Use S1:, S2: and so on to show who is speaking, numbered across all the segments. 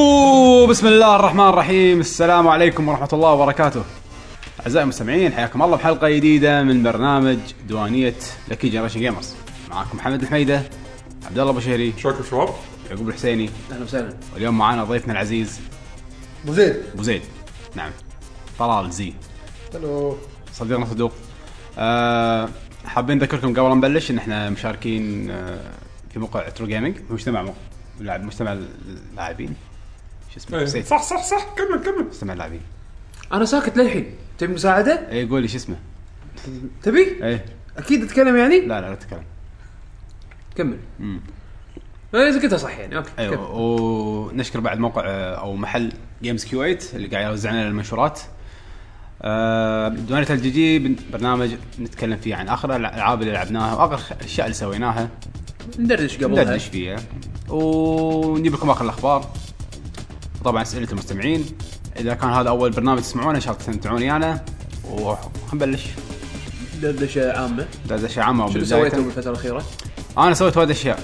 S1: يو بسم الله الرحمن الرحيم السلام عليكم ورحمة الله وبركاته أعزائي المستمعين حياكم الله بحلقة جديدة من برنامج دوانية لكي جنريشن جيمرز معاكم محمد الحميدة عبد الله بشهري
S2: شكرا شباب
S1: يعقوب الحسيني
S3: اهلا وسهلا
S1: واليوم معانا ضيفنا العزيز
S3: ابو زيد
S1: أبو زيد نعم طلال زي
S3: الو
S1: صديقنا صدوق أه حابين نذكركم قبل ما نبلش ان احنا مشاركين أه في موقع ترو جيمنج مجتمع مو- لاعب مجتمع اللاعبين شو اسمه
S2: إيه.
S1: نسيت.
S2: صح صح صح كمل كمل
S1: مجتمع اللاعبين
S3: انا ساكت للحين تبي مساعده؟
S1: اي قول لي شو اسمه
S3: تبي؟
S1: اي
S3: اكيد اتكلم يعني؟
S1: لا لا لا تتكلم
S3: كمل
S1: مم.
S3: اي اذا قلتها صح يعني اوكي
S1: ايوه
S3: كمل.
S1: ونشكر بعد موقع آه، او محل جيمز كيو 8 اللي قاعد يوزع لنا المنشورات آه، دوانية الجي جي بن- برنامج نتكلم فيه عن اخر الالعاب اللي لعبناها واخر خ- الاشياء اللي سويناها
S3: ندردش قبلها
S1: ندردش فيها ونجيب لكم اخر الاخبار طبعا اسئله المستمعين اذا كان هذا اول برنامج تسمعونه ان شاء الله تستمتعون ويانا ونبلش
S3: دردشه عامه
S1: دردشه عامه
S3: شنو
S1: وبداية.
S3: سويتوا بالفتره الاخيره؟
S1: انا سويت وايد اشياء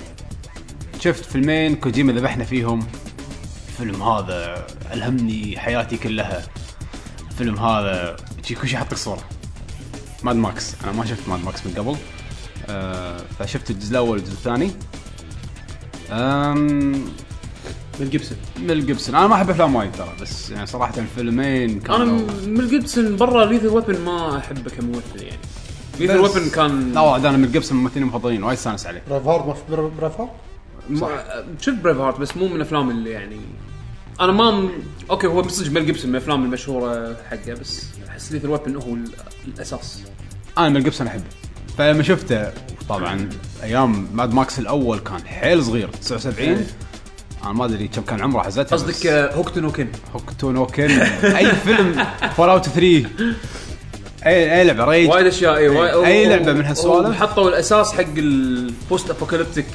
S1: شفت فيلمين كوجيما ذبحنا فيهم فيلم هذا الهمني حياتي كلها فيلم هذا شيكوشي حطك صوره ماد ماكس انا ما شفت ماد ماكس من قبل آه فشفت الجزء الاول والجزء الثاني أم،
S3: من جيبسون
S1: ميل جيبسون انا ما احب افلام وايد ترى بس يعني صراحه الفيلمين
S3: انا
S1: كانوا
S3: م- من جيبسون برا ليثل ويبن ما احبه كممثل يعني ليثل
S1: بس-
S3: ويبن كان
S1: لا وايد انا ميل جيبسون ممثلين مفضلين وايد استانس عليه
S4: براف هارد ما في براف- براف هارد؟
S1: صح.
S3: م- شفت بريف هارت بس مو من الافلام اللي يعني انا ما م... اوكي هو بصدق ميل جيبسون من الافلام المشهوره حقه بس احس ليثل ويبن هو ال- الاساس
S1: انا ميل جيبسون احبه فلما شفته طبعا ايام ماد ماكس الاول كان حيل صغير 79 انا ما ادري كم كان عمره حزتها
S3: إيه. قصدك آه، هوكتون وكن
S1: هوكتو نو كن اي فيلم فول اوت 3 اي اي لعبه ريج
S3: إيه، وايد اشياء اي وايد
S1: أي لعبة من هالسوالف؟
S3: حطوا الاساس حق البوست ابوكاليبتيك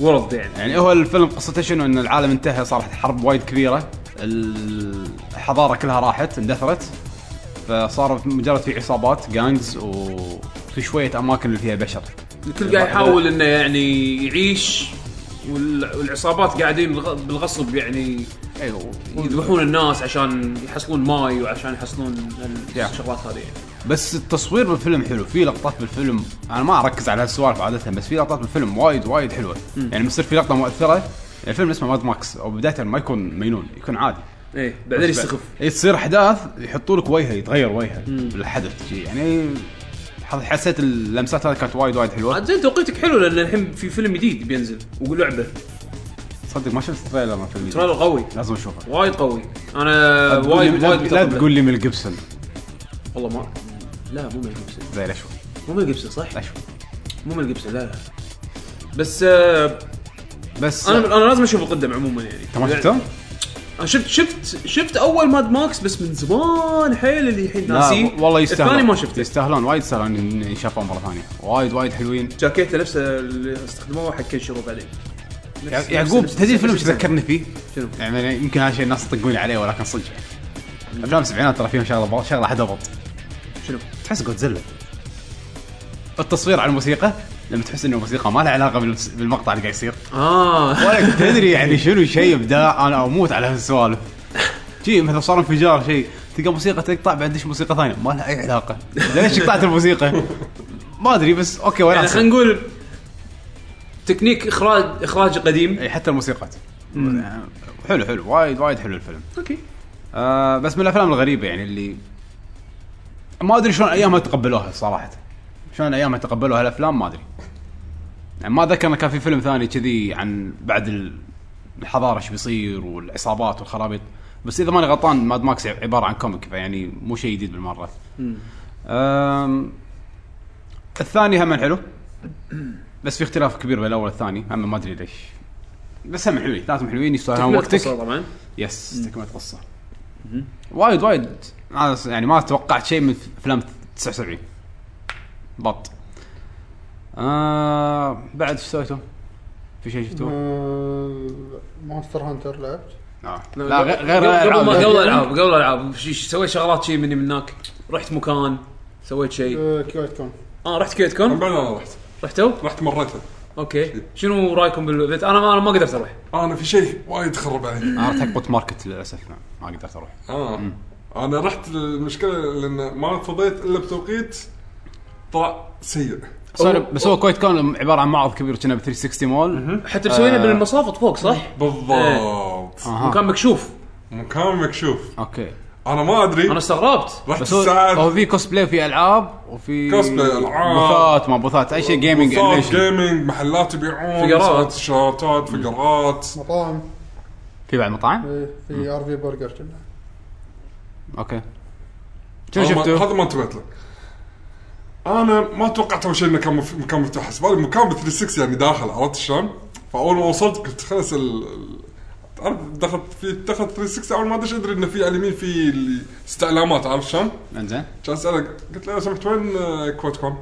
S3: وورلد يعني
S1: يعني هو الفيلم قصته شنو ان العالم انتهى صارت حرب وايد كبيره الحضاره كلها راحت اندثرت فصار مجرد في عصابات جانجز وفي شويه اماكن اللي فيها بشر
S3: الكل قاعد يحاول انه يعني يعيش وال- والعصابات قاعدين بالغ- بالغصب يعني
S1: ايوه
S3: يذبحون الناس عشان يحصلون ماي وعشان يحصلون هال-
S1: Yeah.
S3: الشغلات هذه يعني.
S1: بس التصوير بالفيلم حلو في لقطات بالفيلم انا ما اركز على هالسوالف عاده بس في لقطات بالفيلم وايد وايد حلوه يعني بصير في لقطه مؤثره الفيلم اسمه ماد ماكس او بدايه ما يكون مجنون يكون عادي
S3: ايه بعدين يستخف
S1: اي تصير احداث يحطوا لك وجهه يتغير وجهه بالحدث شي. يعني ح- حسيت اللمسات هذه كانت وايد وايد حلوه
S3: عاد زين توقيتك حلو لان الحين في فيلم جديد بينزل ولعبه
S1: صدق ما شفت التريلر مال الفيلم
S3: ترى قوي
S1: لازم اشوفه
S3: وايد قوي انا
S1: لا تقول
S3: وايد
S1: لي-
S3: وايد
S1: لا
S3: متقبل.
S1: تقول لي من جيبسون
S3: والله ما لا مو ميل جيبسون
S1: زين اشوف
S3: مو ميل جيبسون صح؟
S1: اشوف
S3: مو ميل جيبسون لا لا بس آه
S1: بس
S3: انا انا لازم اشوف القدم عموما يعني
S1: انت ما شفته؟
S3: انا شفت شفت شفت اول ماد ماكس بس من زمان حيل اللي الحين
S1: لا
S3: ناسي
S1: نعم، والله يستاهلون
S3: نعم، الثاني ما شفته
S1: يستاهلون وايد يستاهلون ان ينشافون مره ثانيه وايد وايد حلوين
S3: جاكيته نفسه اللي استخدموه حق كل شروب عليه نفس-
S1: يعقوب
S3: نفس-
S1: تدري
S3: نفس-
S1: الفيلم
S3: نفس-
S1: شو ذكرني فيه؟
S3: شنو؟
S1: يعني يمكن هذا الشيء الناس يطقون عليه ولكن صدق يعني. افلام السبعينات ترى فيهم شغله شغله حدبط
S3: شنو؟
S1: تحس جودزيلا التصوير على الموسيقى لما تحس ان الموسيقى ما لها علاقه بالمس- بالمقطع اللي قاعد يصير
S3: اه
S1: ولا تدري يعني شنو شيء ابداع انا اموت على هالسوالف شي مثلا صار انفجار شيء تلقى موسيقى تقطع بعدين تدش موسيقى ثانيه ما لها اي علاقه ليش قطعت الموسيقى؟ ما ادري بس اوكي
S3: يعني
S1: وين
S3: خلينا نقول تكنيك اخراج اخراجي قديم
S1: اي يعني حتى الموسيقات حلو حلو وايد وايد حلو الفيلم
S3: اوكي
S1: آه بس من الافلام الغريبه يعني اللي ما ادري شلون ايامها تقبلوها صراحه شلون ايامها تقبلوها الافلام ما ادري يعني ما ذكر إنه كان في فيلم ثاني كذي عن بعد ال- الحضاره ايش بيصير والعصابات والخرابيط بس اذا ماني غلطان ماد ماكس عباره عن كوميك فيعني مو شيء جديد بالمره آم، الثاني هم حلو بس في اختلاف كبير بين الاول والثاني هم ما ادري ليش بس هم حلوين ثلاثهم حلوين يستاهلون
S3: تكملة
S1: وقتك
S3: قصة طبعا
S1: يس تكمله قصه وايد وايد أنا س- يعني ما توقعت شيء من افلام 79 بط آه بعد ايش سويتوا؟ في شيء شفتوه؟
S4: آه، مونستر هانتر لعبت
S1: آه. لا غير غير
S3: قبل
S1: الألعاب.
S3: ما قبل العاب قبل العاب ش- ش- سويت شغلات شي مني من هناك رحت مكان سويت شيء
S4: آه، كيوت كون
S3: اه رحت كيت كون
S2: بعد انا رحت
S3: رحتوا؟
S2: رحت مريته
S3: اوكي شنو رايكم بالايفنت انا ما انا ما قدرت اروح
S2: انا في شيء وايد خرب علي
S1: انا رحت حق بوت ماركت للاسف ما, ما قدرت اروح
S2: اه انا رحت المشكله لان ما فضيت الا بتوقيت طلع سيء
S1: سوري بس هو كويت كون عباره عن معرض كبير كنا ب 360 مول
S3: حتى مسوينه بالمصافط فوق صح؟
S1: إيه.
S2: بالضبط
S1: اها
S3: مكان مكشوف
S2: مكان مكشوف
S1: اوكي
S2: انا ما ادري
S3: انا استغربت
S2: رحت
S1: بس هو, هو
S2: الساعه
S1: في كوسبلاي وفي العاب وفي
S2: كوسبلاي، ألعاب.
S1: بوثات ما بوثات اي شيء جيمنج
S2: بوثات،
S1: animation.
S2: جيمنج محلات يبيعون
S3: فقرات.
S2: ساعات شارتات فقرات
S4: مطاعم
S1: في بعد مطاعم
S4: إيه، في ار في برجر كنا
S1: اوكي شنو
S2: هذا ما- هذا
S1: شفتوا؟
S2: ما انتبهت له انا ما توقعت اول شيء انه كان مف- مكان مفتوح حسب بالي مكان ب 360 يعني داخل عرفت شلون؟ فاول ما وصلت قلت خلاص ال... ال- تعرف دخلت في دخلت 360 اول ما ادري ادري انه في على اليمين في ال- استعلامات عرفت شلون؟
S1: انزين
S2: كان اساله قلت له لو سمحت وين آه، كواد كوم؟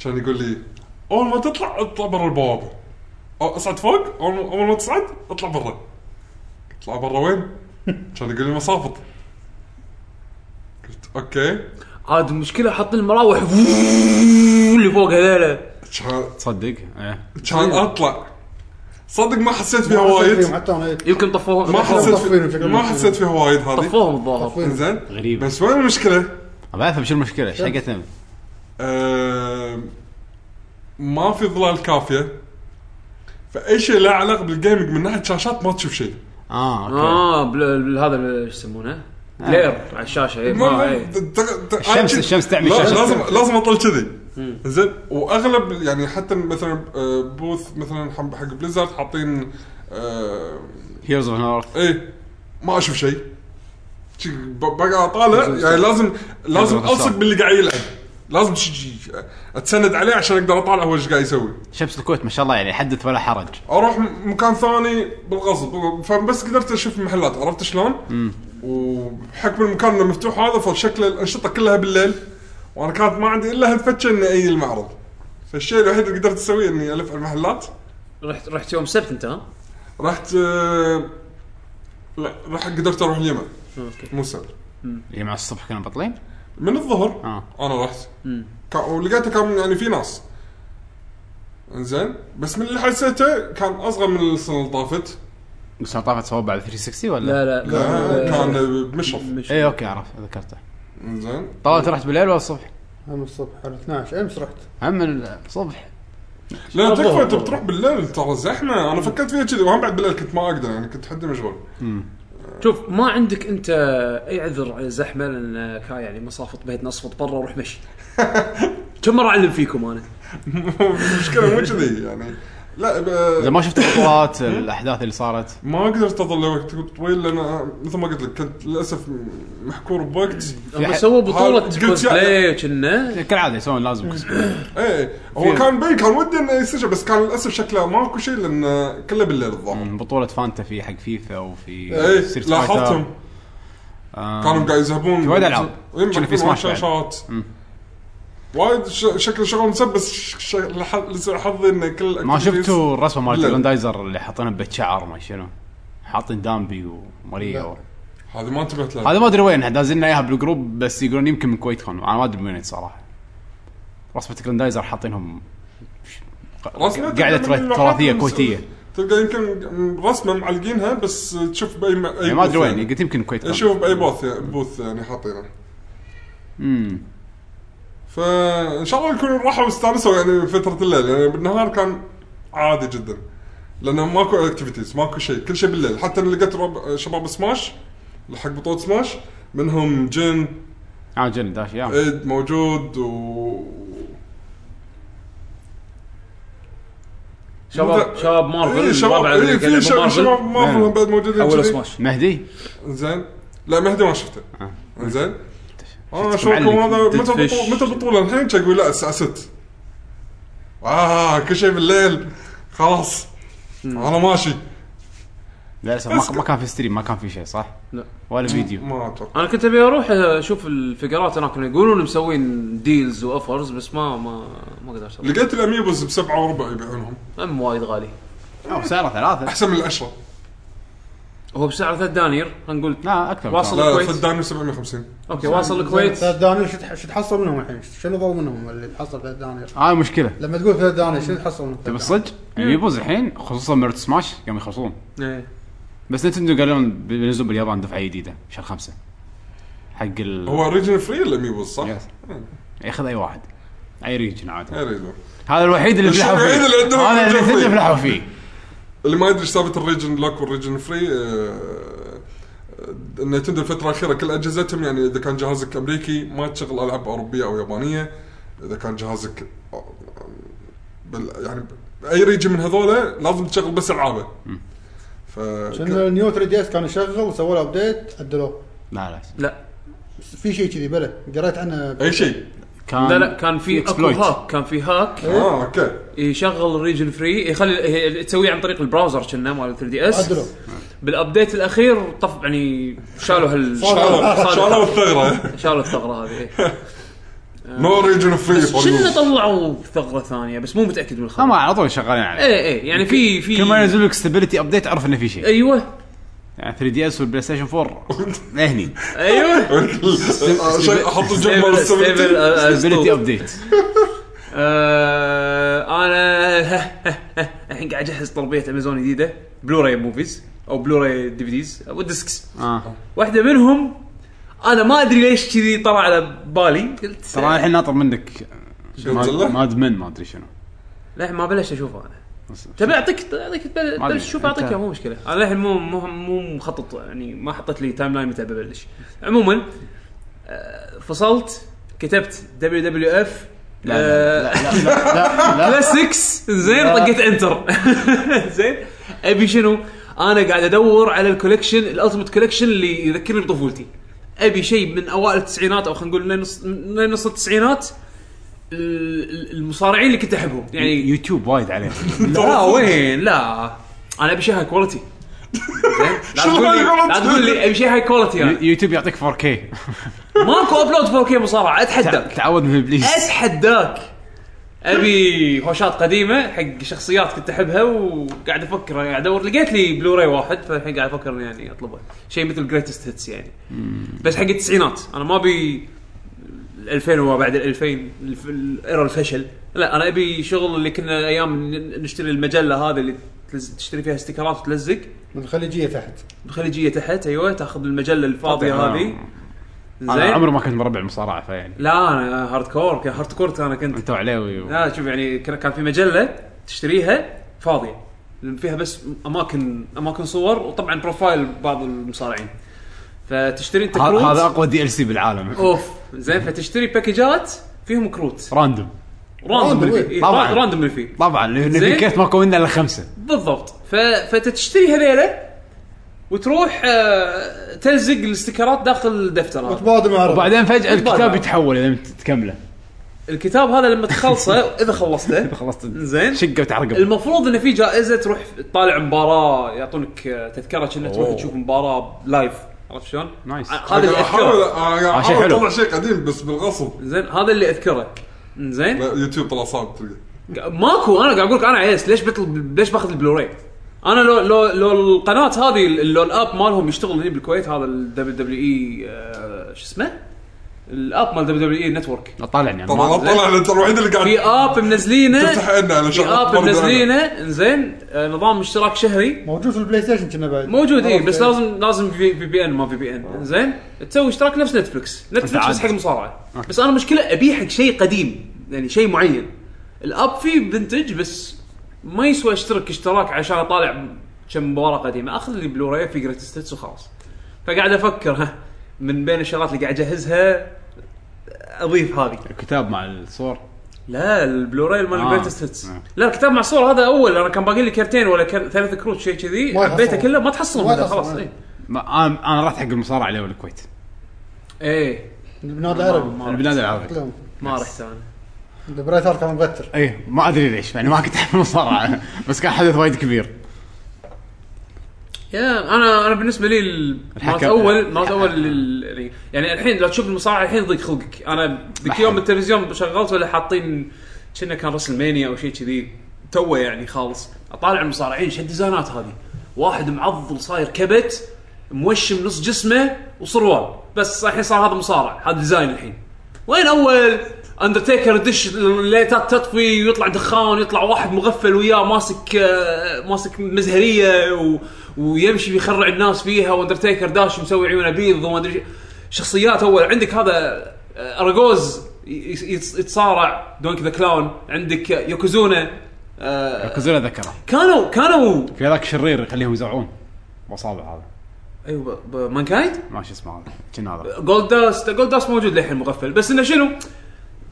S2: كان يقول لي اول ما تطلع اطلع برا البوابه أو اصعد فوق اول ما- أول ما تصعد اطلع برا اطلع برا وين؟ كان يقول لي مصافط قلت اوكي
S3: عاد المشكله حاطين المراوح اللي فوق هذيلا
S2: كان
S1: تصدق ايه
S2: كان اطلع صدق ما حسيت فيها
S4: ما حسيت فيهم
S2: وايد
S4: حتى انا هيك
S3: يمكن طفوهم
S2: ما حسيت في-
S4: طفينا بشكل
S2: ما
S4: مش-
S2: حسيت فيها وايد هذه
S3: طفوهم الظاهر
S4: طفوهم.
S2: زين
S1: غريبة.
S2: بس وين المشكله؟
S1: ما بعرف شو المشكله ايش حقتنا
S2: آم، ما في ظلال كافيه فاي شيء له علاقه بالجيمنج من ناحيه شاشات ما تشوف شيء
S1: اه اوكي
S3: اه بل- بل- هذا بل- ايش يسمونه؟ بلير على الشاشه إيه،
S2: ما-
S3: ما
S2: ما-
S3: إيه.
S2: ت- ت-
S1: الشمس-
S2: أنا شي-
S1: الشمس تعمي
S2: لا-
S1: شاشة.
S2: لازم لازم اطل كذي زين واغلب يعني حتى مثلا آه، بوث مثلا حق حق بليزرد حاطين آه،
S1: هيروز اوف نورث
S2: ايه ما اشوف شيء شي ب- بقعد اطالع يعني لازم لازم
S1: بالضبط.
S2: الصق باللي قاعد يلعب لازم شي- شي- اتسند عليه عشان اقدر اطالع هو ايش قاعد يسوي
S1: شمس الكويت ما شاء الله يعني حدث ولا حرج
S2: اروح م- مكان ثاني بالغصب فبس قدرت اشوف محلات عرفت شلون؟ وبحكم المكان انه مفتوح هذا فشكل الانشطه كلها بالليل وانا كانت ما عندي الا هالفتشه اني اي المعرض فالشيء الوحيد اللي قدرت اسويه اني الف على المحلات
S3: رحت رحت يوم السبت انت ها؟
S2: رحت آه، لا رحت قدرت اروح اليمن
S3: اوكي
S2: مو السبت
S1: اللي يعني مع الصبح كانوا بطلين
S2: من الظهر
S1: آه.
S2: انا رحت
S3: مم.
S2: كا- ولقيته كان يعني في ناس انزين بس من اللي حسيته كان اصغر من السنه اللي طافت
S1: بس أنا طافت صوب بعد 360 ولا؟
S3: لا لا
S2: لا، كان بمشرف
S3: مش
S1: اي اوكي عرفت ذكرته
S2: انزين
S1: طلعت رحت بالليل ولا الصبح؟
S4: هم الصبح على 12 امس رحت
S1: هم الصبح
S2: لا تكفى
S3: الظهر.
S2: انت بتروح بالليل ترى زحمه انا فكرت فيها كذي وهم بعد بالليل كنت ما اقدر يعني كنت حدي مشغول
S3: شوف ما عندك انت اي عذر على الزحمه لان كان يعني مصافط بيتنا اصفط برا وروح مشي كم مره اعلم فيكم انا
S2: المشكله مو كذي يعني لا
S1: اذا
S2: ب...
S1: ما شفت البطولات الاحداث اللي صارت
S2: ما قدرت اظل وقت طويل لان أنا- مثل ما قلت لك كنت للاسف محكور بوقت
S3: هم
S1: حد-
S3: سووا بطوله
S2: قلت يا-
S3: كوسبلاي وكنا
S1: كالعاده يسوون لازم كوسبلاي.
S2: ايه
S1: في-
S2: هو كان بين كان ودي انه يسجل بس كان للاسف شكله ماكو شيء لان كله بالليل الظاهر
S1: من بطوله فانتا يعني في حق فيفا وفي
S2: ايه
S1: ستريت
S2: لاحظتهم
S1: فايتر. آه،
S2: كانوا قاعد يذهبون
S1: في وايد ألعاب. كان في سماش بعد.
S2: شاشات وايد ش- شكل شغل مسبس ش- ش- لح- لسوء حظي ان كل
S1: ما شفتوا الرسمه مالت
S2: لا.
S1: جراندايزر اللي حاطينها ببيت شعر ما شنو حاطين دامبي وماريا
S4: لا.
S1: و-
S2: هذه ما انتبهت لها
S1: هذا ما ادري وينها دازلنا اياها بالجروب بس يقولون يمكن من كويت كون انا ما ادري من وين صراحه رسمه جراندايزر حاطينهم
S2: رسمة
S1: قاعده
S2: تقريباً
S1: تراث-
S2: من
S1: تراثيه
S2: لوحات
S1: كويتيه
S2: تلقى يمكن رسمه معلقينها بس تشوف باي م... أي
S1: يعني ما
S2: بوث
S1: ادري وين
S2: يعني.
S1: قلت يمكن كويت كون
S2: اشوف باي بوث بوث يعني حاطينه
S1: امم
S2: فان شاء الله يكونوا راحوا واستانسوا يعني فتره الليل يعني بالنهار كان عادي جدا لانه ماكو اكتيفيتيز ماكو شيء كل شيء بالليل حتى أنا لقيت رب... شباب سماش حق بطوله سماش منهم جن
S1: اه جن داش يا
S2: ايد موجود و
S3: شباب شباب مارفل
S2: اي إيه، شباب
S3: الرابعة اللي
S2: اي
S3: يلعبوا
S2: في شباب شباب مارفل
S1: نعم.
S2: بعد موجودين
S3: حولوا
S2: كذي.
S3: سماش
S1: مهدي
S2: زين لا مهدي ما شفته
S1: آه.
S2: زين اه
S1: شفت معلق.
S2: شوفكم هذا متى
S3: تدفش.
S2: البطولة- متى البطوله الحين شي يقول لا الساعه 6 اه كل شيء بالليل خلاص انا ماشي
S1: للاسف ما, ما كان في ستريم ما كان في شيء صح؟
S3: لا.
S1: ولا فيديو
S2: ما اتوقع
S3: انا كنت ابي اروح اشوف الفقرات هناك إنه يقولون مسوين ديلز واوفرز بس ما ما ما قدرت اروح
S2: لقيت الاميبوز بسبعه وربع يبيعونهم
S3: أم وايد غالي
S1: او سعره ثلاثه
S2: احسن من العشره
S3: هو بسعر ثلاث دنانير خلينا نقول
S1: لا اكثر
S3: واصل.
S1: كان.
S2: لا لا
S3: كويس.
S2: صدقني 750
S3: اوكي واصل الكويت
S4: ثلاث دنانير شو تح- شو تحصل منهم الحين؟ شنو ضل منهم اللي تحصل ثلاث دنانير؟
S1: هاي مشكله
S4: لما تقول ثلاث دنانير شنو تحصل منهم؟
S3: طيب،
S1: تبي الصدق يعني يبوز الحين خصوصا مرت سماش قام يخلصون
S3: إيه.
S1: بس نتندو قالوا لهم بينزلون باليابان دفعه جديده شهر خمسة حق ال
S2: هو ريجن فري ولا ميبوز صح؟
S1: يس. ياخذ اي واحد اي ريجن عادي
S2: يا ريجن
S1: هذا الوحيد اللي
S2: بس
S1: فلحوا فيه
S2: الوحيد اللي عندهم
S1: هذا
S2: ريجن
S1: اللي
S2: فري.
S1: فلحوا فيه
S2: اللي ما يدري ايش سالفه الريجن لوك والريجن فري آه، نتندو الفتره الاخيره كل اجهزتهم يعني اذا كان جهازك امريكي ما تشغل العاب اوروبيه او يابانيه اذا كان جهازك آه، بال يعني اي ريجن من هذولا لازم تشغل بس العابه ف
S4: شنو النيو 3 دي اس كان يشغل وسووا له ابديت عدلوه
S1: لا لا
S3: لا
S4: في شيء كذي بلى قريت عنه
S2: اي شيء
S1: كان
S3: لا لا كان في اكو
S1: exploit.
S3: هاك كان في هاك
S2: اه اوكي
S3: يشغل ريجن فري يخلي هي- تسويه عن طريق البراوزر كنا مال 3 دي اس
S4: عدلوه
S3: بالابديت الاخير طف يعني شالوا هال
S2: شالوا شالوا
S3: صادق.
S2: الثغره
S3: شالوا الثغره هذه إيه.
S2: نو ريجن فري
S3: شنو طلعوا ثغره ثانيه بس مو متاكد من
S1: هم
S3: الخبر
S1: على طول شغالين عليه
S3: ايه ايه يعني في في
S1: كل ما ينزل لك ستابيليتي ابديت اعرف انه في شيء
S3: ايوه
S1: يعني 3 دي اس والبلاي ستيشن 4 إيه، هني
S3: ايوه
S2: آه، شيء احط الجنب مال
S3: Stable- stable-
S2: السبتي
S3: آه، آه،
S1: ستابيليتي
S3: stable.
S1: ابديت
S3: آه، انا الحين قاعد اجهز طلبيه امازون جديده بلوراي موفيز او بلوراي ديفيديز او ديسكس
S1: اه
S3: واحده منهم انا ما ادري ليش كذي طلع على بالي قلت
S1: ترى أنا الحين ناطر منك
S2: Godzilla؟
S1: ماد من ما ادري شنو
S3: لا ما بلشت اشوفه انا تبي اعطيك اعطيك بل-
S1: ما أدري،
S3: بلش شوف
S1: أنت-
S3: اعطيك إياه، مو مشكله انا للحين مو مو مو مخطط يعني ما حطيت لي تايم لاين متى ببلش عموما آه، فصلت كتبت دبليو دبليو اف
S1: لا
S3: آه،
S1: لا لا لا لا, لا, لا.
S3: كلاسيكس زين
S1: لا.
S3: طقيت انتر زين ابي شنو؟ انا قاعد ادور على الكوليكشن الالتيميت كوليكشن اللي يذكرني بطفولتي ابي شيء من اوائل التسعينات او خلينا نقول لين نص- لين نص التسعينات ال- ال- المصارعين اللي كنت احبهم يعني
S1: يوتيوب وايد عليه
S3: لا وين لا انا ابي شيء هاي كواليتي زين؟ لا تقول لي لا تقول لي ابي شيء هاي كواليتي انا
S1: يوتيوب يعطيك 4K
S3: ماكو ابلود 4K مصارعه اتحداك
S1: تعود من ابليس
S3: إيه، اتحداك ابي هوشات قديمه حق شخصيات كنت احبها وقاعد افكر قاعد ادور لقيت لي بلوراي واحد فالحين قاعد افكر إني يعني اطلبه شيء مثل جريتست هيتس يعني بس حق التسعينات انا ما ابي ال 2000 وما بعد ال 2000 الف- الايرا الفشل لا انا ابي شغل اللي كنا ايام ن- نشتري المجله هذه اللي تلز- تشتري فيها استيكرات وتلزق
S4: من الخليجيه تحت
S3: بالخليجيه تحت ايوه تاخذ المجله الفاضيه
S1: طبعاً.
S3: هذه
S1: انا
S3: زين
S1: عمري ما كنت مربع المصارعه فيعني
S3: لا انا هارد كور كان هارد كور انا كنت
S1: انت وعليوي و...
S3: لا شوف يعني كان كان في مجله تشتريها فاضيه فيها بس اماكن اماكن صور وطبعا بروفايل بعض المصارعين فتشتري انت
S1: ه-
S3: كروت
S1: هذا اقوى دي ال سي بالعالم
S3: اوف زين فتشتري باكجات فيهم كروت
S1: راندوم
S3: راندوم اللي فيه إيه،
S1: طبعاً.
S3: را- راندوم اللي فيه
S1: طبعا لان
S3: زين.
S1: في كيت ماكو منه الا خمسه
S3: بالضبط ف... فتشتري هذيله وتروح آه، تلزق الاستيكرات داخل الدفتر هذا
S4: وتبادل مع الربع.
S1: وبعدين فجاه
S3: بالضبط.
S1: الكتاب يتحول اذا مت- تكمله
S3: الكتاب هذا لما تخلصه اذا خلصته
S1: خلصت
S3: زين.
S1: شقه وتعرقب
S3: المفروض انه في جائزه تروح تطالع مباراه يعطونك آه، تذكره كأنك تروح
S1: أوه.
S3: تشوف مباراه لايف عرفت شلون؟
S1: نايس.
S3: ع- هذا
S2: انا
S3: اللي
S2: احاول
S3: اذكره
S2: أنا
S1: آه، شيء
S2: أحاول
S1: حلو.
S2: اطلع شيء قديم بس بالغصب
S3: زين هذا اللي اذكره زين
S2: لا، يوتيوب طلع صعب تلقى
S3: ماكو انا قاعد اقول لك انا عيس ليش بطل ليش باخذ البلوراي؟ انا لو لو لو القناه هذه ال- لو الاب مالهم يشتغل هنا بالكويت هذا الدبليو دبليو اي شو اسمه؟ الاب مال دبليو دبليو اي نتورك
S1: طالعني
S2: طبعا لا
S3: زين.
S2: طلع لأن انت الوحيد اللي قاعد
S3: في اب منزلينه
S2: تفتح عنا على
S3: في
S2: شغل
S3: اب
S2: برضه
S3: منزلينه انزين آه، نظام اشتراك شهري
S4: موجود في البلاي ستيشن كنا بعد
S3: موجود اي بس
S4: أوكي. آه.
S3: لازم لازم في في بي ان ما في بي ان زين تسوي اشتراك نفس نتفلكس نتفلكس
S1: عاد.
S3: بس حق مصارعه بس انا مشكله ابي حق شيء قديم يعني شيء معين الاب فيه فينتج بس ما يسوى اشترك اشتراك عشان اطالع كم مباراه قديمه اخذ لي بلوراي في جريت ستيتس وخلاص فقاعد افكر ها من بين الشغلات اللي قاعد اجهزها اضيف هذه
S1: الكتاب مع الصور
S3: لا البلوراي مال
S1: آه.
S3: جريتست هيتس
S1: آه.
S3: لا الكتاب مع صور هذا اول انا كان باقي لي كرتين ولا كر... ثلاث كروت شيء كذي
S4: ما
S3: عبيته
S4: يحصل.
S3: كله ما تحصلهم
S4: ما
S3: هذا
S4: يحصل،
S3: خلاص إيه.
S4: آه.
S3: اي
S1: ما انا انا رحت حق المصارعه لو الكويت
S3: ايه
S4: بالبلاد
S3: ما-
S4: العربي
S3: ما-
S1: البلاد
S3: آه.
S1: العربي
S4: كلهم
S3: ما رحت انا
S4: البرايت هارت كان مغتر
S1: اي ما ادري ليش يعني ما كنت احب المصارعه بس كان حدث وايد كبير
S3: يا انا انا بالنسبه لي ال- مرات
S1: الحكم.
S3: اول مرات اول لل- يعني- يعني الحين لو تشوف المصارعه الحين ضيق خلقك انا ذاك يوم التلفزيون شغلت ولا حاطين كنا كان رسل مانيا او شيء كذي توه يعني خالص اطالع المصارعين شو الديزاينات هذه واحد معضل صاير كبت موشم نص جسمه وصروال بس الحين صار هذا مصارع هذا ديزاين الحين وين اول اندرتيكر دش الليتات تطفي ويطلع دخان يطلع واحد مغفل وياه ماسك آه، ماسك مزهريه و... ويمشي يخرع الناس فيها واندرتيكر داش مسوي عيونه بيض وما ادري شو. شخصيات اول عندك هذا آه، اراجوز ي- يتص- يتصارع دونك ذا كلاون عندك يوكوزونا آه،
S1: كوزولا ذكره
S3: كانوا كانوا
S1: في ذاك شرير يخليهم يزرعون باصابع هذا
S3: ايوه مانكايد
S1: ما شو اسمه هذا كنا هذا
S3: جولد داست جولد داست موجود للحين مغفل بس انه شنو؟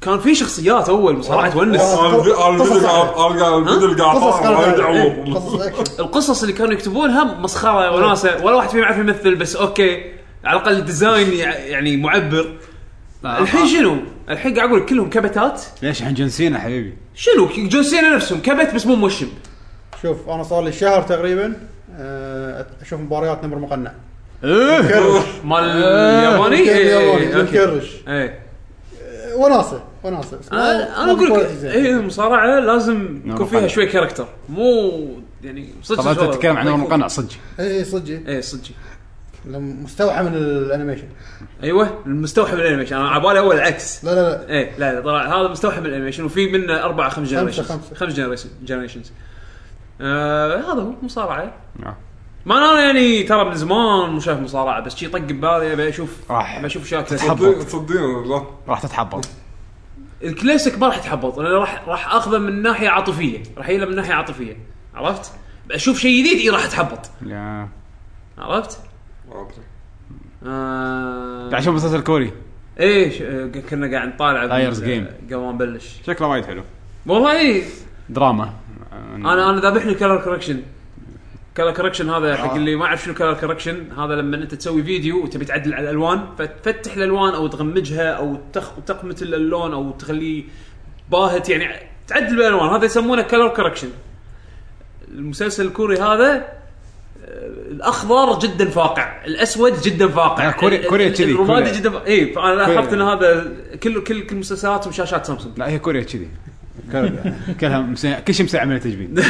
S3: كان في شخصيات اول بصراحه تونس
S2: انا الفي- أنا آه، الفيديو قاعد أنا قاعد- الفيديو قاعد
S4: قصص
S2: أطالع، وايد
S4: كانت يعني.
S2: أعوض.
S4: قصص اكشن
S3: القصص اللي كانوا يكتبونها مسخره وناسه ولا واحد فيهم يعرف يمثل بس اوكي على الاقل ديزاين يع- يعني معبر الحين شنو؟ الحين قاعد اقول لك كلهم كبتات
S1: ليش الحين جنسينا حبيبي
S3: شنو جون سينا نفسهم كبت بس مو موشم
S4: شوف انا صار لي شهر تقريبا آه، اشوف مباريات نمر مقنع
S1: ايه
S4: كرش
S3: مال
S1: آه،
S3: الياباني
S4: كان
S3: إيه،
S4: ياباني،
S3: إيه،
S4: كان
S3: أوكي.
S4: كرش.
S3: إيه.
S4: آه، وناسه وناسه بس
S3: انا
S4: ما-
S3: آه، أنا
S4: ما
S3: اقول لك إيه.
S4: كواليتي زين.
S3: اي المصارعه لازم يكون فيها
S1: مقنع.
S3: شوي كاركتر مو يعني صدق
S1: نعم، طب انت تتكلم عن عمر القنع صدق
S4: اي إيه، صدق
S3: اي صدق
S4: لم- مستوحى من الانيميشن
S3: ايوه المستوحى من الانيميشن انا على بالي اول العكس
S4: لا لا لا
S3: ايه لا لا طلع هذا مستوحى من الانيميشن وفي منه اربع خمس جنريشنز
S4: خمسة.
S3: خمس جنريشنز جنريشنز آه هذا هو مصارعه
S1: نعم.
S3: ما أنا- انا يعني ترى من زمان مو شايف مصارعه بس شي طق ببالي ابي اشوف
S1: راح.
S3: ابي اشوف شكله
S1: تتحبط.
S2: تصدقين لا
S1: راح تتحبط
S3: الكلاسيك ما راح يتحبط انا راح راح اخذه من ناحيه عاطفيه راح يله من ناحيه عاطفيه عرفت؟ اشوف شيء جديد اي راح اتحبط
S1: يا.
S3: عرفت؟
S2: ما أدري.
S3: آه...
S1: قاعد اشوف مسلسل كوري
S3: ايه ش- آه، كنا قاعد نطالع
S1: Liar's
S3: قبل-
S1: Game.
S3: قبل ما نبلش
S1: شكله وايد حلو
S3: والله ايه
S1: دراما
S3: انا انا ذابحني كلر كوركشن كلر كوركشن هذا
S1: آه.
S3: حق اللي ما يعرف شنو كلر كوركشن هذا لما انت تسوي فيديو وتبي تعدل على الالوان فتفتح الالوان او تغمجها او تخ... تقمت اللون او تخليه باهت يعني تعدل بالالوان هذا يسمونه كلر كوركشن المسلسل الكوري هذا آه، الاخضر جدا فاقع الاسود جدا فاقع
S1: آه، كوري- كوريا
S3: ال- ال-
S1: كذي،
S3: الرمادي
S1: كوريا.
S3: جدا فا- اي فانا لاحظت ان
S1: كوريا.
S3: هذا كل كل كل مسلسلاتهم شاشات سامسونج
S1: لا هي كوريا كذي كل- كلها مسي- كل شيء مسعى من التجميل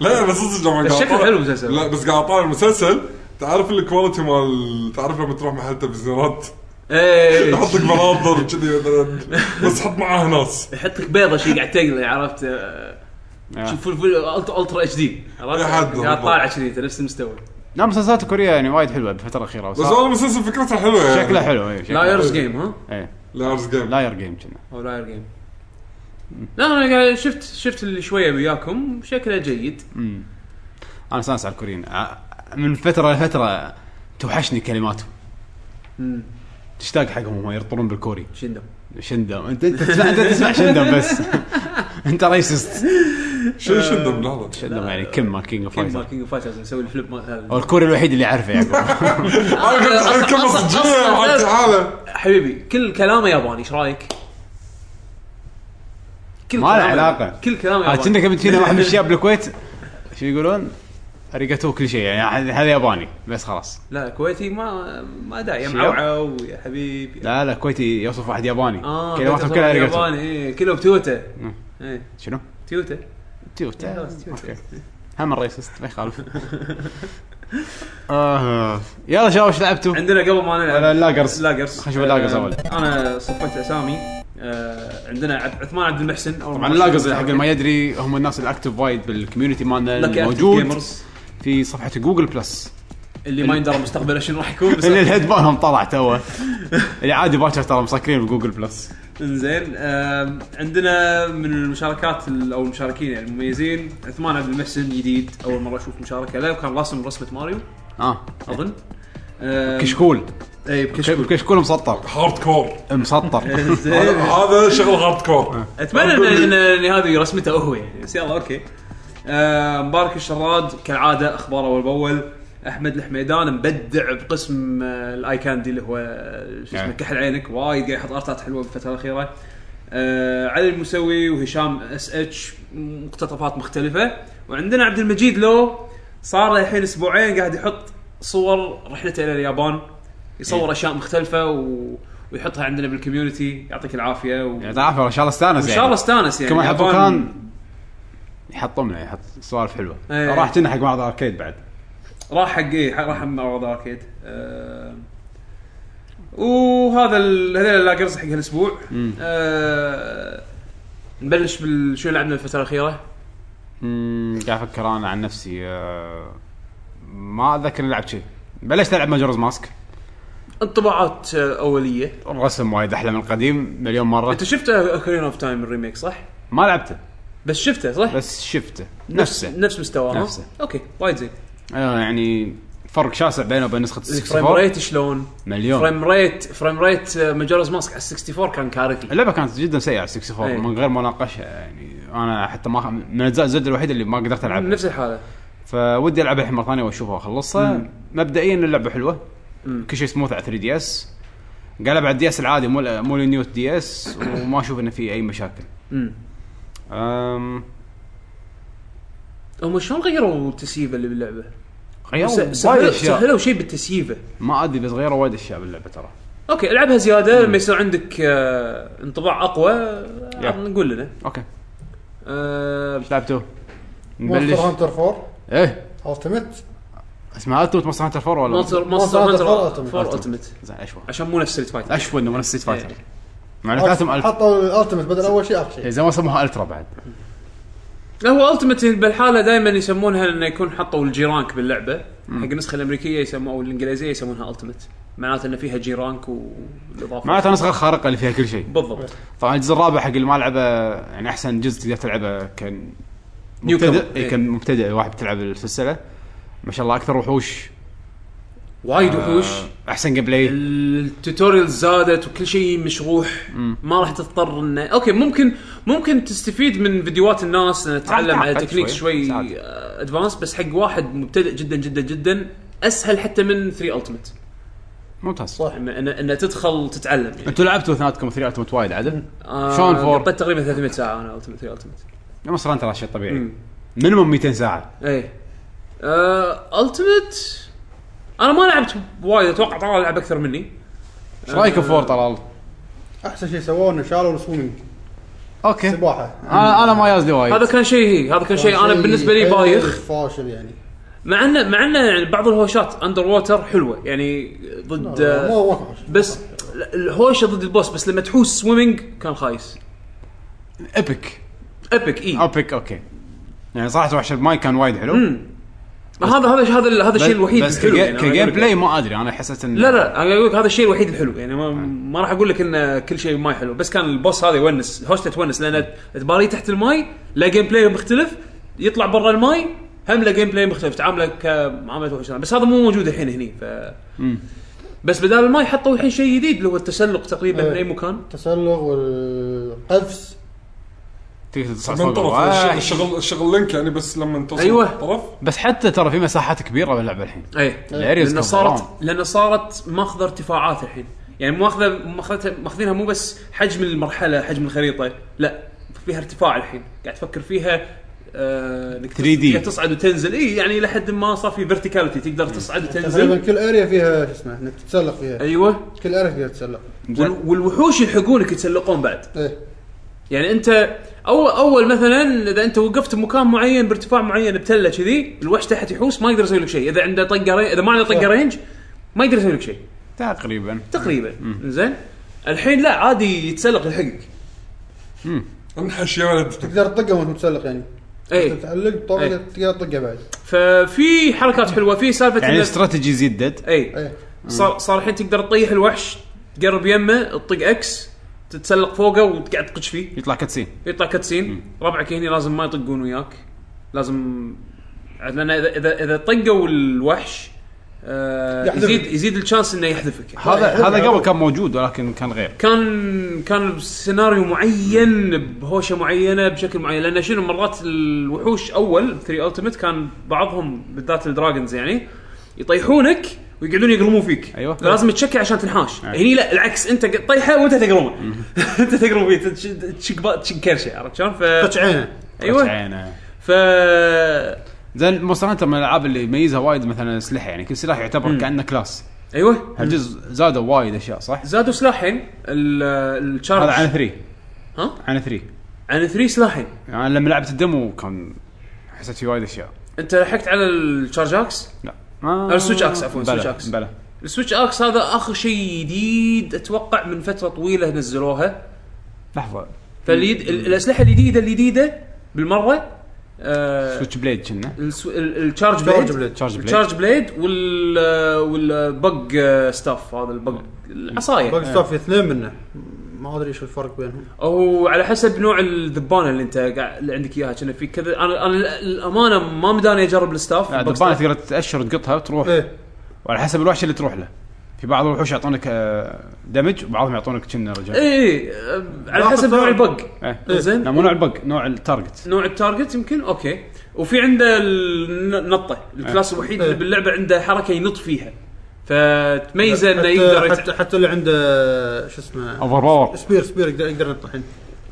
S2: لا بس صدق لما
S3: بس
S2: قاعد
S3: شكله
S2: أطالع-
S3: حلو المسلسل.
S2: لا بس قاعد اطالع المسلسل تعرف الكواليتي مال تعرف لما تروح محل تلفزيونات
S3: ايه
S2: يحط لك مناظر كذي مثلا بس حط معاها ناس
S3: يحط لك بيضه شي قاعد تقلي عرفت آه، شوف فل فل الترا اتش دي عرفت
S2: يا حد
S3: قاعد
S2: والله.
S3: طالع كذي انت نفس المستوى
S1: لا مسلسلات كوريا يعني وايد حلوه بالفتره الاخيره
S2: بس
S1: وصار-
S2: والله المسلسل فكرته حلوه يعني
S1: شكله حلو اي
S3: لايرز جيم ها
S2: لايرز جيم
S1: لاير جيم كنا
S3: او لاير جيم لا انا قاعد شفت شفت اللي شويه وياكم شكله جيد
S1: انا استانس على الكوريين ع- من فتره لفتره توحشني كلماتهم
S3: مم.
S1: تشتاق حقهم هم يرطلون بالكوري
S3: شندو
S1: شندم انت انت تسمع انت تسمع شندم بس انت ريسست
S2: شو شندم لحظه
S1: شندم يعني كم كينج اوف
S3: كينج
S1: فايتر
S3: كينج اوف فايترز نسوي الفليب مال هذا.
S1: الكوري الوحيد اللي اعرفه يعقوب
S2: انا كنت أحب كلمه
S3: أصلاً-
S2: صجيه
S3: أصلاً-
S2: مع تعالى
S3: حبيبي كل كلامه ياباني ايش رايك؟ كل
S1: ما له
S3: كلامه- يعني،
S1: علاقة.
S3: كل كلامه
S1: آه، كنا قبل فينا واحد من الشباب بالكويت شو يقولون؟ اريجاتو كل شيء يعني هذا ياباني بس خلاص
S3: لا كويتي ما ما داعي يا
S1: شياب.
S3: معوعو يا حبيبي
S1: لا لا كويتي يوصف واحد نعم. ياباني
S3: اه
S1: كلماتهم
S3: بيت
S1: كلها
S3: أزرق
S1: اريجاتو
S3: ياباني ايه كله بتويوتا
S1: مم.
S3: ايه
S1: شنو؟
S3: تويوتا
S1: تويوتا
S3: تويوتا.
S1: اوكي هم الريسست ما يخالف آه. يلا شباب ايش لعبتوا؟
S3: عندنا قبل ما نلعب
S1: ولا اللاجرز.
S3: لاجرز
S1: خلينا نشوف اللاجرز
S3: آه،
S1: أول.
S3: انا صفيت اسامي آه عندنا عب- عثمان عبد المحسن أول
S1: طبعا
S3: مرة
S1: اللاجرز
S3: أشوفه.
S1: حق اللي ما يدري هم الناس الاكتف وايد بالكوميونتي مالنا
S3: Lucky Active
S1: الموجود
S3: Gamers.
S1: في صفحه جوجل بلس
S3: اللي ما يندرى مستقبله شنو راح يكون بس
S1: اللي الهيد بانهم طلع توه اللي عادي باكر ترى مسكرين بجوجل بلس
S3: انزين آم، عندنا من المشاركات ال- او المشاركين يعني المميزين عثمان عبد المحسن جديد اول مره اشوف مشاركه له وكان راسم رسمه ماريو
S1: اه
S3: اظن آم،
S1: كشكول
S3: اي بكشكول
S1: كشكول مسطر
S2: هارد كور
S1: مسطر
S3: إنزين.
S2: هذا- هذا شغل هارد كور
S3: اتمنى ان ان إن هذه رسمته هو يعني بس يلا اوكي آه مبارك الشراد كالعاده اخبار اول باول احمد الحميدان مبدع بقسم آه الاي كاندي اللي هو آه، شو اسمه
S1: نعم.
S3: كحل عينك وايد قاعد يحط ارتات حلوه بالفتره الاخيره آه علي المسوي وهشام اس اتش مقتطفات مختلفه وعندنا عبد المجيد لو صار له الحين اسبوعين قاعد يحط صور رحلته الى اليابان يصور اشياء مختلفه و... ويحطها عندنا بالكوميونتي يعطيك العافيه و...
S1: يعني تعرف ان شاء الله استانس
S3: وان شاء الله استانس يعني
S1: كمان حطوا
S3: اليابان
S1: كان يحطمنا يعني، يحط سوالف حلوه
S3: إيه.
S1: راح كنا حق معرض اركيد بعد
S3: راح حق اي راح حق معرض اركيد آه، وهذا ال- هذول اللاجرز حق هالاسبوع آه، نبلش بالشو لعبنا الفتره الاخيره
S1: مم، قاعد افكر انا عن نفسي آه، ما اتذكر إني لعبت شيء بلشت العب ماجورز ماسك
S3: انطباعات آه، اوليه
S1: الرسم وايد احلى من القديم مليون مره
S3: انت شفت اوكرين اوف تايم الريميك صح؟
S1: ما لعبته
S3: بس شفته صح؟
S1: بس شفته نفسه
S3: نفس مستواه ها؟
S1: نفسه.
S3: اوكي وايد زين
S1: آه يعني فرق شاسع بينه وبين نسخه
S3: الفريم
S1: 64
S3: ريت شلون؟
S1: مليون
S3: فريم ريت فريم ريت آه، مجرز ماسك على 64 كان كارثي
S1: اللعبه كانت جدا سيئه على
S3: إيه.
S1: 64 من غير مناقشه يعني انا حتى ما من اجزاء زد الوحيده اللي ما قدرت العبها
S3: نفس الحاله
S1: فودي العبها الحين مره ثانيه واشوفها واخلصها مبدئيا اللعبه حلوه
S3: مم.
S1: كل شيء سموث على 3 دي اس قاعد العب على الدي اس العادي مو ال- مو النيو دي اس وما اشوف انه في اي مشاكل
S3: امم
S1: أم،
S3: هم شلون غيروا التسييفه اللي باللعبه؟
S1: غيروا
S3: س-
S1: وايد
S3: سهلوا
S1: اشياء
S3: سهلوا شيء بالتسييفه
S1: ما ادري بس غيروا وايد اشياء باللعبه ترى
S3: اوكي العبها زياده لما يصير عندك آه انطباع اقوى آه،
S1: Yeah.
S3: نقول لنا
S1: اوكي
S3: آه
S1: ايش لعبتوا؟
S4: مونستر
S1: نبلش
S4: هانتر 4
S1: ايه
S4: التمت
S1: اسمها التمت مصر هانتر 4 ولا
S3: مونستر
S4: Monster
S3: مونستر
S4: Hunter
S3: هانتر
S4: Ultimate.
S3: 4 التمت
S1: زين اشوى
S3: عشان مو نفس ستريت فايتر
S1: اشوى انه من ستيت فايتر
S3: إيه.
S1: مع انه ثلاثهم الف
S4: حطوا التمت بدل اول شيء اخر شيء
S1: زي إيه، ما سموها الترا بعد
S3: لا، هو التمت بالحاله دائما يسمونها انه يكون حطوا الجيرانك باللعبه حق النسخه الامريكيه يسموها او الانجليزيه يسمونها التمت معناته انه فيها جيرانك والاضافه
S1: معناتها نسخه خارقه اللي فيها كل شيء
S3: بالضبط
S1: طبعا الجزء الرابع حق اللي ما لعبه يعني احسن جزء تقدر تلعبه كان
S3: Newcomer.
S1: مبتدئ
S3: إيه.
S1: إيه. كان مبتدئ واحد بتلعب السلسله ما شاء الله اكثر وحوش
S3: وايد وحوش
S1: آه، احسن جيم بلاي
S3: التوتوريال زادت وكل شيء مشروح ما راح تضطر انه اوكي ممكن ممكن تستفيد من فيديوهات الناس إنها تتعلم على
S1: تعقد
S3: تكنيك
S1: شوي.
S3: شوي
S1: ساعات.
S3: ادفانس بس حق واحد مبتدئ جدا جدا جدا اسهل حتى من 3 التمت
S1: ممتاز
S4: صح.
S3: انه إنه- إنه تدخل تتعلم يعني
S1: انتوا لعبتوا اثنيناتكم 3 التمت وايد عدل
S3: آه،
S1: شلون فور؟
S3: قطيت تقريبا 300 ساعه انا التمت 3 التمت
S1: مصر انت شيء طبيعي
S3: مم.
S1: مينيموم 200 ساعه
S3: ايه التمت انا آه، ما لعبت وايد اتوقع طلال لعب اكثر مني
S1: ايش رايك بفور طلال؟
S4: احسن شيء سووه انه شالوا السويمنج
S1: اوكي
S4: سباحه
S1: انا انا ما يازلي وايد
S3: هذا كان شيء هي هذا كان شيء إيه. انا بالنسبه لي
S4: حيل
S3: بايخ
S4: إيه، فاشل يعني
S3: مع انه مع انه يعني بعض الهوشات اندر ووتر حلوه يعني ضد
S4: لا،
S3: آه،
S4: مو مو فاشل
S3: بس الهوشه ضد البوس بس لما تحوس سويمنج كان خايس إيه.
S1: ايبك
S3: ابيك اي
S1: ايبك اوكي يعني صراحه وحش الماي كان وايد حلو
S3: هذا هذا هذا ال- هذا الشيء
S1: بس-
S3: الوحيد
S1: بس
S3: الحلو
S1: كجيم
S3: يعني أنا أقول
S1: كجيم
S3: لك.
S1: بلاي ما ادري انا حسيت ان
S3: لا لا انا اقول لك هذا الشيء الوحيد الحلو يعني ما, ما راح اقول لك ان كل شيء ما حلو بس كان البوس هذا يونس هوشته تونس لان تباريه تحت الماي لا جيم بلاي مختلف يطلع برا الماي هم لا جيم بلاي مختلف تعامله كمعامله وحش بس هذا مو موجود الحين هني ف بس بدال الماي حطوا الحين شيء جديد اللي هو التسلق تقريبا
S4: إيه.
S3: من اي مكان
S4: التسلق والقفز
S1: تقدر تصعد
S2: من
S1: فوق
S2: طرف
S1: الواحد.
S2: الشغل الشغل لينك يعني بس لما توصل
S3: أيوة.
S2: الطرف
S1: بس حتى ترى في مساحات كبيره باللعبه الحين
S3: ايه
S1: الاريز كبران.
S3: لان صارت لان صارت ماخذه ارتفاعات الحين يعني ماخذه ماخذتها ماخذينها مو بس حجم المرحله حجم الخريطه لا فيها ارتفاع الحين قاعد تفكر فيها آه، انك
S1: 3D.
S3: قاعد تصعد وتنزل اي يعني لحد ما صار في فيرتيكاليتي تقدر تصعد وتنزل
S4: تقريبا كل اريا فيها شو اسمه انك تتسلق فيها
S3: ايوه
S4: كل اريا فيها تتسلق
S1: زين.
S3: وال- والوحوش يلحقونك يتسلقون بعد
S4: ايه
S3: يعني انت اول اول مثلا اذا انت وقفت بمكان معين بارتفاع معين بتله كذي الوحش تحت يحوس ما يقدر يسوي لك شيء اذا عنده طقه ري- اذا ما عنده طقه رينج ما يقدر يسوي لك شيء
S1: تقريبا
S3: تقريبا زين الحين لا عادي يتسلق يلحقك
S2: انحش يا ولد
S4: تقدر تطقه وانت متسلق يعني
S3: اي
S4: تتعلق طبعا
S3: إيه.
S4: تقدر تطقه بعد
S3: ففي حركات حلوه في سالفه
S1: يعني
S3: إنه-
S1: استراتيجي زيد دد
S3: اي
S4: ايه
S3: صار صار الحين تقدر تطيح الوحش تقرب يمه تطق اكس تتسلق فوقه وتقعد تقش فيه
S1: يطلع كاتسين
S3: يطلع كاتسين ربعك هنا لازم ما يطقون وياك لازم عاد لان اذا اذا, إذا طقوا الوحش آه
S4: يحذفك.
S3: يزيد يزيد الشانس انه يحذفك
S1: هذا
S4: يحب
S1: هذا قبل
S4: يعرف.
S1: كان موجود ولكن كان غير
S3: كان كان سيناريو معين بهوشه معينه بشكل معين لان شنو مرات الوحوش اول 3 التمت كان بعضهم بالذات الدراجونز يعني يطيحونك ويقعدون يقرمون فيك
S1: أيوة.
S3: لازم تشكي عشان تنحاش أيوة. هني لا العكس انت ق- طيحه وانت تقرمه انت تقرم فيه تش- تشك با- تشك كرشه عرفت شلون؟ ف
S4: طش عينه
S3: ايوه
S1: عينه.
S3: ف
S1: زين مونستر هانتر من الالعاب اللي يميزها وايد مثلا اسلحه يعني كل سلاح يعتبر كانه كلاس
S3: ايوه
S1: هالجزء زادوا وايد اشياء صح؟
S3: زادوا سلاحين ال- الشارج
S1: هذا عن 3
S3: ها؟
S1: عن 3
S3: عن 3 سلاحين
S1: يعني لما لعبت الدمو كان حسيت في وايد اشياء
S3: انت لحقت على الشارج اكس
S1: لا ما
S3: أه، السويتش أكس، عفواً،
S1: بلى،
S3: السويتش أكس.
S1: بلى
S3: السويتش اكس هذا اخر شيء جديد اتوقع من فتره طويله نزلوها
S1: لحظه
S3: أه. فاليد ال- الاسلحه الجديده الجديده بالمره آه
S1: سويتش بليد كنا
S3: السو- ال- الشارج
S4: شارج
S3: بليد
S4: بليد.
S1: شارج بليد.
S3: الشارج بليد وال والبق ستاف هذا البق العصايه
S4: باقي ستاف في اثنين منه ما ادري شو الفرق بينهم
S3: او على حسب نوع الذبانه اللي انت قاعد اللي عندك اياها كنا في كذا انا انا ال- الامانه ما مداني اجرب الستاف
S1: آه،
S3: البق
S1: دبانه
S3: ستاف.
S1: تقدر تاشر تقطها وتروح
S4: ايه
S1: وعلى حسب الوحش اللي تروح له في بعض الوحوش يعطونك آه، دمج وبعضهم يعطونك كنا رجال
S3: اي آه، على
S4: لا
S3: حسب
S4: تفهم.
S3: نوع البق
S1: إيه.
S3: زين
S1: لا مو نوع البق نوع التارجت
S3: نوع التارجت يمكن اوكي وفي عنده النطه الكلاس الوحيد اللي
S4: إيه.
S3: باللعبه عنده حركه ينط فيها فتميزه انه
S4: حتى-
S3: يقدر يت...
S4: حتى حتى اللي عنده شو اسمه
S1: اوفر باور
S4: سبير سبير يقدر يقدر ينط الحين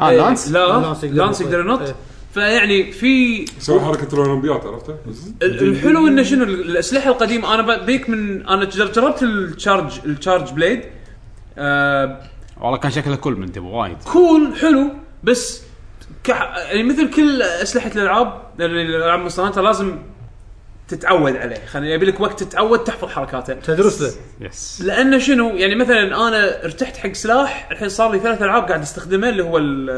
S1: اه
S3: إيه،
S1: لانس
S3: لا
S4: لانس
S3: لانس
S4: يقدر
S3: يقدر,
S4: ينط.
S3: ينط
S4: إيه.
S3: فيعني في
S2: يسوي حركه الاولمبيات عرفته؟
S3: ال- الحلو انه شنو ال- الاسلحه القديمه انا بديك من انا جر- جربت التشارج التشارج بليد آه
S1: والله كان شكله كل من تبغى وايد
S3: كول حلو بس كح... يعني مثل كل اسلحه الالعاب الالعاب مونستر هانتر لازم تتعود عليه خلينا يبي لك وقت تتعود تحفظ حركاته
S4: تدرس له
S1: يس
S3: لانه شنو يعني مثلا انا ارتحت حق سلاح الحين صار لي ثلاث العاب قاعد استخدمه اللي هو ال-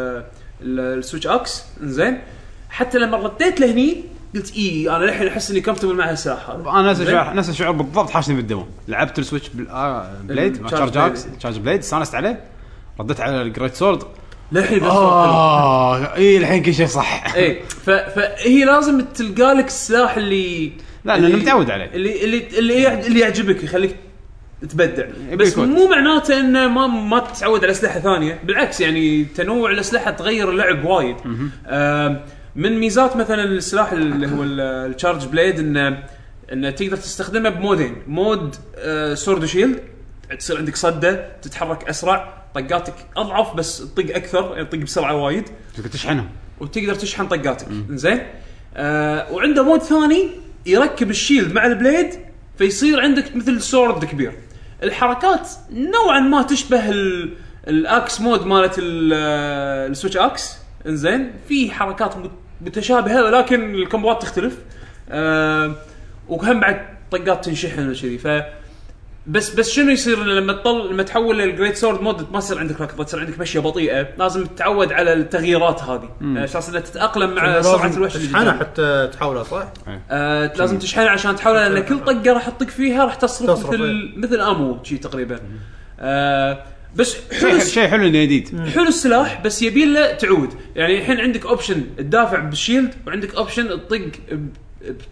S3: ال- السويتش اكس زين حتى لما رديت لهني قلت إيه، اي انا الحين احس اني كمفتبل مع هالسلاح هذا
S1: انا نفس
S3: زين.
S1: الشعور نفس الشعور بالضبط حاشني بالدمو لعبت السويتش بل... آه بليد مع
S3: الشارج
S1: تشارج اكس
S3: بليد.
S1: تشارج بليد استانست عليه رديت على الجريت سورد
S3: للحين بس حلو.
S1: اه اي الحين كل شيء صح
S3: اي إيه، ف- فهي لازم تلقى لك السلاح اللي
S1: لا، لأنه متعود عليه.
S3: اللي اللي اللي, يع- اللي يعجبك يخليك تبدع بس
S1: يكون.
S3: مو معناته انه ما ما تتعود على اسلحه ثانيه بالعكس يعني تنوع الاسلحه تغير اللعب وايد آم، من ميزات مثلا السلاح اللي هو ال- الشارج بليد انه انه تقدر تستخدمه بمودين مود آه، سورد وشيلد تصير عندك صده تتحرك اسرع طقاتك اضعف بس تطق اكثر يعني تطق بسرعه وايد
S1: تقدر تشحنهم
S3: وتقدر تشحن طقاتك زين آه وعنده مود ثاني يركب الشيلد مع البليد فيصير عندك مثل سورد كبير الحركات نوعا ما تشبه ال- الاكس مود مالت ال- آه، السويتش اكس انزين في حركات مت- متشابهه ولكن الكومبوات تختلف آه وهم بعد طقات تنشحن وكذي ف بس بس شنو يصير لما تطل لما تحول للجريت سورد مود ما يصير عندك ركضه تصير عندك مشيه بطيئه لازم تتعود على التغييرات هذه آه، على اساس انها تتاقلم مع سرعه
S4: لازم
S3: الوحش
S4: تشحنه
S3: الجديد.
S4: حتى تحوله صح؟
S3: آه لازم تشحنها عشان تحولها لان كل طقه راح تطق فيها راح تصرف,
S4: تصرف،
S3: مثل
S4: إيه.
S3: مثل امو شي تقريبا آه بس حلو
S1: شيء
S3: الس-
S1: شيء حلو انه جديد
S3: حلو السلاح بس يبي له تعود يعني الحين عندك اوبشن تدافع بالشيلد وعندك اوبشن تطق ب-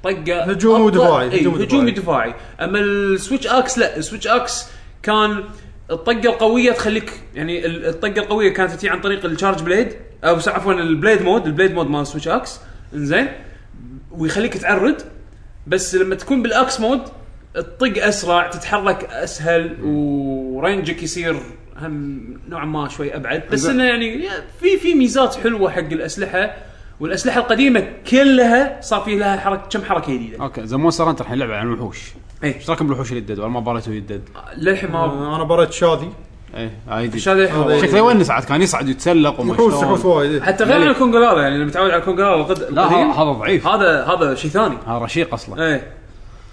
S3: بطقه أبطأ.
S4: هجومي
S3: إيه،
S4: ودفاعي،
S3: إي،
S4: هجومي
S3: هجومي دفاعي اما السويتش اكس لا السويتش اكس كان الطقه القويه تخليك يعني ال- الطقه القويه كانت تجي عن طريق الشارج بليد او س- عفوا البليد مود البليد مود مال السويتش اكس انزين ويخليك تعرد بس لما تكون بالاكس مود تطق اسرع تتحرك اسهل ورينجك يصير هم نوعا ما شوي ابعد بس
S1: زين.
S3: انه يعني في في ميزات حلوه حق الاسلحه والاسلحه القديمه كلها صار في لها حركه كم حركه جديده
S1: اوكي زي مونستر هانتر الحين لعبه عن الوحوش
S3: اي
S1: ايش رايكم بالوحوش اللي دد ولا ما باريته يدد؟
S3: للحين ما
S4: آه، انا بريت شاذي
S1: ايه هاي جديد.
S3: مش هذا الحين
S4: هذا
S3: وايد.
S1: شكله يونس عاد كان يصعد ويتسلق وما
S4: يحوس
S1: شلون.
S4: يحوس وايد إيه.
S3: حتى غير عن الكونغولالا يعني اللي متعود على الكونغولالا القد-
S1: لا
S3: القديم
S1: هذا هذا ضعيف
S3: هذا هذا شيء ثاني
S1: هذا رشيق اصلا
S3: ايه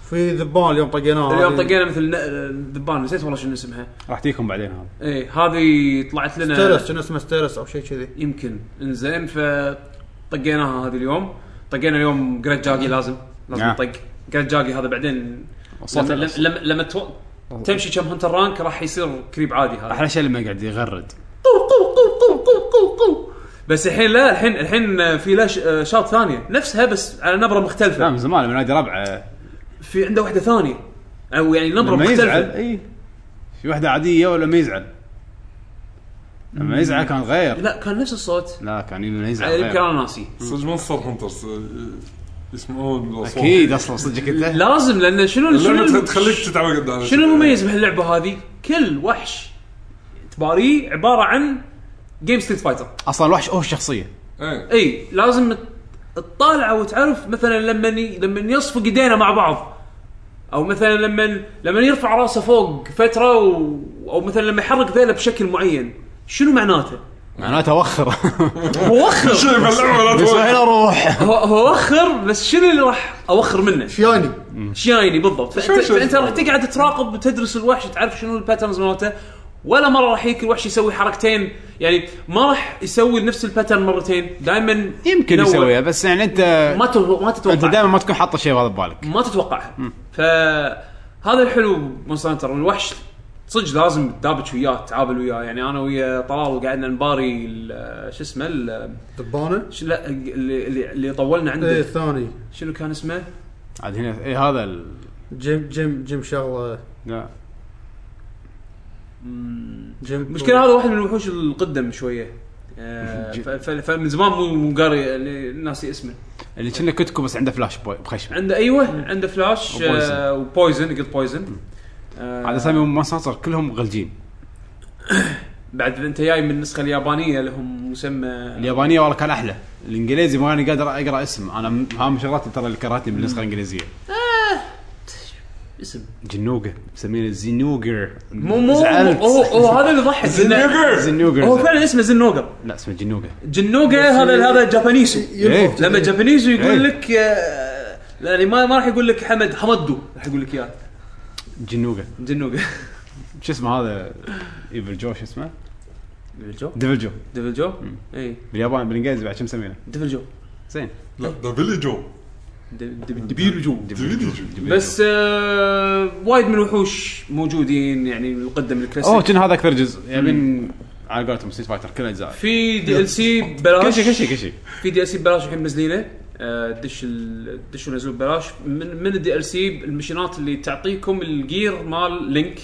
S4: في ذبان اليوم طقيناه
S3: اليوم
S4: هذه.
S3: طقينا مثل ن- ذبان نسيت والله شنو اسمها
S1: راح تجيكم بعدين هذا
S3: ايه هذه طلعت لنا
S4: ستيرس كان اسمه ستيرس او شيء كذي
S3: يمكن انزين فطقيناها هذا اليوم طقينا اليوم جريت جاكي لازم لازم
S1: نعم.
S3: نطق جريت جاكي هذا بعدين
S1: وصلت
S3: لما لما,
S1: الأصل.
S3: لما, لما تو... تمشي كم هنتر رانك راح يصير كريب عادي هذا
S1: احلى شيء لما يقعد يغرد
S3: قو قو قو قو قو قو قو بس الحين لا الحين الحين في له ش- آه، شاط ثانيه نفسها بس على نبره
S1: لا
S3: مختلفه
S1: من زمان من نادي ربعه
S3: في عنده واحده ثانيه او يعني نبره
S1: لما يزعل
S3: مختلفه
S1: اي في واحده عاديه ولما يزعل لما يزعل كان غير
S3: لا كان نفس الصوت يعني
S1: لا كان لما يزعل
S3: يمكن
S1: غير
S3: انا ناسي
S2: صدق مونستر هانترز اه، يسمعون الاصوات
S1: اكيد اصلا صدق انت
S3: لازم لان شنو
S2: لما
S3: شنو
S2: تخليك تتعود على
S3: شنو المميز بهاللعبه هذه؟ كل وحش تباريه عباره عن جيم ستريت فايتر
S1: اصلا الوحش هو الشخصيه
S2: ايه
S3: اي لازم تطالعه وتعرف مثلا لما ي... لما يصفق ايدينا مع بعض او مثلا لما لما يرفع راسه فوق فتره و... او مثلا لما يحرك ذيله بشكل معين شنو معناته؟
S1: معناته وخر
S3: هو وخر
S2: شيء باللعبه لا
S1: بس
S2: تقول
S1: الحين اروح
S3: هو- هو وخر بس شنو اللي راح اوخر منه؟
S4: شياني
S3: شيايني بالضبط فانت,
S2: شوي شوي.
S3: فأنت راح تقعد تراقب تدرس الوحش تعرف شنو الباترنز مالته ولا مره راح يجيك الوحش يسوي حركتين يعني ما راح يسوي نفس الباترن مرتين دائما
S1: يمكن
S3: نوع.
S1: يسويها بس يعني انت
S3: ما تو- ما تتوقع
S1: انت دائما ما تكون حاط الشيء هذا ببالك
S3: ما تتوقعها فهذا الحلو مونستر هانتر الوحش صدق لازم تدابج وياه تتعامل وياه يعني انا ويا طلال قعدنا نباري ال- شو اسمه ال-
S4: دبانه
S3: شو- لا اللي, اللي- اللي طولنا
S4: ايه
S3: عنده
S4: الثاني
S3: شنو كان اسمه؟
S1: عاد هنا اي هذا ال...
S4: جيم جيم جيم شغله
S1: لا
S4: جيم
S3: المشكله هذا واحد من الوحوش القدم شويه آه، ف- ف- فمن زمان مو مو قاري يعني ناسي اسمه
S1: اللي كنا كتكو بس عنده فلاش بوي بخشمه
S3: عنده ايوه عنده فلاش
S1: وبويزن.
S3: آه، وبويزن قلت بويزن آه،
S1: على اسامي مونستر كلهم غلجين
S3: بعد انت جاي من النسخه اليابانيه لهم مسمى
S1: اليابانيه والله كان احلى الانجليزي ما انا قادر اقرا اسم انا م- هام شغلاتي ترى اللي كرهتني بالنسخه الانجليزيه
S3: آه. اسم
S1: جنوقه مسمينه زينوجر
S3: مو مو
S1: زعلت.
S3: هو هو هذا اللي يضحك إنه-
S1: زينوجر
S3: هو فعلا اسمه زنوجر
S1: لا اسمه جنوقه
S3: جنوجا هذا هذا جابانيسو
S1: إيه.
S4: يلفظ
S3: لما جابانيسو يقول
S1: إيه.
S3: لك آه، يعني ما ما راح يقول لك حمد حمدو راح يقول لك اياه
S1: جنوقه
S3: جنوجا
S1: شو اسمه هذا ايفل جو شو اسمه؟ ديفل جو
S3: ديفل جو اي
S1: باليابان بالانجليزي بعد شو مسمينه؟
S3: ديفل جو
S1: زين
S2: لا ده بيلي جو
S3: دبير جو
S2: بيلي جو
S3: بس آه وايد من الوحوش موجودين يعني القدم الكلاسيك
S1: اوه كان هذا اكثر جزء يبين على قولتهم ستيت فايتر كل اجزاء
S3: في دي ال سي ببلاش
S1: كل شيء كل شيء كل شيء
S3: في دي ال سي ببلاش الحين منزلينه آه، دش ال- دش ونزلوه ببلاش من من الدي ال سي المشينات اللي تعطيكم الجير مال لينك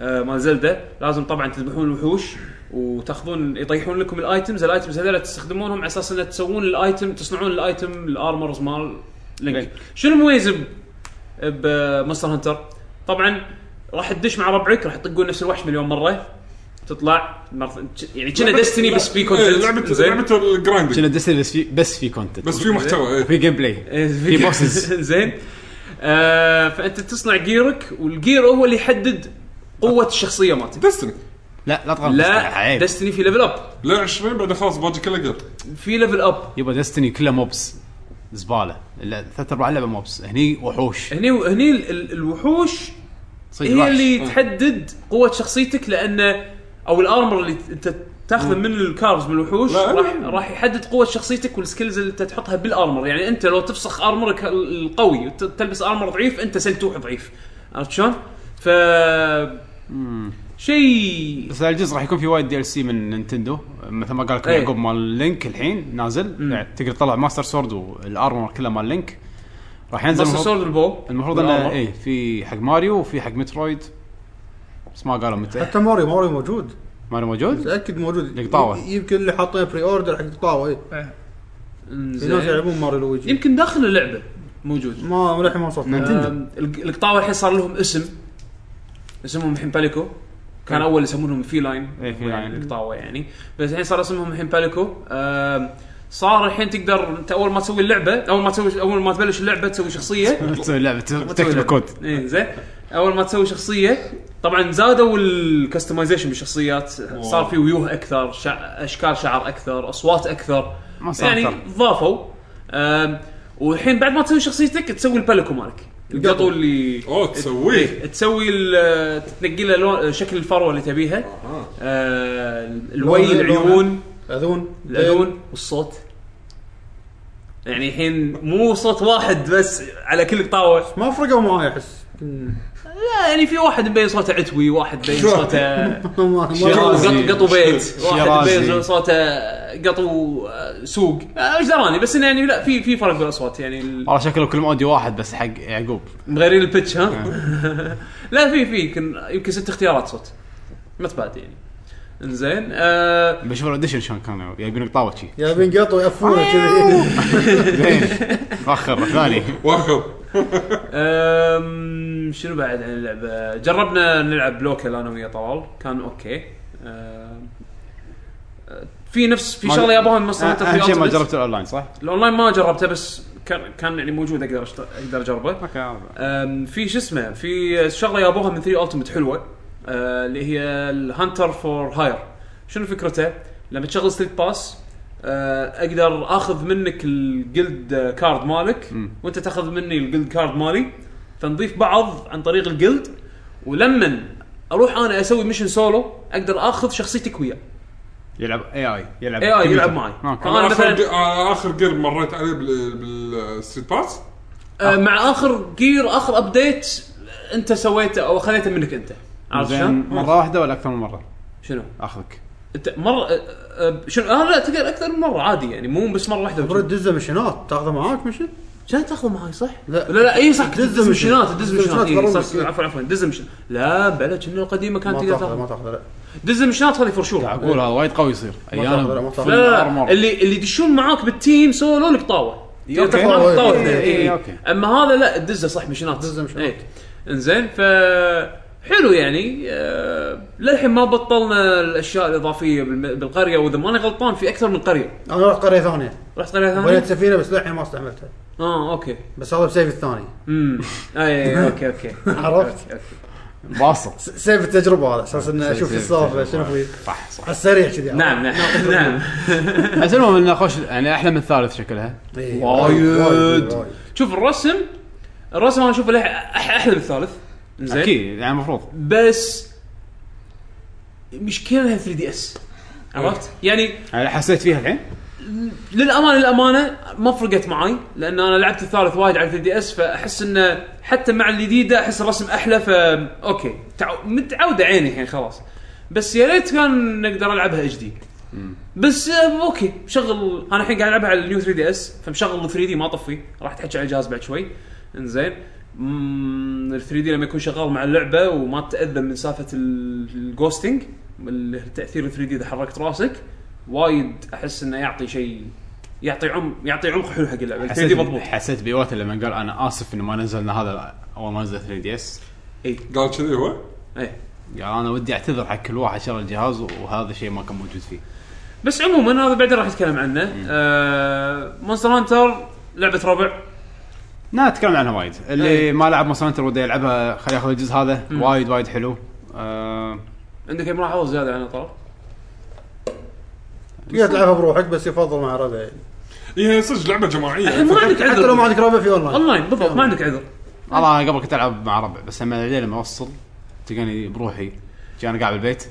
S3: آه، مال زلده لازم طبعا تذبحون الوحوش وتاخذون يطيحون لكم الايتمز الايتمز هذول تستخدمونهم على اساس ان تسوون الايتم تصنعون الايتم الارمرز مال لينك
S1: لينك.
S3: شنو المميز ب- بمونستر هانتر؟ طبعا راح تدش مع ربعك راح يطقون نفس الوحش مليون مره تطلع مرة- يعني كنا ديستني بس في كونتنت
S2: لعبه
S3: زين؟
S2: لعبه إيه، الجرايندنج
S1: كنا ديستني بس في بس في كونتنت
S2: بس في
S3: إيه.
S2: محتوى ايه
S1: في جيم بلاي
S3: في
S1: بوسز.
S3: زين آه فانت تصنع جيرك والجير هو اللي يحدد قوه الشخصيه مالتك
S2: دستني
S1: لا لا تغلط
S3: لا
S1: آه، عيب
S3: دستني في ليفل اب
S2: لا 20 بعدين خلاص باقي كله جير
S3: في ليفل اب
S1: يبا ديستني كلها موبس زباله لا ثلاث ارباع لعبه موبس هني وحوش
S3: هني هني ال- ال- الوحوش
S1: صدق
S3: هي
S1: طيب، وحش.
S3: إيه، اللي تحدد قوه شخصيتك لان او الارمر اللي ت- انت تاخذه من الكارز من الوحوش
S2: لا،
S3: راح
S2: لا.
S3: راح يحدد قوه شخصيتك والسكيلز اللي انت تحطها بالارمر يعني انت لو تفسخ ارمرك ال- القوي وت- تلبس ارمر ضعيف انت سلتوح ضعيف عرفت شلون؟ ف شيء
S1: بس الجزء راح يكون في وايد دي ال سي من نينتندو مثل ما قال لكم
S3: إيه.
S1: يعقوب مال لينك الحين نازل يعني تقدر تطلع ماستر سورد والارمر كله مال لينك راح ينزل
S3: ماستر
S1: المفروض-
S3: سورد البو
S1: المفروض انه اي في حق ماريو وفي حق مترويد بس ما قالوا متى
S4: حتى ماريو ماريو موجود
S1: ماريو موجود؟
S4: متاكد موجود
S1: يقطعوه.
S4: يمكن اللي حاطين بري اوردر حق يقطعوه اي في ناس يلعبون ماريو لويجي
S3: يمكن داخل اللعبه موجود
S4: ما للحين ما وصلت
S1: نينتندو.
S3: آم، الق- القطاوه الحين صار لهم اسم اسمهم الحين باليكو كان اول يسمونهم في لاين
S1: إيه، في لاين.
S3: القطاوه يعني بس الحين صار اسمهم الحين باليكو آم، صار الحين تقدر انت اول ما تسوي اللعبه اول ما تسوي اول ما تبلش اللعبه تسوي شخصيه
S1: تسوي لعبه تكتب كود
S3: اي زين اول ما تسوي شخصيه طبعا زادوا الكستمايزيشن بالشخصيات صار في ويوه اكثر شع... اشكال شعر اكثر اصوات اكثر
S1: ما صار
S3: يعني
S1: أكثر.
S3: ضافوا أم، والحين بعد ما تسوي شخصيتك تسوي البالكو مالك القطو اللي
S2: اوه تسويه
S3: إيه، تسوي ال- تنقي له لون- شكل الفروه اللي تبيها
S2: آه.
S3: آه، الوي
S4: لونه-
S3: العيون
S4: اذون
S3: العيون والصوت يعني الحين مو صوت واحد بس على كل طاوع
S4: ما فرقوا معي احس
S3: لا يعني في واحد مبين صوته عتوي واحد مبين صوته
S4: ما- ما-
S1: شيرازي.
S3: قط- قطو بيت واحد
S1: شيرازي.
S3: مبين صوته قطو آه، سوق آه، ايش دراني بس انه يعني لا في في فرق بالاصوات يعني ال-
S1: والله شكله كلهم اوديو واحد بس حق يعقوب
S3: مغيرين البتش ها
S1: نعم.
S3: لا في في يمكن يمكن ست اختيارات صوت ما تبعد يعني انزين آه
S1: بشوف الاوديشن شلون يعني كانوا جايبين قطاوه شي
S4: جايبين قطو يقفونه
S3: أيوه.
S4: كذي
S1: زين مؤخر ثاني
S2: واخر
S3: آم، شنو بعد عن اللعبه جربنا نلعب لوكل انا ويا طلال كان اوكي آم، آه، في نفس في
S1: ما-
S3: شغله يابان مصر
S1: اهم شيء ما جربت الاونلاين صح؟
S3: الاونلاين ما جربته بس كان كان يعني موجود اقدر أشت- اقدر اجربه
S1: اوكي هذا.
S3: أم، في شو اسمه في شغله جابوها من 3 التمت حلوه أه، اللي هي الهانتر فور هاير شنو فكرته؟ لما تشغل ستريت باس آه، اقدر اخذ منك الجلد آه، كارد مالك وانت تاخذ مني الجلد كارد مالي فنضيف بعض عن طريق الجلد ولما اروح انا اسوي ميشن سولو اقدر اخذ شخصيتك وياه
S1: يلعب اي اي يلعب
S3: اي اي يلعب
S1: كمبيوتر.
S3: معي
S1: اوكي
S3: فانا
S2: اخر
S3: مثلا
S2: جي- آه، اخر جير مريت عليه بال- بالستريت باس
S3: آه، مع اخر جير اخر ابديت انت سويته او خليته منك انت عرفت
S1: زين
S3: شلون؟
S1: مره واحده ولا اكثر من مره
S3: شنو؟
S1: اخذك
S3: انت مره آه، آه، شنو اه لا تقدر اكثر من مره عادي يعني مو بس مره واحده
S4: المفروض تدزه مشينات تاخذه معاك مشن
S3: كان تاخذ معي صح؟
S4: لا.
S3: لا لا اي صح
S4: دز
S3: دز
S4: مشن.
S3: مشينات دز
S4: دز
S3: مشينات
S4: مشينات
S3: إي،
S4: برا
S3: صح،
S4: بس.
S3: عفوا عفوا دز مشينات لا بلا كنا القديمه كانت
S4: ما
S3: تقدر
S4: تاخذه ما
S3: تاخذ
S4: تاخذه لا
S3: دز مشينات هذه فور شور
S1: اقول هذا وايد قوي يصير
S4: تاخذ- لا،
S1: ايانا
S4: ما تاخذ.
S1: فل
S3: لا لا
S1: armor.
S3: لا، اللي اللي يدشون معاك بالتيم سولو لك طاوه
S1: أوكي.
S3: تاخذ معاك طاوه
S4: إي،
S3: اثنين.
S4: إي،
S1: إي،
S3: إي.
S1: أوكي.
S3: اما هذا لا دزه صح مشينات
S4: دزه مشينات.
S3: إي. انزين ف حلو يعني آه، للحين ما بطلنا الاشياء الاضافيه بالم- بالقريه واذا ماني غلطان في اكثر من قريه
S4: انا رحت قريه ثانيه
S3: رحت قريه
S4: بنيت
S3: ثانيه؟
S4: سفينه بس للحين ما استعملتها
S3: اه اوكي
S4: بس هذا بسيف الثاني
S3: امم اي اوكي اوكي
S4: عرفت؟
S3: أوكي، أوكي.
S1: باصر
S4: س- سيف التجربه هذا اساس انه
S1: سيف-
S4: اشوف شو
S1: سيف
S4: السالفه
S1: التجربة.
S4: شنو في
S1: صح صح
S4: على السريع كذي
S3: نعم نعم نعم
S1: بس المهم انه خوش يعني احلى من الثالث شكلها
S4: إيه.
S1: وايد.
S4: وايد.
S3: شوف الرسم الرسم انا اشوفه لح- أح- احلى من الثالث زين
S1: اكيد يعني المفروض
S3: بس مشكلة 3 دي اس عرفت؟ يعني
S1: يعني حسيت فيها الحين
S3: للامانه للامانه ما فرقت معي لان انا لعبت الثالث وايد على 3 دي اس فاحس انه حتى مع الجديده احس الرسم احلى ف اوكي تعو... متعوده عيني الحين خلاص بس يا ريت كان نقدر العبها اتش دي بس آه، اوكي شغل انا الحين قاعد العبها على النيو 3 دي اس فمشغل 3 دي ما طفي راح تحكي على الجهاز بعد شوي انزين ال 3 دي لما يكون شغال مع اللعبه وما تتاذى من سالفه ال- الجوستنج ال- التاثير ال 3 دي اذا حركت راسك وايد احس انه يعطي شيء يعطي عمق يعطي عمق حلو حق اللعبه ال 3 دي مضبوط
S1: حسيت حسيت بايوتا لما قال انا اسف انه ما نزلنا هذا اول ما نزل 3 دي اس
S3: اي
S2: قال كذي هو
S3: اي
S1: قال انا ودي اعتذر حق كل واحد شرى الجهاز وهذا الشيء ما كان موجود فيه
S3: بس عموما هذا بعدين راح نتكلم عنه آه مونستر هانتر لعبه ربع
S1: لا تكلم عنها وايد اللي
S3: إيه.
S1: ما لعب مونستر هانتر وده يلعبها خليه ياخذ الجزء هذا وايد وايد حلو آه،
S3: عندك أي ملاحظه زياده عن طلب
S4: تقدر تلعبها بروحك بس يفضل مع ربع يعني
S2: إيه، هي صدق لعبه جماعيه
S3: الحين إيه، ما عندك
S4: حتى لو ما
S3: عذر
S4: عندك ربع في اونلاين
S3: اونلاين بالضبط ما عندك عذر
S1: والله
S3: إيه.
S1: انا قبل كنت العب مع ربع بس لما بعدين لما اوصل تلقاني بروحي جي انا قاعد بالبيت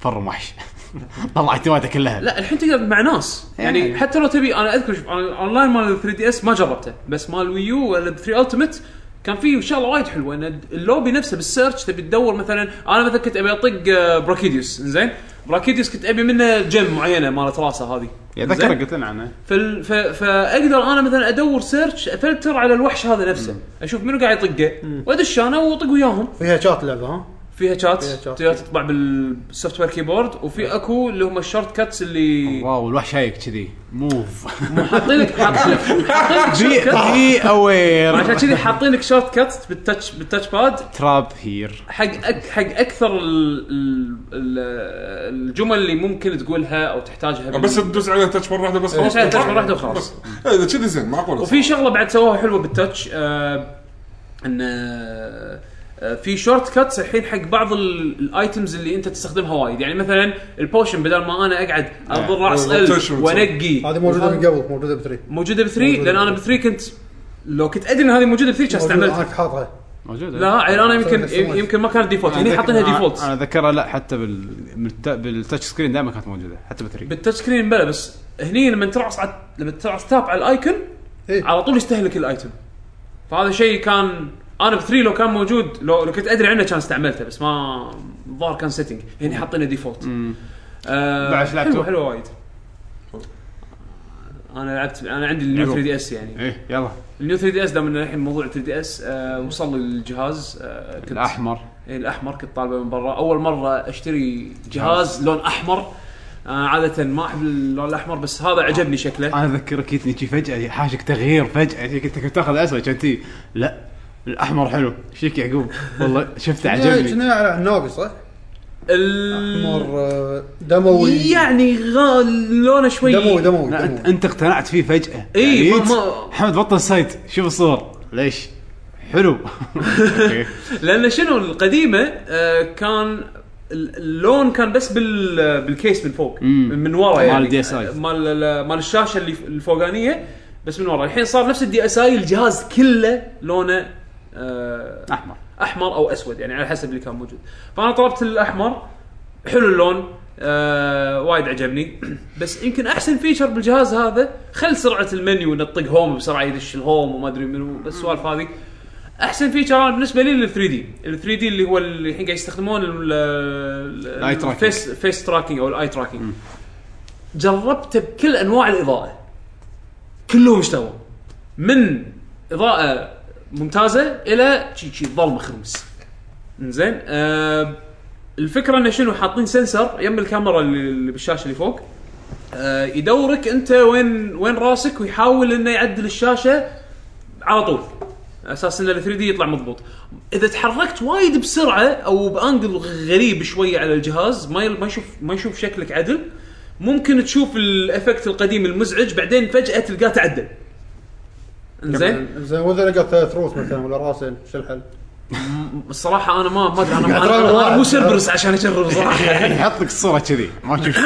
S1: فرم وحش طلع اعتماده كلها
S3: لا الحين تقدر مع ناس يعني
S1: يعني.
S3: حتى لو تبي انا اذكر شوف أنا اونلاين مال 3 دي اس ما جربته بس مال ويو ولا 3 التمت كان فيه شغله وايد حلوه ان اللوبي نفسه بالسيرش تبي تدور مثلا انا مثلا كنت ابي اطق آه، براكيديوس زين براكيديوس كنت ابي منه جيم معينه مالت راسه هذه
S1: اتذكر قلت لنا عنه
S3: فال... ف... فاقدر انا مثلا ادور سيرش افلتر على الوحش هذا نفسه اشوف منو قاعد يطقه وادش انا واطق وياهم
S4: فيها شات اللعبه ها
S3: فيها شات
S4: فيها شات.
S3: تقدر تطبع بالسوفت وير كيبورد وفي اكو اللي هم الشورت كاتس اللي
S1: واو الوحش شايك كذي موف
S3: حاطين لك حاطين لك حاطين لك
S1: بي
S3: shortcut.
S1: بي اوير
S3: عشان كذي حاطين لك شورت كات بالتاتش بالتاتش باد
S1: تراب هير
S3: حق أك حق اكثر ال- ال- ال- الجمل اللي ممكن تقولها او تحتاجها بال-
S2: بس تدوس عليها تاتش مره واحده بس خلاص
S3: عليها إيه، touch مرة واحدة وخلاص.
S2: بس. إيه، اذا كذي زين معقول
S3: وفي شغله بعد سووها حلوه بالتاتش آه ان آه آه، في شورت كاتس الحين حق بعض ال- الايتمز اللي انت تستخدمها وايد يعني مثلا البوشن بدل ما انا اقعد اضل راس
S2: آه،
S3: ال
S2: rotation.
S3: وانقي
S4: هذه موجوده من قبل موجوده بثري
S3: موجوده بثري لان انا بثري كنت لو كنت ادري ان هذه موجوده بثري كان
S4: موجودة،
S3: استعملتها
S4: انا كنت حاطها
S1: موجوده
S3: لا يعني انا يمكن
S4: سويت.
S3: يمكن ما يعني كانت ديفولت هني حاطينها
S1: انا
S3: ديفولت
S1: اذكرها لا حتى بال بالت- بالتاتش سكرين دائما كانت موجوده حتى بثري
S3: بالتاتش سكرين بلا بس هني لما ترعص على لما ترعص تاب على الايكون
S4: إيه.
S3: على طول يستهلك الايتم فهذا شيء كان انا بثري لو كان موجود لو لو كنت ادري عنه كان استعملته بس ما الظاهر كان سيتنج هني حاطينه ديفولت آه
S1: بعد شو لعبتوا؟
S3: حلوه حلوه وايد انا لعبت انا عندي النيو
S1: حلو.
S3: 3 دي اس يعني
S1: ايه يلا
S3: النيو 3 دي اس دام إن الحين موضوع 3 دي اس آه وصل لي الجهاز آه كنت
S1: الاحمر
S3: إيه، الاحمر كنت طالبه من برا اول مره اشتري جهاز لون احمر آه عاده ما احب اللون الاحمر بس هذا عجبني شكله
S1: انا اذكرك جتني شي فجاه حاشك تغيير فجاه شي كنت كنت تاخذ اسود كنت لا الاحمر حلو شيك يعقوب والله شفته عجبني
S4: كنا على الناقي صح؟
S3: ال...
S4: مر دموي
S3: يعني غا... لونه شوي
S4: دموي دموي
S1: لا انت,
S4: دموي
S1: انت اقتنعت فيه فجاه
S3: إي،
S1: يعني
S3: ما-
S1: جيت،
S3: ما-
S1: حمد بطل السايت شوف الصور ليش حلو أوكي.
S3: لان شنو القديمه آه كان ال- اللون كان بس بال بالكيس من فوق
S1: مم.
S3: من ورا
S1: مال
S3: يعني
S1: الدي اس آي.
S3: مال ال- مال الشاشه اللي ف- الفوقانيه بس من ورا الحين صار نفس الدي اس اي الجهاز كله لونه آه،
S1: احمر
S3: احمر او اسود يعني على حسب اللي كان موجود فانا طلبت الاحمر حلو اللون آه وايد عجبني بس يمكن احسن فيشر بالجهاز هذا خل سرعه المنيو نطق هوم بسرعه يدش الهوم وما ادري منو بس السوالف هذه احسن فيشر انا بالنسبه لي لل 3 دي ال 3 دي اللي هو اللي الحين قاعد يستخدمون
S1: الآي
S3: الاي
S1: tracking.
S3: فيس فيس تراكنج او الاي تراكنج جربته بكل انواع الاضاءه كلهم اشتغلوا من اضاءه ممتازه الى شي شي ظلمه خرمس زين آه الفكره انه شنو حاطين سنسر يم الكاميرا اللي اللي بالشاشه اللي فوق آه يدورك انت وين وين راسك ويحاول انه يعدل الشاشه على طول على اساس ان ال 3 دي يطلع مضبوط اذا تحركت وايد بسرعه او بانجل غريب شويه على الجهاز ما يل- ما يشوف ما يشوف شكلك عدل ممكن تشوف الافكت القديم المزعج بعدين فجاه تلقاه تعدل زين
S4: زين واذا لقى ثلاث روس مثلا ولا راسين شو الحل؟
S3: الصراحه انا ما ما ادري انا
S4: قاعد
S3: أنا-
S4: تراوغ
S3: أنا
S4: واحد.
S3: مو سيربرس عشان اجرب صراحه
S1: يحط لك الصوره كذي ما تشوف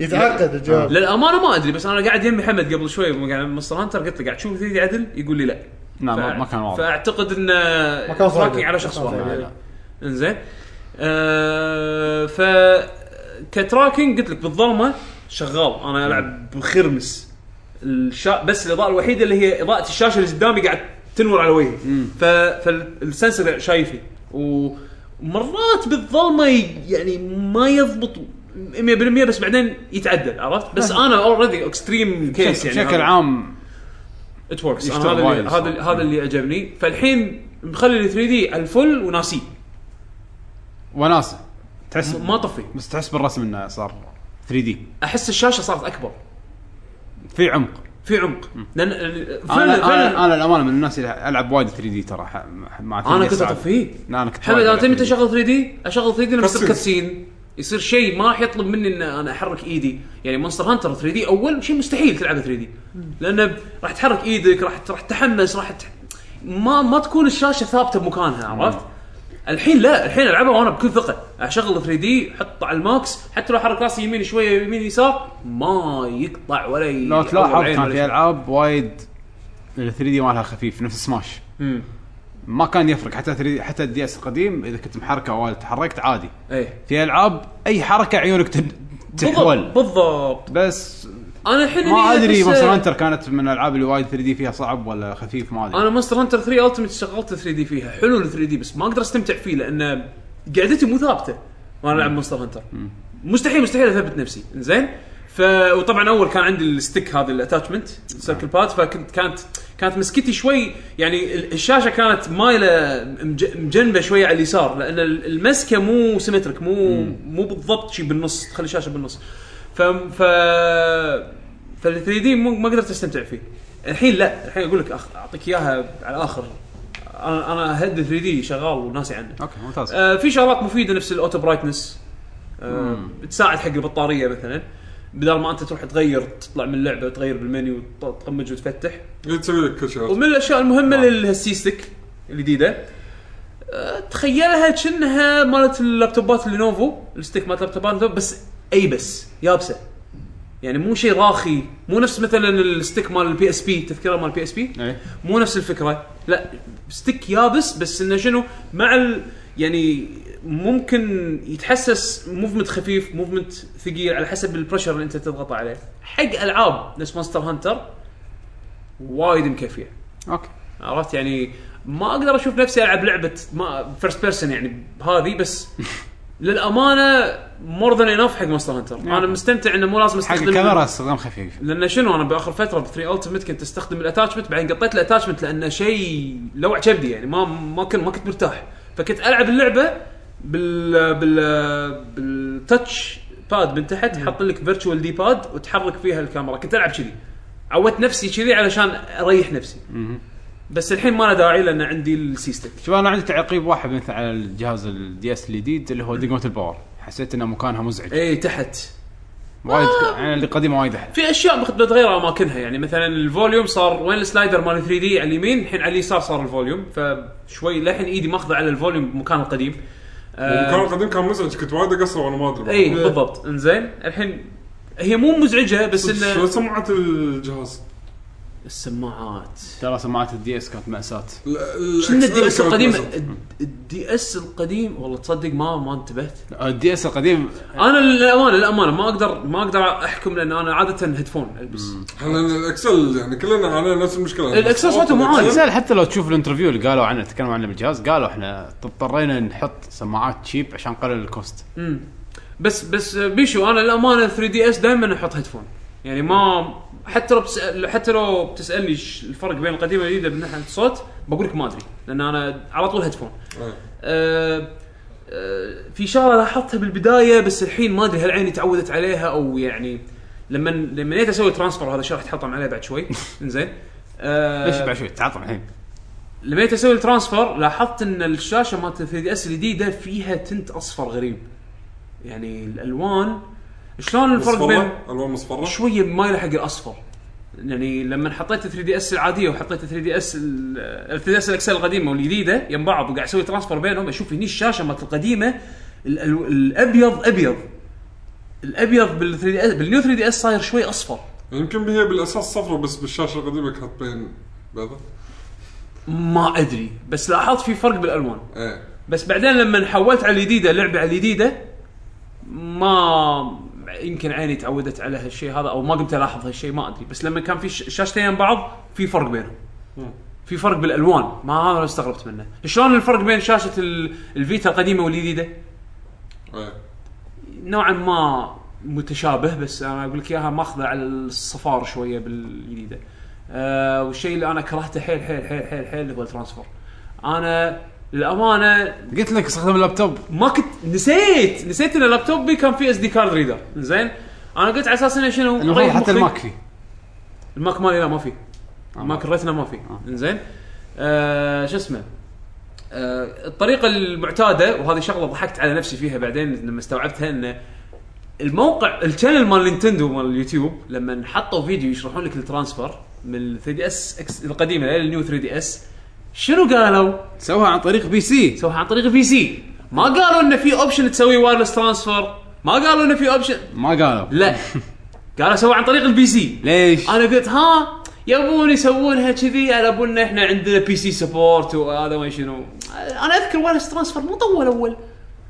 S4: يتعقد الجهاز
S3: للامانه ما ادري بس انا قاعد يمي حمد قبل شوي وأنا قاعد مستر هانتر قلت له قاعد تشوف ذي عدل يقول لي لا
S1: نعم
S3: فأع-
S1: ما- ما كان واضح
S3: فاعتقد انه
S4: ما كان صادق.
S3: تراكنج على شخص
S4: ما كان صادق.
S3: واحد انزين آه ف كتراكنج قلت لك بالظلمه شغال
S1: نعم.
S3: انا العب بخرمس الشا... بس الاضاءه الوحيده اللي هي اضاءه الشاشه اللي قدامي قاعد تنور على وجهي ف... فالسنسر شايفي ومرات بالظلمه ي... يعني ما يضبط 100% بس بعدين يتعدل عرفت بس انا اوريدي اكستريم كيس يعني
S1: نعم. بشكل
S3: هذا.
S1: عام
S3: ات وركس
S1: يشتغل
S3: انا هذا
S1: وايد
S3: اللي هذا اللي- هذا اللي عجبني فالحين مخلي ال 3 دي على الفل وناسيه
S1: وناسه تحس
S3: م- ما طفي
S1: بس تحس بالرسم انه صار 3 دي
S3: احس الشاشه صارت اكبر
S1: في عمق
S3: في عمق لان فعلا
S1: انا انا
S3: فعلا
S1: انا الامانه من الناس اللي العب وايد 3 دي ترى ح- مع 3D
S3: انا كنت
S1: ساعات.
S3: اطفيه
S1: لا انا كنت
S3: حمد
S1: وايد
S3: انا
S1: ألعب
S3: تمتى
S1: 3D.
S3: اشغل 3 دي اشغل 3 دي لما يصير
S2: كاتسين.
S3: كاتسين يصير شيء ما راح يطلب مني ان انا احرك ايدي يعني مونستر هانتر 3 دي اول شيء مستحيل تلعب 3 دي لانه ب- راح تحرك ايدك راح راح تتحمس راح تح... ما ما تكون الشاشه ثابته بمكانها عرفت؟ الحين لا الحين العبها وانا بكل ثقه اشغل 3 دي احط على الماكس حتى لو احرك راسي يمين شويه يمين يسار ما يقطع ولا ي-
S1: لو
S3: أول
S1: تلاحظ
S3: عين
S1: كان
S3: ولا
S1: في
S3: شيء.
S1: العاب وايد ال 3 دي مالها خفيف نفس سماش
S3: مم.
S1: ما كان يفرق حتى 3 حتى الدي اس القديم اذا كنت محركه وايد تحركت عادي
S3: ايه
S1: في العاب اي حركه عيونك تن-
S3: بالضبط
S1: تحول
S3: بالضبط
S1: بس
S3: انا الحين آه،
S1: ما
S3: اللي
S1: ادري
S3: أحسه-
S1: مونستر هانتر كانت من الالعاب اللي وايد 3 دي فيها صعب ولا خفيف ما ادري
S3: انا مونستر هانتر 3 التمت شغلت 3 دي فيها حلو ال 3 دي بس ما اقدر استمتع فيه لان قعدتي مو ثابته وانا العب مونستر هانتر مستحيل مستحيل اثبت نفسي زين ف وطبعا اول كان عندي الستيك هذا الاتاتشمنت سيركل باد فكنت كانت كانت مسكتي شوي يعني ال- الشاشه كانت مايله مج- مجنبه شويه على اليسار لان ال- المسكه مو سيمترك مو مو بالضبط شي بالنص تخلي الشاشه بالنص ف ف فال 3 دي مو ما قدرت استمتع فيه الحين لا الحين اقول لك أخ... اعطيك اياها على الاخر انا انا هد 3 دي شغال وناسي عنه
S1: اوكي ممتاز
S3: آه في شغلات مفيده نفس الاوتو برايتنس آه بتساعد حق البطاريه مثلا بدل ما انت تروح تغير تطلع من اللعبه تغير بالمنيو وت- تطمج وتفتح
S2: اللي إيه، تسوي لك كل شيء
S3: ومن الاشياء المهمه للهسيستك الجديده آه، تخيلها كأنها مالت اللابتوبات لينوفو الستيك مالت لابتوبات لينوفو بس اي بس يابسه يعني مو شيء راخي مو نفس مثلا الستيك مال البي اس بي تذكره مال البي اس بي
S1: إيه.
S3: مو نفس الفكره لا ستيك يابس بس انه شنو مع ال يعني ممكن يتحسس موفمنت خفيف موفمنت ثقيل على حسب البريشر اللي انت تضغط عليه حق العاب نفس مونستر هانتر وايد مكفيه
S1: اوكي
S3: عرفت يعني ما اقدر اشوف نفسي العب لعبه ما فيرست بيرسون يعني هذه بس للامانه مور ذان انف حق مونستر هانتر انا مستمتع انه مو لازم
S1: حق
S3: استخدم
S1: الكاميرا استخدام خفيف
S3: لان شنو انا باخر فتره ب 3 التمت كنت استخدم الاتاتشمنت بعدين قطيت الاتاتشمنت لانه شيء لو عجبني يعني ما ما كنت ما كنت مرتاح فكنت العب اللعبه بال بال بالتاتش باد من تحت حاط لك فيرتشوال دي باد وتحرك فيها الكاميرا كنت العب كذي عودت نفسي كذي علشان اريح نفسي بس الحين ما له داعي لان عندي السيستم
S1: شوف انا عندي تعقيب واحد مثل على الجهاز الدي اس الجديد اللي هو دقمه الباور حسيت انه مكانها مزعج
S3: اي إيه، تحت
S1: وايد يعني القديمه وايد احلى
S3: في اشياء بخ- بتغير اماكنها يعني مثلا الفوليوم صار وين السلايدر مال 3 دي على اليمين الحين على اليسار صار الفوليوم فشوي للحين ايدي ماخذه على الفوليوم بمكانه القديم
S2: المكان القديم كان مزعج كنت وايد اقصر وانا ما ادري
S3: اي إيه، بالضبط انزين الحين هي مو مزعجه بس
S2: إيه، شو
S3: انه
S2: سمعت الجهاز؟
S3: السماعات
S1: ترى سماعات الدي اس كانت مأساة
S3: شنو الدي اس القديم الدي اس القديم والله تصدق ما ما انتبهت
S1: الدي اس القديم
S3: انا للامانه للامانه ما اقدر ما اقدر احكم لان انا عاده هيدفون البس
S2: احنا الاكسل يعني كلنا علينا نفس المشكله
S3: الإكسل صوته مو عالي.
S1: زين آه، حتى لو تشوف الانترفيو اللي قالوا عنه تكلموا عنه بالجهاز قالوا احنا اضطرينا نحط سماعات تشيب عشان نقلل الكوست
S3: امم بس بس بيشو انا للامانه 3 دي اس دائما احط هيدفون يعني ما حتى لو بس حتى لو بتسالني ش- الفرق بين القديمه والجديده من ناحيه الصوت بقول لك ما ادري لان انا على طول هيدفون
S2: أي.
S3: أه أه في شغله لاحظتها بالبدايه بس الحين ما ادري هل عيني تعودت عليها او يعني لما لما جيت اسوي ترانسفر هذا الشيء راح تحطم عليه بعد شوي انزين أه
S1: ليش بعد شوي تعاطى الحين
S3: لما جيت اسوي الترانسفر لاحظت ان الشاشه مالت 3 دي اس الجديده E فيها تنت اصفر غريب يعني الالوان شلون الفرق بين
S2: مصفرة الوان مصفرة
S3: شويه مايله حق الاصفر يعني لما حطيت 3 دي اس العاديه وحطيت 3 دي اس 3 دي اس الاكسل القديمه والجديده يم بعض وقاعد اسوي ترانسفر بينهم اشوف هني الشاشه مالت القديمه ال- ال- الابيض ابيض الابيض بال 3 دي اس بالنيو 3 دي اس صاير شوي اصفر
S2: يمكن هي بالاساس صفرة بس بالشاشة القديمة كانت بين بيضة
S3: ما ادري بس لاحظت في فرق بالالوان
S2: ايه
S3: بس بعدين لما حولت على الجديده لعبه على الجديده ما يمكن عيني تعودت على هالشيء هذا او ما قمت الاحظ هالشيء ما ادري بس لما كان في ش- شاشتين يم بعض في فرق بينهم في فرق بالالوان ما هذا اللي استغربت منه شلون الفرق بين شاشه ال- الفيتا القديمه والجديده
S2: ايه
S3: نوعا ما متشابه بس انا اقول لك اياها ماخذه على الصفار شويه بالجديده. أه والشيء اللي انا كرهته حيل حيل حيل حيل حيل اللي هو الترانسفر. انا للامانه
S1: قلت لك استخدم اللابتوب
S3: ما كنت نسيت نسيت ان لابتوبي كان فيه اس دي كارد ريدر زين انا قلت على اساس انه شنو
S1: المفروض
S3: أغير
S1: حتى
S3: مخي.
S1: الماك آه. فيه
S3: الماك مالي لا ما في الماك الريتنا ما في انزين آه شو اسمه آه الطريقه المعتاده وهذه شغله ضحكت على نفسي فيها بعدين لما استوعبتها انه الموقع الشانل مال نينتندو مال اليوتيوب لما حطوا فيديو يشرحون لك الترانسفر من 3 دي اس القديمه للنيو 3 دي اس شنو قالوا؟
S1: سوها عن طريق بي سي
S3: سوها عن طريق البي سي ما قالوا انه في اوبشن تسوي وايرلس ترانسفر ما قالوا انه في اوبشن
S1: ما قالوا
S3: لا قالوا سووا عن طريق البي سي
S1: ليش؟
S3: انا قلت ها يبون يسوونها كذي على ابونا احنا عندنا بي سي سبورت وهذا ما شنو انا اذكر وايرلس ترانسفر مو طول اول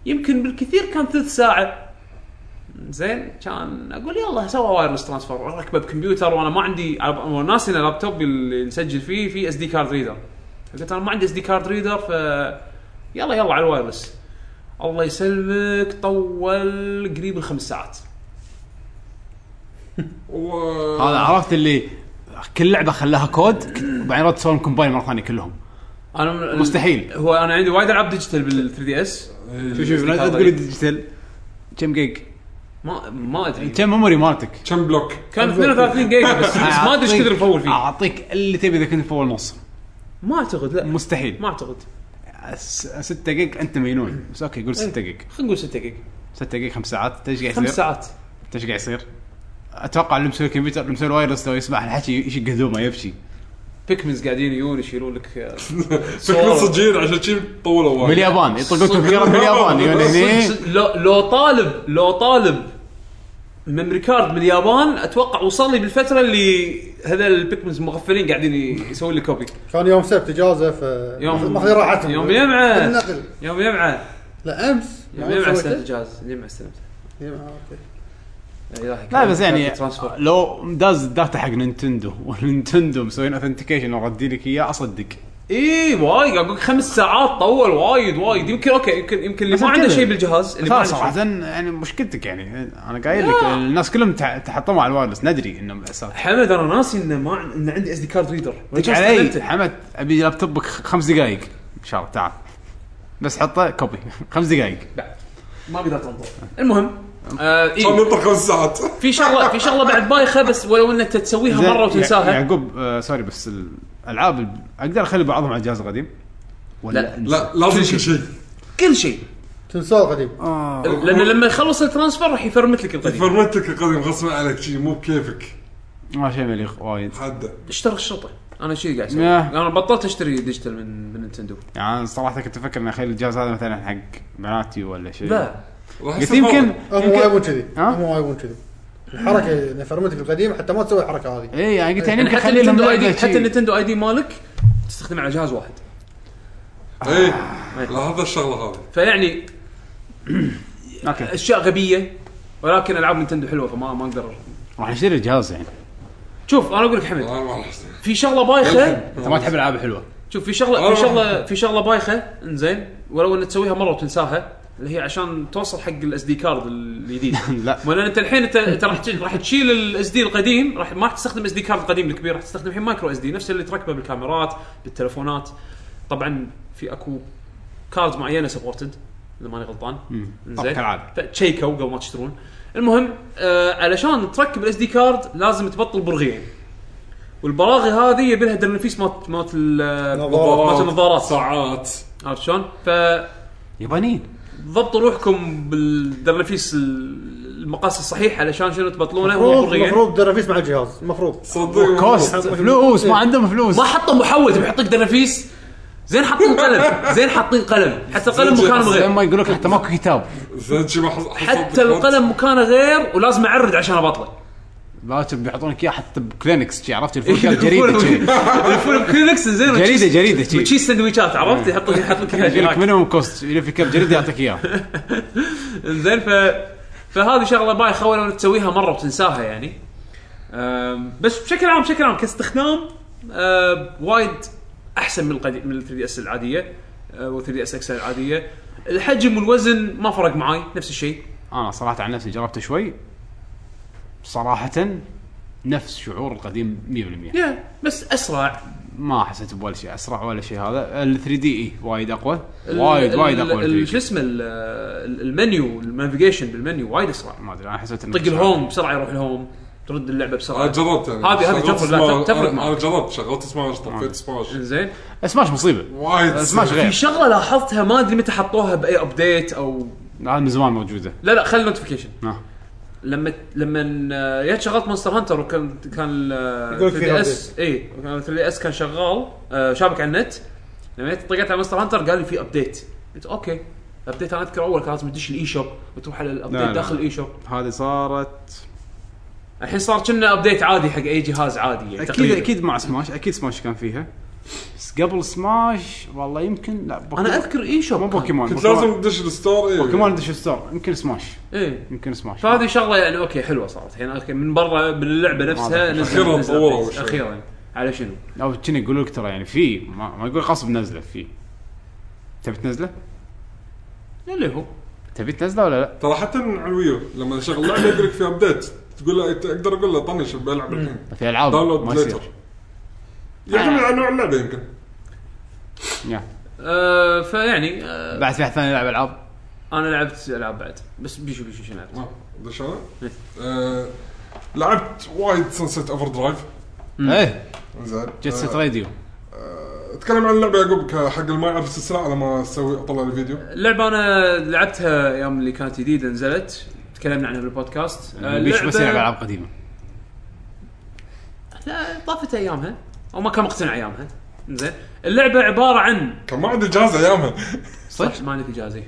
S3: يمكن بالكثير كان ثلث ساعه زين كان اقول يلا سوى وايرلس ترانسفر ركبه بكمبيوتر وانا ما عندي أنا ناسي ان اللابتوب اللي نسجل فيه في اس دي كارد ريدر فقلت انا ما عندي اس دي كارد ريدر ف يلا يلا على الوايرلس الله يسلمك طول قريب الخمس ساعات
S2: و-
S1: هذا عرفت اللي كل لعبه خلاها كود وبعدين رد تسوون كومباين مره ثانيه كلهم
S3: انا
S1: مستحيل.
S3: هو انا عندي وايد العاب ديجيتال بال 3 دي اس
S1: شوف شوف لا
S3: هذا
S1: تقول لي
S3: إيه؟
S1: ديجيتال كم جيج؟
S3: ما ما ادري
S1: كم ميموري مالتك؟
S2: كم بلوك
S3: كان 32 جيجا بس, بس ما ادري ايش كثر مفول فيه
S1: اعطيك اللي تبي اذا كنت مفول نص
S3: ما اعتقد لا
S1: مستحيل
S3: ما اعتقد
S1: 6 جيج انت مجنون بس اوكي قول 6 جيج
S3: خلينا نقول 6 جيجا
S1: 6 جيج 5 ساعات ايش قاعد
S3: 5
S1: يصير؟
S3: ساعات
S1: ايش قاعد يصير؟ اتوقع اللي مسوي الكمبيوتر اللي مسوي الوايرلس لو يسمع الحكي يشق هدومه يبكي
S3: بيكمنز قاعدين يجون يشيلون لك آه،
S2: شكلهم
S3: صور.
S2: صجين عشان شي طولوا
S1: من
S2: وايد
S1: اليابان يطلقون كمبيوتر من اليابان يقول هني
S3: صدق- لو لو طالب لو طالب ميموري كارد من اليابان اتوقع وصل لي بالفتره اللي هذا البيكمنز مغفلين قاعدين يسوون لي كوبي
S4: كان يوم سبت اجازه ف
S3: يوم
S4: ماخذين راحتهم
S3: يوم يمعه
S4: النقل
S3: يوم يمعه
S4: لا امس
S3: يوم
S4: يوم
S3: يمعه
S4: سويته؟
S3: استلمت جاز يوم يمعه استلمت
S4: يمعة، أوكي.
S1: لا بس يعني لو داز الداتا حق نينتندو ونينتندو مسوين اوثنتيكيشن وردي لك اياه اصدق
S3: اي إيه، وايد اقول لك خمس ساعات طول وايد وايد يمكن اوكي يمكن يمكن اللي
S1: بس
S3: ما عنده
S1: كذا.
S3: شيء بالجهاز اللي
S1: لا
S3: ما عنده شيء.
S1: صراحة يعني مشكلتك يعني انا قايل لك الناس كلهم تع- تحطموا على الوايرلس ندري انه مأساة
S3: حمد انا ناسي انه ما عن- ان عندي اس دي كارد ريدر
S1: رجع علي حمد ابي لابتوبك خمس دقائق ان شاء الله تعال بس حطه كوبي خمس دقائق
S3: ما قدرت انطر المهم آه
S2: كان
S3: إيه.
S2: ننطر خمس ساعات
S3: في شغله في شغله بعد بايخه بس ولو انك تسويها
S1: زين، يعني-
S3: مره
S1: يع-
S3: وتنساها
S1: يعقوب آه سوري بس الالعاب ال- اقدر اخلي بعضهم على الجهاز القديم
S3: لا.
S1: أنسى؟
S2: لا لازم كل شيء
S3: كل شيء
S4: تنساه القديم
S1: آه.
S3: لان لما يخلص الترانسفر راح يفرمت لك القديم
S2: فرمتك القديم غصبا عليك شي مو بكيفك
S1: ما شيء مليق وايد
S2: حده
S3: اشترى الشرطه انا شي قاعد اسوي
S1: ياه.
S3: انا بطلت اشتري ديجيتال من من نينتندو
S1: يعني أنا صراحه كنت افكر ان اخلي الجهاز هذا مثلا حق بناتي ولا شيء
S3: لا يعني
S2: راح
S1: قلت
S2: يصير
S1: يمكن
S2: فرق.
S4: هم
S1: يمكن-
S4: وايد مو كذي
S1: ها؟
S4: هم وايد مو كذي يعني الحركه نفرمتك القديمه حتى ما تسوي الحركه هذه
S1: اي يعني قلت يعني
S3: يعني
S1: يمكن
S3: حتى
S1: اخلي لهم
S3: النينتندو اي
S1: لعبة
S3: دي حتى
S1: شي.
S3: النينتندو اي دي مالك تستخدمه على جهاز واحد
S2: اي إيه.
S1: آه.
S2: لا هذا الشغله هذه
S3: فيعني
S1: اوكي
S3: اشياء غبيه ولكن العاب نينتندو حلوه فما ما اقدر
S1: راح نشتري الجهاز يعني
S3: شوف انا اقول لك حمد
S2: انا ما راح أستحي.
S3: في شغله بايخه
S1: انت ما تحب الالعاب الحلوه
S3: شوف في شغله
S2: آه.
S3: في شغله في شغله بايخه انزين ولو ان تسويها مره وتنساها اللي هي عشان توصل حق الاس دي كارد الجديد
S1: لا.
S3: ولا انت الحين انت انت راح تش- راح تشيل الاس دي القديم راح ما راح تستخدم اس دي كارد قديم الكبير راح تستخدم الحين مايكرو اس دي نفس اللي تركبه بالكاميرات بالتلفونات طبعا في اكو كاردز معينه سبورتد اذا ماني غلطان
S1: طبعاً كالعادة.
S3: فتشيكوا قبل ما تشترون المهم آه علشان تركب الاس دي كارد لازم تبطل برغيين والبراغي هذه يبي لها درنفيس مالت مالت ال-
S4: نظارات.
S3: مالت النظارات
S2: ساعات
S3: عرفت شلون؟ فضبطوا
S1: يابانيين
S3: روحكم بالدرنفيس ال- المقاس الصحيح علشان شنو تبطلونه هو
S4: المفروض
S3: برغيين
S4: المفروض درافيس مع الجهاز المفروض
S2: صدق
S1: كوست فلوس ما عندهم فلوس
S3: ما حطوا محوت بيحطك درنفيس زين حاطين قلم زين حاطين قلم حتى القلم
S2: زين-
S3: مكانه
S1: زين
S3: غير
S1: ما يقول لك حتى ماكو كتاب
S2: زين شي ما حص- حصلت
S3: حتى
S2: لك وقت.
S3: القلم مكانه غير ولازم اعرض عشان ابطله
S1: لكن بيعطونك اياه حتى بكلينكس شي عرفت الفول جريده شي.
S3: الفول بكلينكس زين
S1: جريدة-
S3: وتشيز-
S1: جريدة شي.
S3: وتشيز سندويشات عرفت يحط لك يحط لك إياها
S1: يقول لك
S3: هناك.
S1: مينيموم كوست اللي في كاب جريده يعطيك اياه
S3: انزين ف فهذه شغله بايخه ولو إنك تسويها مره وتنساها يعني أم، بس بشكل عام بشكل عام كاستخدام أم، وايد احسن من القديم من 3 دي اس العاديه آه، و 3 دي اس اكس العاديه الحجم والوزن ما فرق معاي نفس الشيء
S1: انا صراحه عن نفسي جربته شوي صراحه نفس شعور القديم 100%
S3: يا بس اسرع
S1: ما حسيت بولا شيء اسرع ولا شيء هذا ال 3 دي اي وايد اقوى
S3: ال-
S1: وايد
S3: ال-
S1: وايد اقوى
S3: ال-
S1: ال 3D.
S3: شو اسمه ال- ال- المنيو النافيجيشن بالمنيو وايد اسرع
S1: ما ادري انا حسيت انه
S3: طق الهوم بسرعه يروح الهوم ترد اللعبه
S2: انا
S3: بسرعه
S2: جربت يعني
S3: هذه- هذه
S2: شغلت
S3: جرب، لا،
S2: سماش.
S3: تفرق
S2: أنا-
S3: معك. إيه.
S2: انا جربت شغلت سماش طفيت سماش
S3: زين
S1: إيه، سماش مصيبه
S2: وايد
S1: سماش
S2: سهل.
S1: غير
S3: في شغله لاحظتها ما ادري متى حطوها باي ابديت او
S1: هذا من زمان موجوده
S3: لا لا خلي نوتيفيكيشن
S1: آه.
S3: لما لما آه، يا شغلت مونستر هانتر وكان كان آه،
S4: يقولك في
S3: ال اس اي 3 دي اس إيه، كان شغال آه، شابك على النت لما جيت طقيت على مونستر هانتر قال لي في ابديت قلت اوكي ابديت انا اذكر اول كان لازم تدش الاي شوب وتروح على
S1: لا، لا.
S3: الابديت داخل الاي شوب
S1: هذه صارت
S3: الحين صار كنا ابديت عادي حق اي جهاز عادي يعني
S1: اكيد
S3: تقريباً.
S1: اكيد مع سماش اكيد سماش كان فيها بس قبل سماش والله يمكن لا بوكيمون.
S3: انا اذكر اي شوب
S1: مو بوكيمون
S2: كنت
S1: بوكيمون-
S2: لازم تدش الستور إيه. اي
S1: بوكيمون دش ستور يمكن سماش
S3: اي
S1: يمكن سماش
S3: إيه. فهذه شغله يعني اوكي حلوه صارت الحين اوكي من برا من اللعبه نفسها
S1: أدري.
S3: نزل-
S2: أخيراً
S3: نزل
S2: طوروا
S3: updates.
S2: شوي.
S3: اخيرا على شنو؟
S1: او كنا يقول لك ترى يعني في ما, ما يقول غصب نزله في تبي تنزله؟
S3: اللي هو
S1: تبي تنزله ولا لا؟
S2: ترى حتى من على الويو لما شغل لعبه يقول لك في ابديت تقول له اقدر اقول له طنش بلعب الحين
S1: في العاب ما
S2: داونلود ليتر
S1: يصير
S2: يعتمد على نوع اللعبه يمكن
S1: يا.
S3: آه فيعني آه
S1: بعد في احد ثاني يلعب العاب
S3: انا لعبت العاب بعد بس بيشو بيشو شنو لعبت؟
S2: آه، أدري شلون؟ آه، لعبت وايد سنسيت اوفر درايف
S1: ايه
S2: زين
S1: جت ست
S2: آه،
S1: راديو
S2: اتكلم عن اللعبه يعقوب ك- حق اللي ما يعرف السلسله على ما اسوي اطلع الفيديو
S3: اللعبه انا لعبتها ايام اللي كانت جديده نزلت تكلمنا عنها بالبودكاست آه،
S1: بيش بس يلعب
S3: اللعبه
S1: العاب قديمه
S3: لا طافت ايامها او ما كان مقتنع ايامها زين اللعبه عباره عن
S2: كان ما عندي جهاز ايامها
S3: صح ما عندك اجازه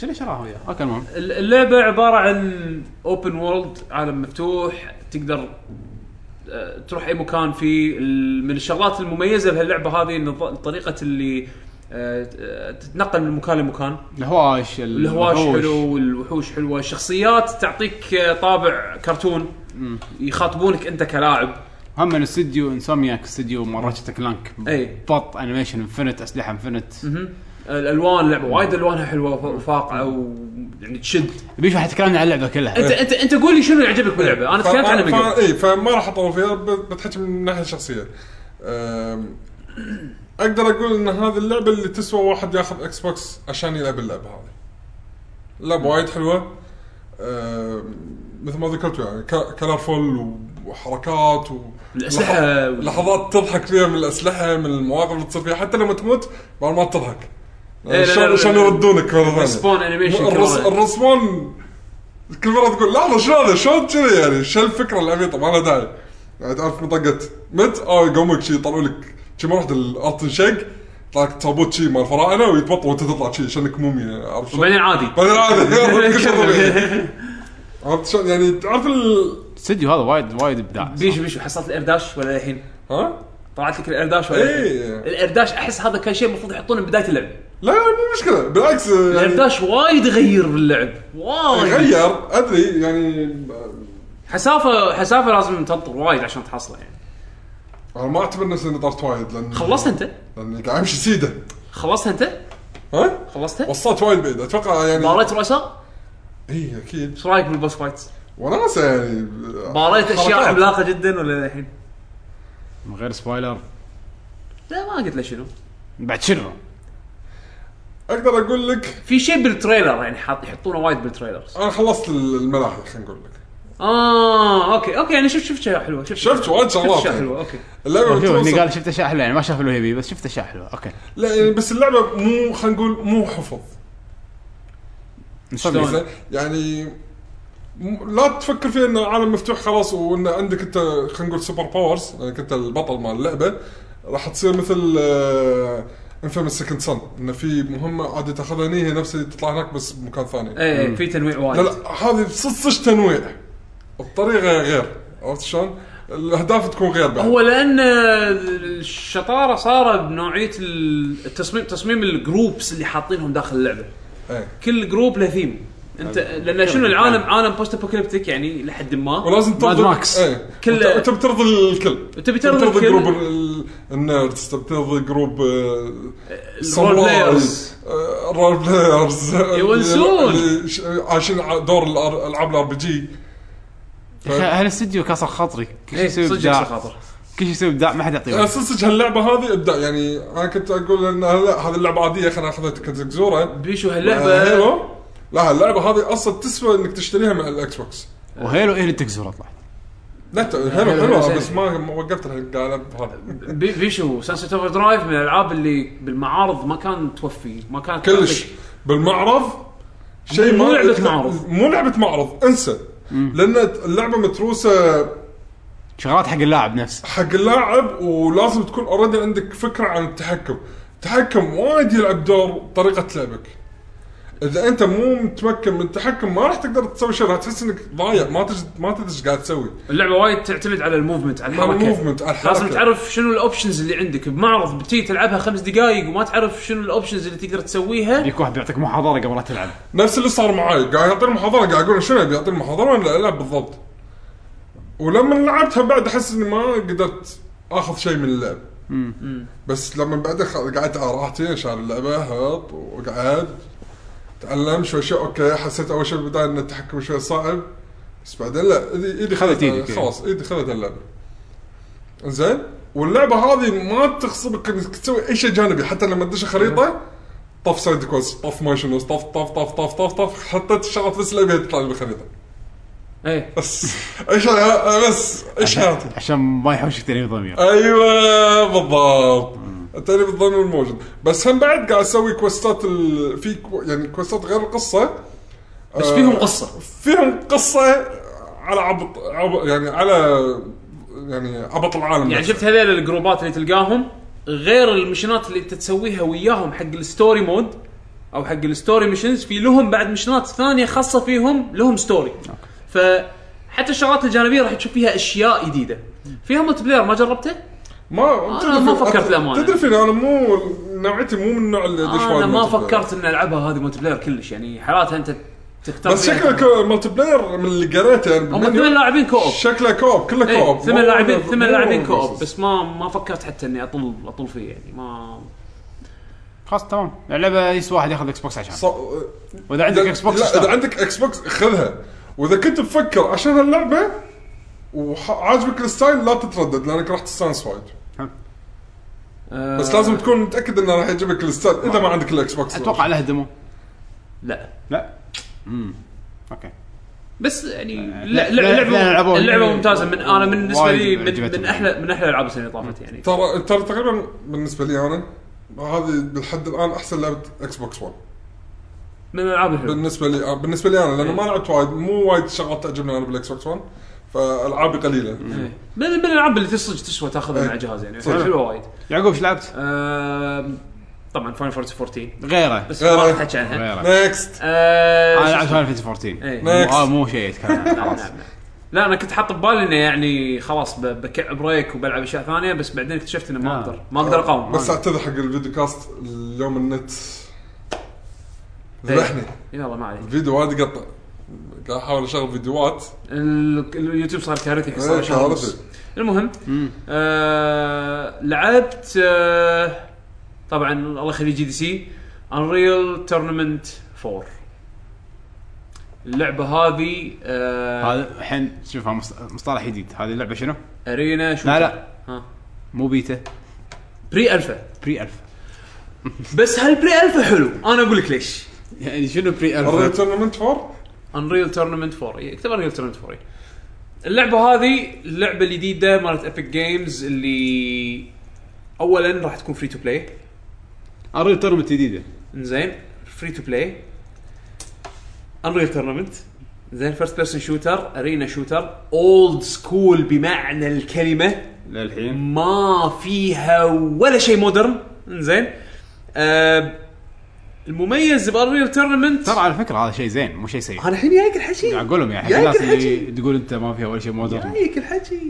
S1: شنو شراها وياه؟ اوكي المهم
S3: الل- اللعبه عباره عن اوبن وورلد عالم مفتوح تقدر آه، تروح اي مكان فيه ال- من الشغلات المميزه بهاللعبه هذه إن الط- طريقه اللي آه، آه، تتنقل من مكان لمكان
S1: الهواش
S3: الهواش
S1: الوحوش.
S3: حلو والوحوش حلوه الشخصيات تعطيك آه، طابع كرتون يخاطبونك انت كلاعب
S1: هم من استديو انسومياك استديو مرات كلانك
S3: أي.
S1: بط انيميشن انفنت اسلحه انفنت
S3: مهم. الالوان لعبه وايد الوانها حلوه وف- وفاقعه و يعني تشد
S1: بيش راح يتكلمنا عن اللعبه كلها
S2: إيه.
S3: انت انت انت قول لي شنو اللي عجبك باللعبه انا تكلمت عنها من قبل
S2: اي إيه، فما راح اطول فيها ب- بتحكي من الناحيه الشخصيه أم، اقدر اقول ان هذه اللعبه اللي تسوى واحد ياخذ اكس بوكس عشان يلعب اللعبه هذه لعبه وايد حلوه أم، مثل ما ذكرت يعني كلرفول وحركات و
S3: الأسلحة
S2: لحظ-
S3: وال-
S2: لحظات تضحك فيها من الاسلحه من المواقف اللي تصير فيها حتى لما تموت بعد ما تضحك
S3: إيه، لا، لا، لا،
S2: شلون
S3: لا.
S2: شلون يردونك مره ثانيه
S3: الرسبون animation كمان.
S2: الرس- الرسبون كل مره تقول لحظه شو هذا شلون كذي يعني شو الفكره العبيطه ما لها داعي يعني تعرف منطقه مت اه يقومك شي يطلعوا لك شي ما رحت الارض تنشق يطلع لك تابوت شي مال الفراعنه ويتبطل وانت تطلع شي شانك موميا عرفت شلون؟
S3: وبعدين عادي
S2: بعدين عادي كل شيء طبيعي. عرفت شلون يعني تعرف ال
S1: الاستديو هذا وايد وايد ابداع
S3: بيشو بيشو حصلت الارداش ولا الحين
S2: ها؟
S3: طلعت لك الارداش ولا
S2: إيه.
S3: الحين الارداش احس هذا كان شيء المفروض يحطونه بدايه اللعب
S2: لا لا مو مشكله بالعكس يعني
S3: الارداش وايد يغير باللعب وايد
S2: غير ادري يعني
S3: حسافه حسافه لازم تنطر وايد عشان تحصله يعني
S2: انا ما اعتبر نفسي اني طرت وايد لان
S3: خلصت انت
S2: لاني قاعد امشي سيده
S3: خلصت انت
S2: ها؟
S3: خلصتها
S2: وصلت وايد بعيد اتوقع يعني إيه،
S3: باريت رؤساء
S2: اي اكيد
S3: ايش رايك بالبوس فايتس
S2: وناسه يعني
S3: باريت اشياء
S2: حركات.
S3: عملاقه جدا ولا الحين
S1: من غير سبويلر
S3: لا ما قلت له شنو
S1: بعد شنو؟
S2: اقدر اقول لك
S3: في شيء بالتريلر يعني حاط يحطونه وايد بالتريلرز
S2: انا خلصت الملاحي خلينا نقول لك
S3: اه اوكي اوكي يعني شفت شفت شيء حلوه شفت
S2: شفت وايد
S3: شفت
S2: شغلات
S3: شيء
S2: يعني.
S3: حلوه اوكي
S2: اللعبه
S1: شوف اللي
S2: بتوصل-
S1: قال شفت اشياء حلوه يعني ما شاف اللي يبي بس شفت اشياء حلوه اوكي
S2: لا يعني بس اللعبه مو خلينا نقول مو حفظ
S1: شلون؟
S2: زين؟ يعني م- لا تفكر فيها ان العالم مفتوح خلاص وان عندك انت خلينا نقول سوبر باورز لانك انت البطل مال اللعبه راح تصير مثل آه، انفيمس سكند سن ان في مهمه عادي تاخذها هني هي نفس اللي تطلع هناك بس بمكان ثاني
S3: ايه في تنويع
S2: لا
S3: وايد
S2: لا هذه صج صج تنويع الطريقه غير عرفت شلون؟ الاهداف تكون غير بعد
S3: هو لان الشطاره صارت بنوعيه التصميم تصميم الجروبس اللي حاطينهم داخل اللعبه
S2: إيه.
S3: كل جروب له ثيم انت لان شنو العالم عالم بوست ابوكاليبتيك يعني لحد ما
S2: ولازم ترضي
S1: ماكس.
S2: ايه
S3: كل-
S2: كل انت بترضي الكل
S3: تبي ترضي الكل.
S2: جروب ال- النيردز تبي ترضي جروب آه،
S3: الرول بلايرز.
S2: آه، الرول بلايرز
S3: يونسون.
S2: اللي ش- عايشين ع- دور الأر- العاب الار بي جي
S1: يا أخي هالاستديو كسر خاطري كل شيء
S3: ايه
S1: يسوي
S3: صدق
S1: ابداع
S3: يكسر خاطر
S1: كل شيء يسوي ابداع ما حد يعطيه وقت.
S2: صدق هاللعبه هذه ابداع يعني انا كنت اقول ان لا هذه اللعبه عاديه خلينا ناخذها كزكزوره
S3: بيشو
S2: آه،
S3: هاللعبه
S2: هيلو لا هاللعبه هذه اصلا تسوى انك تشتريها مع الاكس بوكس
S1: وهيلو ايه اللي تكسر طلعت
S2: لا ت- حلوه
S3: هيلو
S2: حلوه
S3: آه، زين.
S2: بس ما ما وقفت الحين قاعد العب هذا
S3: بي- بيشو سانسيت اوفر درايف من الالعاب اللي بالمعارض ما كان توفي ما كانت
S2: كلش بالمعرض شيء
S3: طيب. مو
S2: ما-
S3: لعبة معرض.
S2: مو لعبه معرض انسى لان اللعبه متروسه
S1: شغلات حق اللاعب نفسه
S2: حق اللاعب ولازم تكون اوريدي عندك فكره عن التحكم التحكم وايد يلعب دور طريقه لعبك اذا انت مو متمكن من التحكم ما راح تقدر تسوي شيء راح تحس انك ضايع ما تج... ما تدري ايش قاعد تسوي
S3: اللعبه وايد تعتمد على الموفمنت على
S2: على
S3: الحركه
S2: الموفمنت، على الحركة.
S3: لازم تعرف شنو الاوبشنز اللي عندك بمعرض بتي تلعبها خمس دقائق وما تعرف شنو الاوبشنز اللي تقدر تسويها
S1: يجيك واحد بيعطيك محاضره قبل لا تلعب
S2: نفس اللي صار معاي قاعد يعطيني محاضره قاعد اقول له شنو أبي يعطيني محاضره وانا العب بالضبط ولما لعبتها بعد احس اني ما قدرت اخذ شيء من اللعب بس لما بعد قعدت على راحتي انشال اللعبه هط وقعد تعلم شوي شوي اوكي حسيت اول شيء بالبدايه ان التحكم شوي صعب بس بعدين لا ايدي ايدي
S1: خذت
S2: خذت
S1: إيدك، إيه.
S2: خلاص ايدي خذت اللعبه زين واللعبه هذه ما تخصبك انك تسوي اي شيء جانبي حتى لما تدش الخريطه طف سايد كويست طف مايشن طف طف طف طف طف طف حطيت الشغلات بس اللي ابيها تطلع لي بالخريطه
S3: ايه
S2: بس ايش ه- بس ايش حياتي
S1: عشان ما يحوشك تاني ضمير
S2: ايوه بالضبط التأليف الظن الموجود بس هم بعد قاعد اسوي كوستات ال... في كو... يعني كوستات غير القصه
S3: بس
S2: آه،
S3: فيهم قصه
S2: فيهم قصه على عبط, عبط يعني على يعني عبط العالم
S3: يعني
S2: نفسه.
S3: شفت هذيل الجروبات اللي تلقاهم غير المشنات اللي انت تسويها وياهم حق الستوري مود او حق الستوري ميشنز في لهم بعد مشنات ثانيه خاصه فيهم لهم ستوري فحتى الشغلات الجانبيه راح تشوف فيها اشياء جديده فيها ملتي بلاير ما جربته؟
S2: ما
S3: أنا ما فكرت للأمانة.
S2: تدري فيني انا مو نوعيتي مو من النوع اللي يدش وايد
S3: انا ما
S2: ملتي بلاير.
S3: فكرت ان العبها هذه ملتي بلاير كلش يعني حالاتها انت تختار
S2: بس
S3: فيها.
S2: شكله ملتي بلاير من اللي قريته يعني
S3: هم
S2: بالمنيو
S3: ثمان لاعبين كوب إيه،
S2: شكله كوب كله كوب
S3: ثمان
S2: مو-
S3: لاعبين
S2: مو-
S3: ثمان لاعبين
S2: مو-
S3: كوب بس ما ما فكرت حتى اني اطول اطول فيه يعني ما
S1: خلاص تمام اللعبه يسوى واحد ياخذ اكس بوكس عشان
S2: ص-
S1: واذا عندك اكس بوكس
S2: لا اذا
S1: اشتغل.
S2: عندك اكس بوكس خذها واذا كنت مفكر عشان هاللعبه وعاجبك الستايل لا تتردد لانك راح تستانس وايد
S3: آه
S2: بس لازم تكون متاكد انه راح يعجبك الستايل اذا ما عندك الاكس بوكس
S1: اتوقع له دمو
S3: لا
S1: لا امم اوكي
S3: بس يعني
S1: لا-
S3: لا-
S1: لا- لا
S3: لعبه
S1: يلعبون.
S3: اللعبه ممتازه من انا بالنسبه
S1: وايد طيب.
S3: لي من,
S1: عجبتني.
S3: من احلى من احلى الالعاب السنه اللي طافت يعني
S2: ترى ترى تقريبا بالنسبه لي انا هذه لحد الان احسن لعبه اكس بوكس 1
S3: من الالعاب الحلوه
S2: آه، بالنسبه لي بالنسبه لي انا لانه ما لعبت وايد مو وايد شغلات تعجبني انا بالاكس بوكس 1 فالعابي قليله
S3: إيه. من من الالعاب اللي تصج تسوى تاخذها
S2: إيه.
S3: مع جهاز يعني
S2: صح.
S3: حلوه وايد
S1: يعقوب ايش لعبت؟
S3: آم، طبعا فاين فورتي 14
S1: غيره
S3: بس ما
S2: غيره.
S3: راح احكي عنها
S1: غيره
S2: نكست
S3: آه،
S1: انا
S3: شو
S1: لعبت
S3: اسمه؟
S1: فاينل 14
S3: إيه.
S1: مو- آه، مو شيء اتكلم عنه،
S3: نعم،
S1: خلاص
S3: نعم، نعم. لا انا كنت حاط ببالي انه يعني خلاص ب- بكع بريك وبلعب اشياء ثانيه بس بعدين اكتشفت انه ما
S1: آه.
S3: اقدر ما اقدر اقاوم ما
S2: بس
S3: أقدر.
S2: اعتذر حق الفيديو كاست اليوم النت
S3: إيه.
S2: ذبحني
S3: يلا ما عليك
S2: الفيديو وايد يقطع قاعد احاول اشغل فيديوهات
S3: ال- اليوتيوب صار كارثي إيه، صار
S2: إيه،
S3: شهر
S2: كارثي.
S3: ونص. المهم آه لعبت آه طبعا الله يخلي جي دي سي انريل تورنمنت 4 اللعبه هذه آه
S1: هذا الحين شوفها مص- مصطلح جديد هذه اللعبه شنو؟
S3: ارينا شو
S1: لا لا
S3: ها
S1: مو بيتا
S3: بري الفا
S1: بري الفا
S3: بس هالبري الفا حلو انا اقول لك ليش
S1: يعني شنو بري
S2: الريل
S3: إيه.
S2: تورنمنت 4
S3: انريل تورنمنت 4 إيه، اكتب انريل تورنمنت 4 إيه. اللعبه هذه اللعبه الجديده مالت ايبك جيمز اللي اولا راح تكون فري تو بلاي
S1: انريل تورنمنت جديده
S3: زين فري تو بلاي انريل تورنمنت زين فيرست بيرسون شوتر ارينا شوتر اولد سكول بمعنى الكلمه
S1: للحين
S3: ما فيها ولا شيء مودرن زين آه المميز بانريل تورنمنت
S1: ترى على فكره هذا شيء زين مو شيء سيء
S3: انا الحين جايك الحكي
S1: قاعد اقول لهم يا حق
S3: يا
S1: الناس
S3: أكل حكي.
S1: اللي تقول انت ما فيها ولا شيء مودرن
S3: رايك يعني الحكي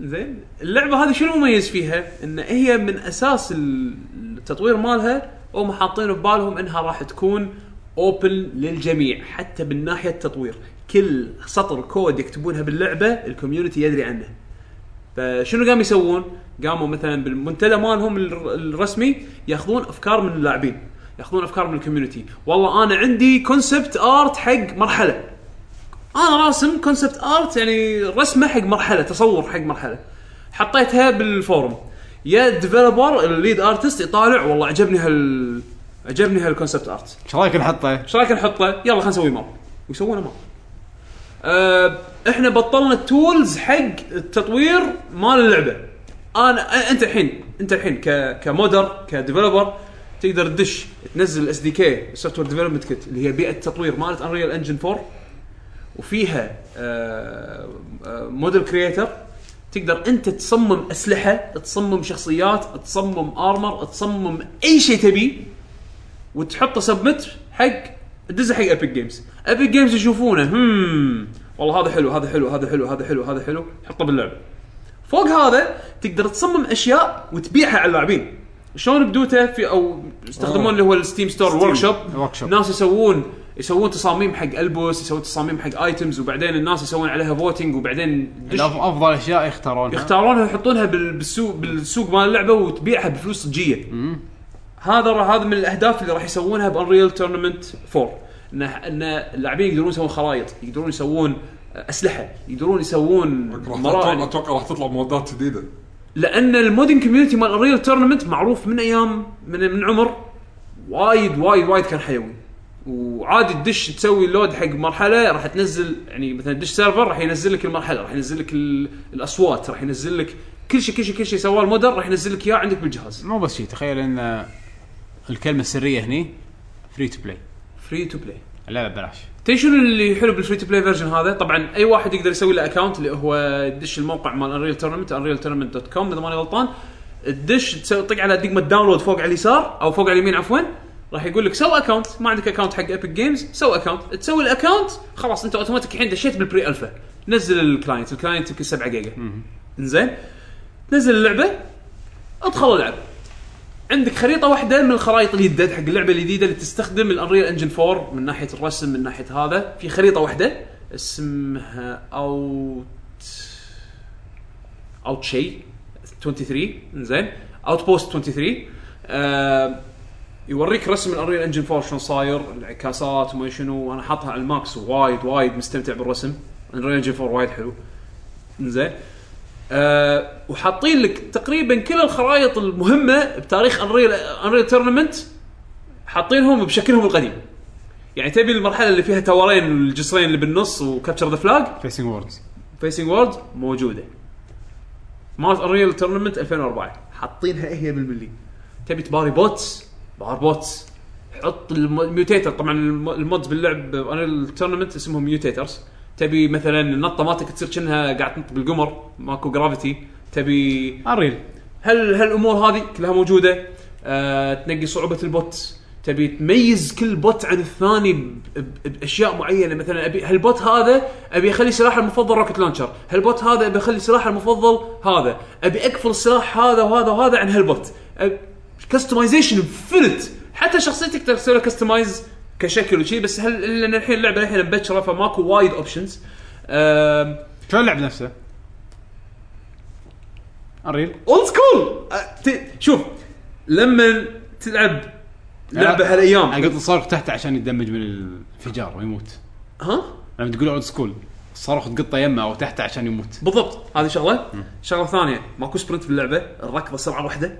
S3: زين اللعبه هذه شنو مميز فيها؟ ان هي من اساس التطوير مالها هم حاطين ببالهم انها راح تكون اوبن للجميع حتى من ناحيه التطوير كل سطر كود يكتبونها باللعبه الكوميونتي يدري عنه فشنو قاموا يسوون؟ قاموا مثلا بالمنتدى مالهم الر- الرسمي ياخذون افكار من اللاعبين ياخذون افكار من الكوميونتي والله انا عندي كونسبت ارت حق مرحله انا راسم كونسبت ارت يعني رسمه حق مرحله تصور حق مرحله حطيتها بالفورم يا الديفلوبر الليد ارتست يطالع والله عجبني هال عجبني هالكونسبت ارت
S1: ايش رايك نحطه؟
S3: ايش رايك نحطه يلا خلينا نسوي ماب ويسوونه ماب أه احنا بطلنا التولز حق التطوير مال اللعبه انا أ- انت الحين انت الحين ك كمودر كديفلوبر تقدر تدش تنزل الاس دي كي سوفت وير ديفلوبمنت كيت اللي هي بيئه تطوير مالت انريل انجن 4 وفيها آه، آه، موديل كريتر تقدر انت تصمم اسلحه تصمم شخصيات تصمم ارمر تصمم اي شيء تبيه وتحطه سبمت حق تدزه حق ابيك جيمز ابيك جيمز يشوفونه هم والله هذا حلو هذا حلو هذا حلو هذا حلو هذا حلو حطه باللعبه فوق هذا تقدر تصمم اشياء وتبيعها على اللاعبين شلون بدوته في او يستخدمون اللي هو الستيم ستور ورك شوب
S1: workshop.
S3: ناس يسوون يسوون تصاميم حق البوس يسوون تصاميم حق ايتمز وبعدين الناس يسوون عليها فوتنج وبعدين دش-
S1: الأف- افضل اشياء يختارونها
S3: يختارونها يحطونها بال- بالسوق بالسوق مال اللعبه وتبيعها بفلوس صجيه هذا را- هذا من الاهداف اللي راح يسوونها بانريل تورنمنت 4 ان ان اللاعبين يقدرون يسوون خرائط يقدرون يسوون اسلحه يقدرون يسوون
S2: راح
S3: مراحل
S2: تطلع- اتوقع راح تطلع مودات جديده
S3: لان المودن كوميونتي مال الريل تورنمنت معروف من ايام من من عمر وايد وايد وايد كان حيوي وعادي تدش تسوي لود حق مرحله راح تنزل يعني مثلا تدش سيرفر راح ينزل لك المرحله راح ينزل لك ال- الاصوات راح ينزل لك كل شيء كل شيء كل شيء سواه المودر راح ينزل لك اياه عندك بالجهاز
S1: مو بس شيء تخيل ان الكلمه السريه هني فري تو بلاي
S3: فري تو بلاي
S1: اللعبه ببلاش
S3: تدري شنو اللي حلو بالفري تو بلاي فيرجن هذا؟ طبعا اي واحد يقدر يسوي له اكونت اللي هو دش الموقع مال انريل تورنمنت انريل تورنمنت دوت كوم اذا ماني غلطان تدش تسوي طق على دقمه داونلود فوق على اليسار او فوق على اليمين عفوا راح يقول لك سو اكونت ما عندك اكونت حق ايبك جيمز سو اكونت تسوي الاكونت خلاص انت اوتوماتيك الحين دشيت بالبري الفا نزل الكلاينت الكلاينت يمكن 7 جيجا زين تنزل اللعبه ادخل العب عندك خريطه واحده من الخرائط الجدد حق اللعبه الجديده اللي تستخدم الانريل انجن 4 من ناحيه الرسم من ناحيه هذا في خريطه واحده اسمها اوت اوت شيء 23 زين اوت بوست 23 آه يوريك رسم الانريل انجن 4 شلون صاير الانعكاسات وما شنو انا حاطها على الماكس وايد وايد مستمتع بالرسم انريل انجن 4 وايد حلو زين أه وحاطين لك تقريبا كل الخرائط المهمه بتاريخ انريل انريل تورنمنت حاطينهم بشكلهم القديم يعني تبي المرحله اللي فيها تورين الجسرين اللي بالنص وكابتشر ذا فلاج
S1: فيسنج ووردز
S3: فيسنج وورد موجوده مارت انريل تورنمنت 2004 حاطينها هي بالملي تبي تباري بوتس بار بوتس حط الميوتيتر طبعا الم- المودز باللعب انريل تورنمنت اسمهم ميوتيترز تبي مثلا النطه مالتك تصير كأنها قاعد تنط بالقمر ماكو جرافيتي تبي
S1: اريل
S3: هل هالامور هذه كلها موجوده أه تنقي صعوبه البوت تبي تميز كل بوت عن الثاني ب- ب- باشياء معينه مثلا ابي هالبوت هذا ابي اخلي سلاحه المفضل روكت لانشر، هالبوت هذا ابي اخلي سلاحه المفضل هذا، ابي اقفل السلاح هذا وهذا وهذا عن هالبوت. كستمايزيشن انفنت حتى شخصيتك تقدر تسوي لها كستمايز كشكل وشي بس هل لان الحين اللعبه الحين مبكره فماكو وايد اوبشنز.
S1: شلون اللعب نفسه؟ اريل
S3: اولد سكول شوف لما تلعب لعبه هالايام
S1: قلت الصاروخ تحت عشان يدمج من الانفجار ويموت
S3: ها
S1: لما تقول اولد سكول الصاروخ تقطه يمه او تحته عشان يموت
S3: بالضبط هذه شغله شغله ثانيه ماكو سبرنت في اللعبه الركضه سرعه واحده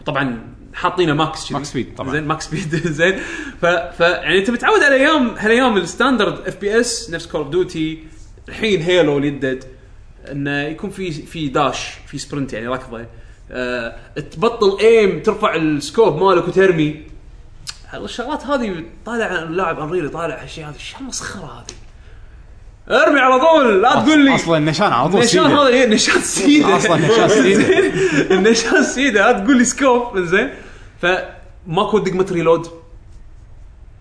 S3: وطبعا حاطينه ماكس شذي.
S1: ماكس سبيد طبعاً.
S3: زين ماكس سبيد زين ف... ف يعني انت متعود على ايام هالايام الستاندرد اف بي اس نفس كول اوف ديوتي الحين هيلو اليدد انه يكون في في داش في سبرنت يعني ركضه أه... تبطل ايم ترفع السكوب مالك وترمي الشغلات هذه طالع اللاعب انريل طالع هالشيء هذا شو المسخره هذه ارمي على طول لا تقول آه، لي
S1: اصلا النشان على طول
S3: نشان
S1: سيدة.
S3: هذا إيه، نشان سيده
S1: أصلاً نشان سيدة.
S3: زين؟ النشان سيده لا تقول لي سكوب زين فماكو دقمه ريلود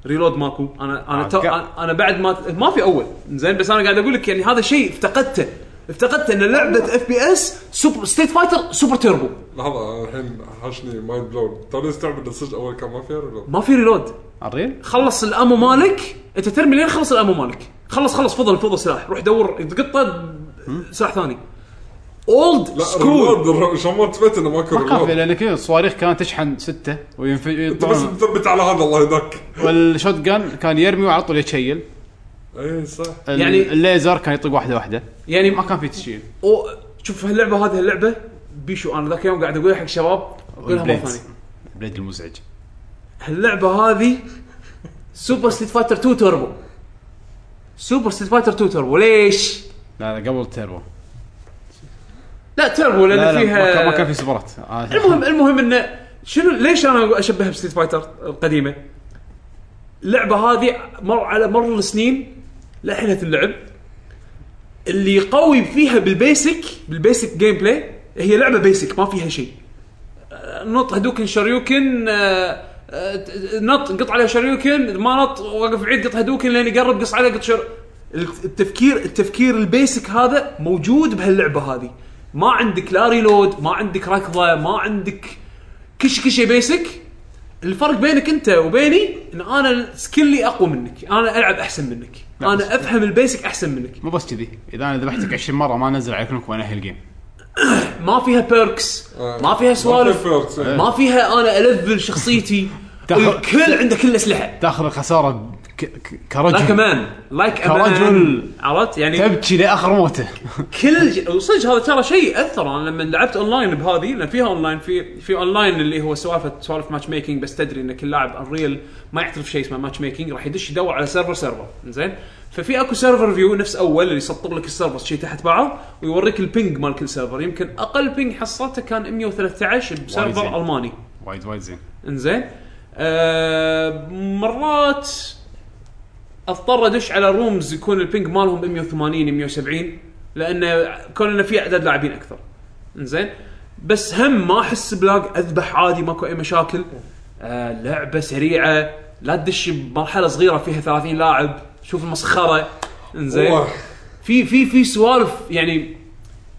S3: ريلود ماكو انا انا
S1: آه،
S3: تو...
S1: ك-
S3: أنا- انا بعد ما ما في اول زين بس انا قاعد اقول لك يعني هذا شيء افتقدته افتقدته ان لعبه اف بي اس سوبر ستيت فايتر سوبر تيربو
S2: لحظه الحين حاشني مايند بلون توني استوعب انه صدق اول كان ما فيها ولا
S3: ما في ريلود
S1: اريل
S3: خلص الامو مالك انت ترمي لين خلص الامو مالك خلص خلص فضل فضل سلاح روح دور تقطه سلاح ثاني اولد
S2: لا
S3: سكول
S2: ريلود شلون ما انتبهت انه ماكو
S1: ما كان في
S2: ريلود
S1: لان كذا الصواريخ كانت تشحن سته وينفجر
S2: انت بس مثبت على هذا الله يهداك
S1: والشوت جان كان يرمي وعلى طول يتشيل
S2: اي إيه، صح
S1: ال-
S3: يعني-
S1: الليزر كان يطق واحده واحده
S3: يعني
S1: ما كان في تشيل
S3: أو شوف هاللعبه هذه اللعبه بيشو انا ذاك اليوم قاعد اقول حق شباب اقولها مره
S1: والبليدز.
S3: ثانيه
S1: البليد المزعج
S3: هاللعبه هذه سوبر ستيت فايتر 2 توربو سوبر ستيت فايتر 2 توربو ليش؟
S1: لا لا قبل تيربو
S3: لا توربو لان
S1: لا لا ما
S3: فيها
S1: كان- ما كان في سبرات آه،
S3: المهم المهم انه شنو ليش انا اشبهها بستيت فايتر القديمه؟ اللعبه هذه مر على مر السنين لحنت اللعب اللي قوي فيها بالبيسك بالبيسك جيم بلاي هي لعبه بيسك ما فيها شيء آه، نط هدوكن شريوكن آه، آه، ت- ت- نط قط على شريوكن ما نط وقف بعيد قط هدوكن لين يقرب قص عليه قط شر التفكير التفكير البيسك هذا موجود بهاللعبه هذه ما عندك لا ريلود ما عندك ركضه ما عندك كل شيء كل شيء بيسك الفرق بينك انت وبيني ان انا سكلي اقوى منك انا العب احسن منك
S1: لا، بس-
S3: انا افهم البيسك احسن منك
S1: مو بس كذي اذا انا ذبحتك 20 مره ما انزل على كلكم وانهي الجيم
S3: ما فيها بيركس آه. ما فيها سوالف إيه،
S2: فيرتس.
S3: ما فيها انا الفل شخصيتي الكل عنده كل الاسلحه
S1: تاخذ الخساره ك- ك- كرجل
S3: لايك امان لايك
S1: كرجل.
S3: امان عرفت يعني
S1: تبكي لاخر موته
S3: كل ج- وصدق هذا ترى شيء اثر انا لما لعبت اونلاين بهذه لان فيها اونلاين في في اونلاين اللي هو سوالف سوالف ماتش ميكنج بس تدري ان كل لاعب انريل ما يعترف شيء اسمه ماتش ميكنج راح يدش يدور على سيرفر سيرفر زين ففي اكو سيرفر فيو نفس اول اللي يسطب لك السيرفر شيء تحت بعض ويوريك البينج مال كل سيرفر يمكن اقل بينج حصلته كان 113
S1: زين.
S3: بسيرفر الماني
S1: وايد وايد زين
S3: انزين آه مرات اضطر ادش على رومز يكون البينج مالهم 180 170 لان كون انه في اعداد لاعبين اكثر انزين بس هم ما احس بلاق اذبح عادي ماكو اي مشاكل آه لعبه سريعه لا تدش بمرحله صغيره فيها 30 لاعب شوف المسخره انزين
S2: والله.
S3: في في في سوالف يعني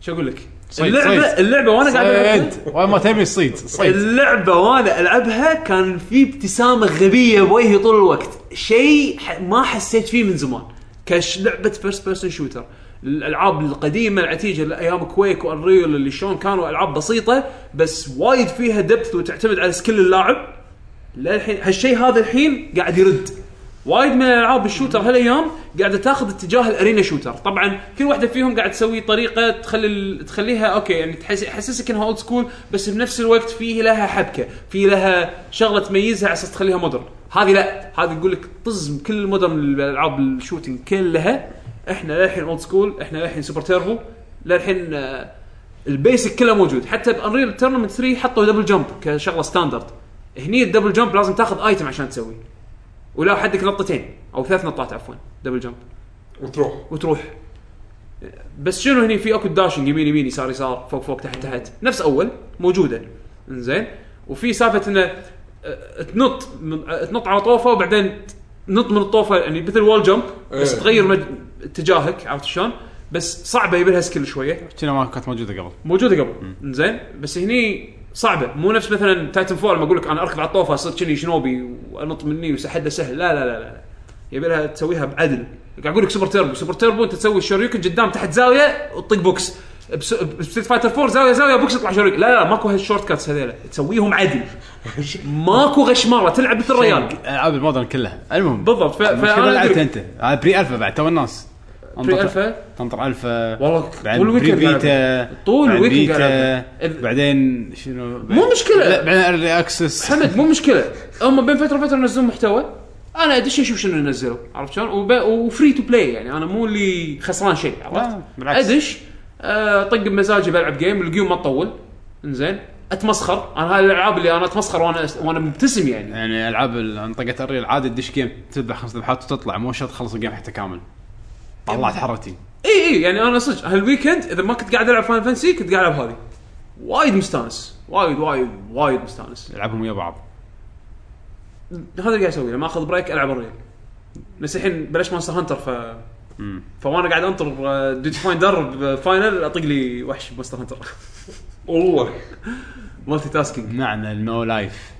S3: شو اقول لك
S1: صيد،
S3: اللعبه
S1: صيد.
S3: اللعبه وانا قاعد ألعبها-
S1: صيد وين ما إيه، تبي صيد صيد
S3: اللعبه وانا العبها كان في ابتسامه غبيه بوجهي طول الوقت شيء ح- ما حسيت فيه من زمان كش لعبه فيرست بيرسون شوتر الالعاب القديمه العتيجه اللي ايام كويك وانريل اللي شلون كانوا العاب بسيطه بس وايد فيها دبث وتعتمد على سكيل اللاعب للحين هالشيء هذا الحين قاعد يرد وايد من العاب الشوتر هالايام قاعده تاخذ اتجاه الارينا شوتر طبعا كل واحده فيهم قاعد تسوي طريقه تخلي ال- تخليها اوكي يعني تحس- تحسسك انها اولد سكول بس بنفس الوقت فيه لها حبكه في لها شغله تميزها على اساس تخليها مودرن هذه لا هذه يقول لك طز كل المودرن الالعاب الشوتنج كلها احنا للحين اولد سكول احنا للحين سوبر تيربو للحين آه، البيسك كله موجود حتى بانريل تورنمنت 3 حطوا دبل جمب كشغله ستاندرد هني الدبل جمب لازم تاخذ ايتم عشان تسوي ولا حدك نطتين او ثلاث نطات عفوا دبل جمب
S2: وتروح
S3: وتروح بس شنو هني في اكو داشنج يمين يمين يسار يسار فوق فوق تحت تحت نفس اول موجوده انزين وفي سالفه انه آه، تنط من آه، تنط على طوفه وبعدين تنط من الطوفه يعني مثل وول جمب بس
S2: إيه.
S3: تغير مج... اتجاهك عرفت شلون؟ بس صعبه يبي لها سكيل شويه
S1: كنا ما كانت موجوده قبل
S3: موجوده قبل زين بس هني صعبه مو نفس مثلا تايتن فول ما اقول لك انا اركب على الطوفه اصير كني شنوبي وانط مني وسحده سهل لا لا لا لا يبي لها تسويها بعدل قاعد اقول لك سوبر تيربو سوبر تيربو انت تسوي الشوريوكن قدام تحت زاويه وتطق بوكس بس- بستريت فايتر 4 زاويه زاويه بوكس يطلع شوريوكن لا لا ماكو هالشورت كاتس هذيلا تسويهم عدل ماكو غشمره تلعب مثل الريال
S1: العاب المودرن كلها المهم
S3: بالضبط، ف-
S1: المشكلة
S3: فأنا
S1: لعبت
S3: أدري.
S1: انت هذا بري الفا بعد تو الناس
S3: بري ألفا؟
S1: تنطر الفا
S3: والله
S1: بعد
S3: طول
S1: بري
S3: الويكند
S1: بيتا
S3: ألعبها. طول
S1: بعد
S3: الويكند
S1: بيتا،
S3: ألعبها. إذ-
S1: بعدين شنو
S3: مو مشكلة.
S1: لا بعدين ايرلي اكسس
S3: حمد مو مشكله هم بين فتره وفتره ينزلون محتوى انا ادش اشوف شنو ينزلوا عرفت شلون وب... وفري تو بلاي يعني انا مو اللي خسران شيء عرفت
S1: لا، بالعكس.
S3: ادش آه، طق بمزاجي بلعب جيم الجيم ما تطول انزين اتمسخر انا هاي الالعاب اللي انا اتمسخر وانا وانا مبتسم يعني
S1: يعني العاب منطقه الريل عادي تدش جيم تذبح خمس ذبحات وتطلع مو شرط تخلص الجيم حتى كامل طلعت حرتي
S3: اي اي يعني انا صدق هالويكند اذا ما كنت قاعد العب فان فانسي كنت قاعد العب هذه وايد مستانس وايد وايد وايد مستانس
S1: العبهم ويا بعض
S3: هذا اللي قاعد اسويه لما اخذ بريك العب الريل بس الحين بلش مونستر هانتر ف فوانا قاعد انطر آه، ديج فايندر بفاينل اطق آه، لي وحش بمونستر هانتر
S2: والله
S3: مالتي تاسكينج
S1: معنى النو لايف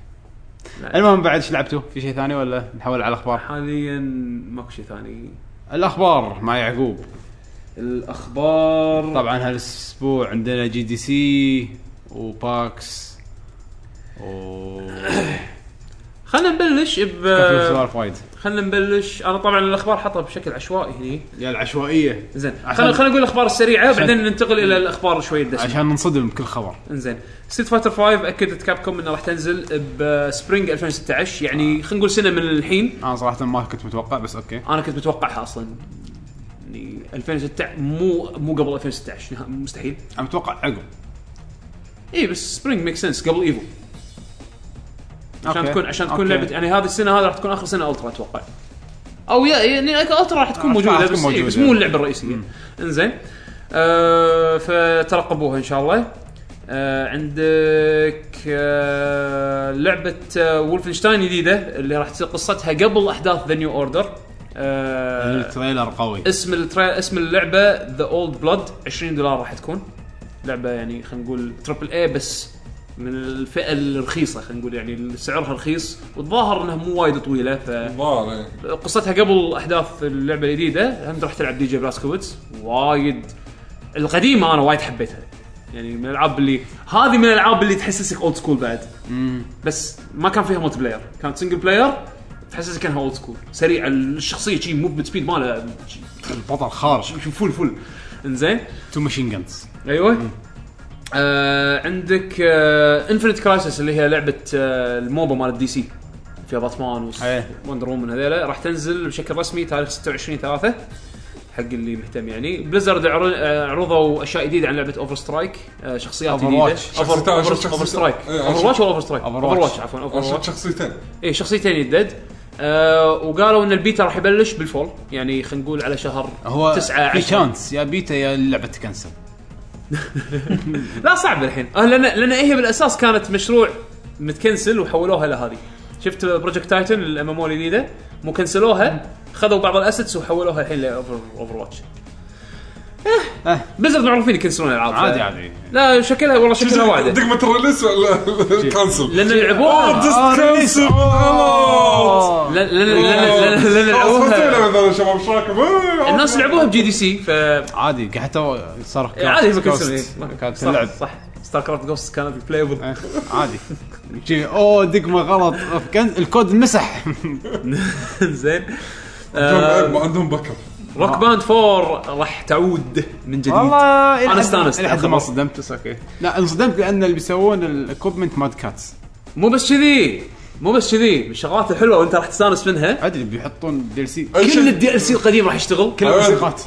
S3: لا.
S1: المهم بعد ايش لعبتوا؟ في شيء ثاني ولا نحول على الاخبار؟
S3: حاليا ماكو شيء ثاني
S1: الاخبار مع يعقوب
S3: الاخبار
S1: طبعا هالاسبوع عندنا جي دي سي وباكس و
S3: خلينا نبلش
S1: كان في
S3: ب
S1: سوالف وايد
S3: خلينا نبلش انا طبعا الاخبار حاطها بشكل عشوائي هني
S1: يا العشوائيه
S3: زين
S1: عشان-
S3: خلينا خلينا نقول الاخبار السريعه
S1: عشان-
S3: بعدين ننتقل الى الاخبار شوي الدسمه
S1: عشان ننصدم بكل خبر
S3: انزين ستيت فايتر 5 اكدت كاب كوم انها راح تنزل بسبرينج 2016 يعني خلينا نقول سنه من الحين
S1: انا صراحه ما كنت متوقع بس اوكي
S3: انا كنت متوقعها اصلا يعني 2016 مو مو قبل 2016 نها- مستحيل
S1: انا متوقع عقب
S3: اي بس سبرينج ميك سنس قبل ايفو عشان
S1: أوكي.
S3: تكون عشان تكون
S1: أوكي.
S3: لعبه يعني هذه السنه هذه راح تكون اخر سنه الترا اتوقع او يا يعني الترا راح تكون
S1: آه، راح
S3: موجوده
S1: تكون
S3: بس موجودة.
S1: موجودة.
S3: بس مو اللعبه الرئيسيه انزين آه فترقبوها ان شاء الله آه عندك آه لعبه آه وولفنشتاين جديده اللي راح تصير قصتها قبل احداث ذا نيو اوردر آه،
S1: التريلر قوي
S3: اسم الترا... اسم اللعبه ذا اولد بلاد 20 دولار راح تكون لعبه يعني خلينا نقول تربل اي بس من الفئه الرخيصه خلينا نقول يعني سعرها رخيص والظاهر انها مو وايد طويله ف
S2: الظاهر إيه.
S3: قصتها قبل احداث اللعبه الجديده هم راح تلعب دي جي بلاسكويتس وايد القديمه انا وايد حبيتها يعني من الالعاب اللي هذه من الالعاب اللي تحسسك اولد سكول بعد بس ما كان فيها ملتي بلاير كانت سنجل بلاير تحسسك انها اولد سكول سريع الشخصيه شي موفمنت سبيد ماله شي
S1: البطل خارج
S3: شوف فل فل انزين
S1: تو ماشين جنز
S3: ايوه آه عندك آه انفنت كرايسس اللي هي لعبه آه الموبا مال الدي سي فيها باتمان
S1: أيه.
S3: وندر وومن هذيلا راح تنزل بشكل رسمي تاريخ 26 3 حق اللي مهتم يعني بليزرد عر- آه، عرضوا اشياء جديده عن لعبه اوفر سترايك آه شخصيات
S1: Overwatch.
S3: جديده
S2: شخصيات- شخصيات-
S3: اوفر سترايك
S2: إيه،
S3: اوفر واتش ولا اوفر سترايك اوفر
S1: Overwatch.
S3: واتش عفوا اوفر
S2: أنا
S3: واتش
S2: شفت شخصيتين
S3: اي إيه، شخصيتين يدد آه وقالوا ان البيتا راح يبلش بالفول يعني خلينا نقول على شهر
S1: هو
S3: تسعة
S1: في
S3: عشرة.
S1: شانس يا بيتا يا اللعبه تكنسل
S3: لا صعب الحين آه لان لان هي بالاساس كانت مشروع متكنسل وحولوها لهذه شفت بروجكت تايتن الام ام او الجديده مو كنسلوها خذوا بعض الاسيتس وحولوها الحين لاوفر اوفر واتش
S1: آه.
S3: بليزرد معروفين يكنسلون العاب ف-
S1: عادي عادي
S3: لا شكلها والله شكلها واعده
S2: دقمة الريليس ولا كانسل؟
S3: لان لعبوها
S2: جست كانسل
S3: لأن- لان لان لأن- لان لعبوها
S2: مثلا شباب ايش رايكم؟ آه،
S3: الناس لعبوها بجي دي سي ف يعني
S1: عادي قاعد حتى صار
S3: عادي هم
S1: Ghost.
S3: يكنسلون إيه.
S1: كانت
S3: صح
S1: تلعب
S3: صح ستار كرافت جوست كانت بلايبل
S1: إيه، عادي شي، اوه دقمه غلط كان الكود مسح
S3: زين آه،
S2: عندهم- ما عندهم باك اب
S3: روك باند 4 راح تعود من جديد
S1: والله إلى
S3: أنا
S1: حد-
S3: استانست.
S1: إلى حد ما صدمت بس اوكي لا انصدمت لان اللي بيسوون الاكوبمنت ماد كاتس
S3: مو بس كذي مو بس كذي من الشغلات الحلوه وانت راح تستانس منها
S1: ادري بيحطون دي ال سي
S2: أي شيء.
S3: كل الدي ال سي القديم راح يشتغل
S1: كل
S2: أيوة.
S1: الموسيقات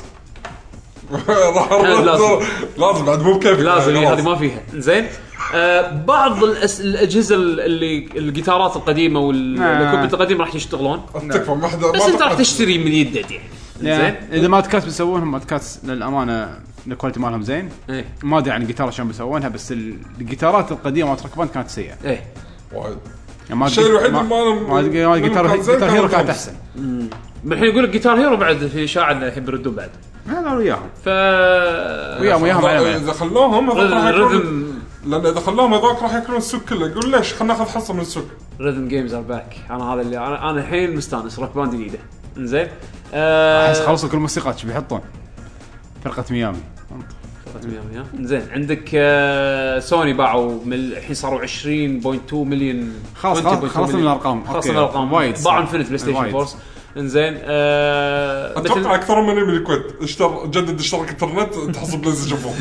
S2: راح
S3: هذا لازم.
S2: لازم بعد مو بكيفك
S3: لازم
S2: يعني
S3: إيه،
S2: خلاص.
S3: هذه ما فيها زين آه بعض الأس... الاجهزه اللي الجيتارات القديمه
S1: نعم.
S3: والاكوبمنت القديم راح يشتغلون
S2: تكفى ما حدا
S3: بس
S2: ما
S3: انت راح
S2: تحتاج.
S3: تشتري من يدك يعني زين
S1: يعني اذا مادكات بيسوونهم مادكات للامانه الكواليتي مالهم زين
S3: ايه
S1: ما ادري عن الجيتار شلون بيسوونها بس ال- الجيتارات القديمه مالت ركبان كانت سيئه
S3: ايه
S2: وايد
S1: يعني ما
S2: الشيء
S1: أدري-
S2: الوحيد
S1: ما-
S2: اللي ما-
S1: ما أدري- ما أدري- جيتار
S2: كان زين
S1: جيتار هيرو
S2: كان
S1: كانت
S2: خمس.
S1: احسن
S3: الحين يقول لك جيتار هيرو بعد في اشاعه انه يحب يردون بعد
S1: انا وياهم
S3: ف
S1: وياهم وياهم
S2: إذا-
S1: على بعض.
S2: اذا خلوهم هذاك راح يكون
S3: ريذم
S2: لان اذا خلوهم هذاك راح ياكلون السوق كله يقول ليش خلينا ناخذ حصه من السوق
S3: ريذم جيمز ار باك انا هذا اللي انا انا الحين مستانس روك باند جديده انزين آه،
S1: احس خلصوا كل موسيقى شو بيحطون فرقه ميامي
S3: زين عندك آه، سوني باعوا من الحين صاروا 20.2 مليون
S1: خلاص،
S3: 20.2
S1: خلاص، خلصنا
S3: مليون.
S1: الأرقام.
S3: خلصنا
S1: أوكي.
S3: الارقام
S1: وايد
S3: باعوا
S1: صار.
S3: انفنت بلاي ستيشن
S1: وايد.
S3: فورس انزين آه،
S2: اتوقع
S3: مثل
S2: اكثر من من الكويت اشتر جدد اشتراك انترنت تحصل بلاي ستيشن فوق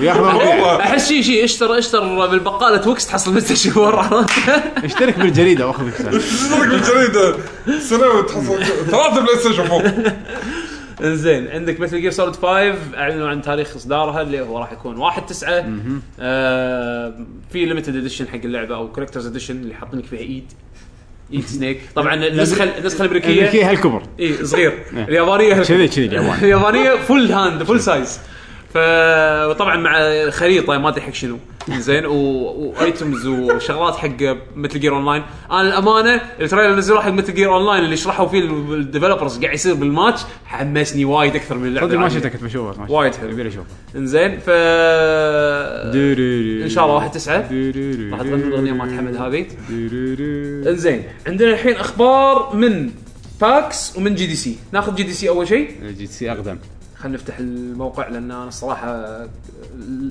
S1: ياخذون
S2: والله
S3: احس شيء شيء اشتر اشتر بالبقاله وكس تحصل بلاي ستيشن 4 عرفت؟
S1: اشترك بالجريده واخذ يكسر.
S2: اشترك بالجريده سنه وتحصل ثلاثه بلاي ستيشن فوق
S3: انزين عندك مثل جير سوليد 5 اعلنوا عن تاريخ اصدارها اللي هو راح يكون 1 9 آه في ليمتد اديشن حق اللعبه او كولكترز اديشن اللي حاطين لك فيها ايد ايد سنيك طبعا النسخه النسخه الامريكيه
S1: امريكيه هالكبر
S3: اي صغير
S1: إيه.
S3: اليابانيه
S1: كذي- كذي اليابان.
S3: اليابانيه فول هاند فول سايز فطبعا مع خريطه ما ادري حق شنو زين وايتمز وشغلات حق مثل جير اون لاين انا الامانه التريلر اللي نزلوه حق مثل جير اون لاين اللي شرحوا فيه الديفلوبرز قاعد يصير بالماتش حمسني وايد اكثر من اللعبه
S1: صدق ما
S3: العادية.
S1: شفته كنت بشوفه ما شفته.
S3: وايد حلو.
S1: يبي اشوفه
S3: انزين ف ان شاء الله 1 9 راح تغني الاغنيه مالت حمد هذه انزين عندنا الحين اخبار من باكس ومن جي دي سي ناخذ جي دي سي اول شيء
S1: جي سي اقدم
S3: خلينا نفتح الموقع لان انا الصراحه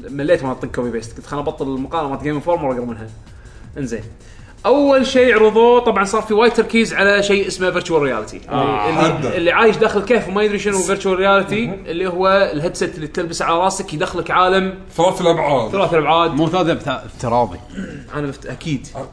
S3: مليت ما اطق كوبي بيست قلت خليني ابطل المقاله مالت جيم انفورمر واقرا منها انزين اول شيء عرضوه طبعا صار في وايد تركيز على شيء اسمه فيرتشوال رياليتي
S2: آه،
S3: اللي,
S2: حدا.
S3: اللي عايش داخل كهف وما يدري شنو فيرتشوال رياليتي اللي هو الهيدسيت اللي تلبسه على راسك يدخلك عالم
S2: ثلاث الابعاد
S3: ثلاث ابعاد
S1: مو ثالث افتراضي
S3: انا مفت... اكيد
S2: أه.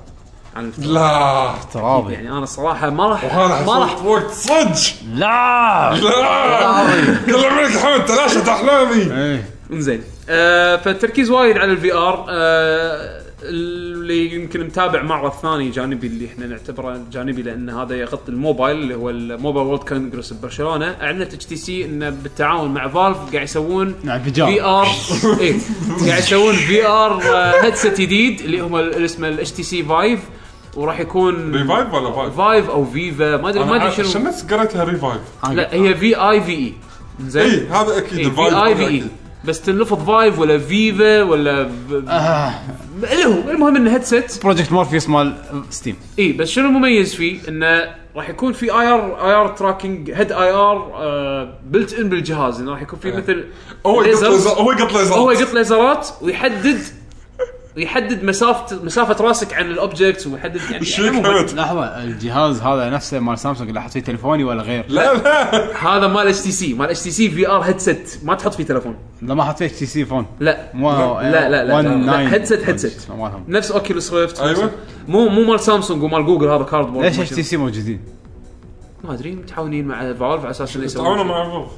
S3: انا مفت...
S2: لا
S1: افتراضي
S3: يعني انا الصراحه ما راح
S2: وهذا
S3: ما راح
S2: حصلت وقت صدق
S1: لا
S2: لا كل عمرك حمد تلاشت احلامي
S1: ايه
S3: انزين آه فالتركيز وايد على الفي ار آه اللي يمكن متابع معرض ثاني جانبي اللي احنا نعتبره جانبي لان هذا يغطي الموبايل اللي هو الموبايل وورلد كونجرس ببرشلونه اعلنت اتش تي سي انه بالتعاون مع فالف قاعد يسوون
S1: مع انفجار.
S3: في ار ايه قاعد يسوون في ار هيدسيت جديد اللي هم اللي اسمه الاتش تي سي فايف وراح يكون
S2: ريفايف ولا فايف؟
S3: فايف او فيفا ما ادري ما ادري
S2: أنا عشان
S3: شنو
S2: نفس قريتها ريفايف
S3: لا هي في اي في اي
S2: اي إيه، هذا اكيد
S3: في اي في اي
S2: أكيد.
S3: E. بس تنلفظ فايف ولا فيفا ولا ب-
S2: آه.
S3: اللي هو المهم انه هيدسيت
S1: بروجكت مورفيوس مال ستيم
S3: اي بس شنو المميز فيه؟ انه راح يكون في اي ار اي ار تراكنج هيد اي ار بلت ان آه، بالجهاز انه راح يكون في مثل
S2: آه. هو يقط
S3: ليزرز.
S2: ليزر هو يقط ليزر
S3: هو يقط ليزرات ويحدد ويحدد مسافه مسافه راسك عن الاوبجكتس ويحدد يعني
S2: ايش فيك
S3: عموماً
S2: حمد؟
S1: لحظه الجهاز هذا نفسه مال سامسونج اللي احط فيه تليفوني ولا غير
S2: لا لا
S3: هذا مال اتش تي سي مال اتش تي سي في ار هيدسيت ما تحط فيه تليفون
S1: لا ما احط فيه اتش تي سي فون
S3: لا
S1: مو
S3: لا لا لا, لا, لا. هيدسيت هيدسيت
S1: مالهم
S3: نفس اوكيولوس ريفت
S2: أيوة.
S3: مو مو مال سامسونج ومال جوجل هذا كارد بورد
S1: ليش اتش تي سي موجودين؟
S3: ما ادري متعاونين مع فالف على اساس انه
S2: تعاونوا
S3: يسوون
S2: مع فوف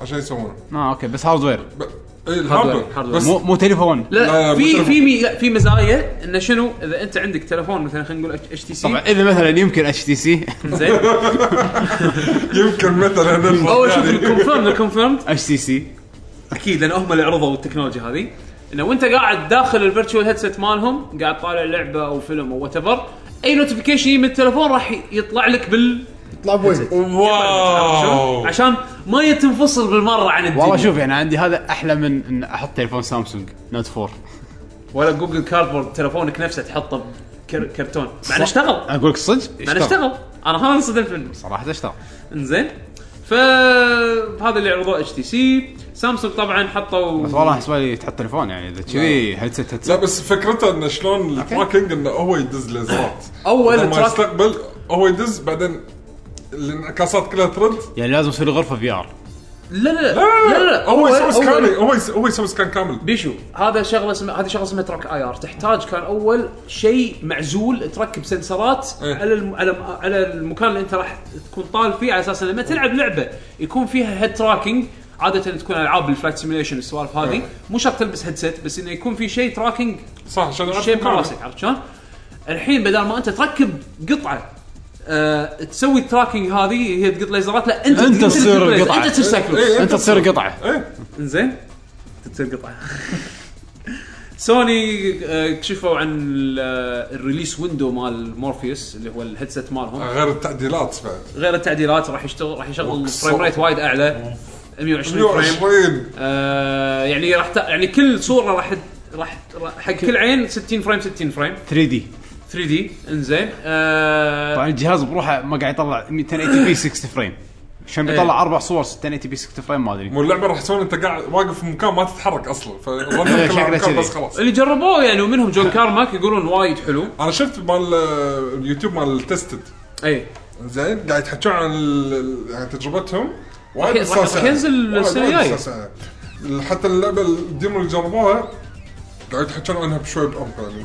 S2: عشان يسوونه
S1: اه اوكي بس هاردوير
S2: ب- اي الهاردوير
S3: هاردوير.
S2: بس
S1: مو مو تليفون
S3: لا,
S2: لا،
S3: لا في
S2: مشرفة.
S3: في مي لا في مزايا انه شنو اذا انت عندك تليفون مثلا خلينا نقول اتش تي
S1: طبعا
S3: سي
S1: اذا مثلا يمكن اتش تي سي
S3: زين
S2: يمكن مثلا هذا
S3: اول شوف
S2: الفرق يعني.
S3: الكونفيرم الكونفيرم
S1: اتش تي سي
S3: اكيد لان هم اللي عرضوا التكنولوجيا هذه انه وانت قاعد داخل الفيرتشوال هيدسيت مالهم قاعد طالع لعبه او فيلم او وات ايفر اي نوتيفيكيشن من التليفون راح يطلع لك بال
S4: يطلع بوينت
S2: واو
S3: عشان ما تنفصل بالمره عن الدنيا
S1: والله شوف يعني عندي هذا احلى من ان احط تليفون سامسونج نوت 4
S3: ولا جوجل كاردبورد تلفونك نفسه تحطه بكر- كرتون مع انه اشتغل
S1: اقول لك صدق
S3: مع انه اشتغل انا هذا انصدمت منه
S1: صراحه اشتغل
S3: انزين فهذا اللي عرضوه اتش تي سي سامسونج طبعا حطوا
S1: بس والله احس بالي تحط تليفون يعني اذا كذي هيدسيت
S2: لا
S1: هيدسيت
S2: بس فكرته انه شلون التراكنج انه هو يدز ليزرات
S3: اول
S2: لما
S3: آه. تراك
S2: يستقبل هو يدز بعدين الانعكاسات كلها ترد
S1: يعني لازم يصير غرفه في ار
S3: لا لا لا
S2: إيه،
S3: لا لا
S2: هو يسوي سكان
S3: أول-
S2: هو يس- هو يسوي سكان كامل
S3: بيشو هذا شغله اسمها هذه شغله اسمها تراك اي ار تحتاج كان اول شيء معزول تركب سنسرات
S2: إيه.
S3: على الم... على على المكان اللي انت راح تكون طال فيه على اساس لما تلعب لعبه يكون فيها هيد تراكنج عاده تكون العاب الفلايت سيميوليشن السوالف هذه مو شرط تلبس هيدسيت بس انه يكون في شيء تراكنج
S2: صح عشان يعرف
S3: شيء
S2: مكانه.
S3: براسك عرفت شلون؟ الحين بدل ما انت تركب قطعه آه، تسوي التراكنج هذه هي تقط ليزرات لا انت
S1: أنت
S3: اللي
S1: تصير
S3: تقط ليزر،
S1: القطعة.
S3: انت تصير سايكلوبس
S2: إيه.
S1: انت تصير قطعه
S2: ايه
S3: زين تصير قطعه سوني آه، كشفوا عن ال- آه، الريليس ويندو مال مورفيوس اللي هو الهيدسيت مالهم
S2: غير التعديلات بعد
S3: غير التعديلات راح يشتغل راح يشغل
S2: وكسر.
S3: فريم ريت وايد اعلى 120 فريم
S2: 120
S3: آه يعني راح ت... يعني كل صوره راح ت- راح راح- حق كل عين 60 فريم 60 فريم
S1: 3 دي
S3: 3 دي انزين آه
S1: طبعا الجهاز بروحه ما قاعد يطلع 280 بي 60 فريم عشان بيطلع اربع صور 280 بي 60 فريم ما ادري
S2: مو اللعبه راح تكون انت قاعد واقف في مكان ما تتحرك اصلا فالرمل كلها
S1: شكله
S2: مكان
S1: كذي.
S2: بس خلاص
S3: اللي جربوه يعني ومنهم جون كارماك يقولون وايد حلو
S2: انا شفت مال آه، اليوتيوب مال التستد
S3: اي
S2: زين قاعد يحكون عن ال- ال- عن تجربتهم
S3: راح- راح- راح ينزل
S2: وايد-
S3: السنة
S2: وايد
S3: الجاية.
S2: استساءة. حتى اللعبه الديمو اللي جربوها قاعد يحكون عنها بشوي بعمق يعني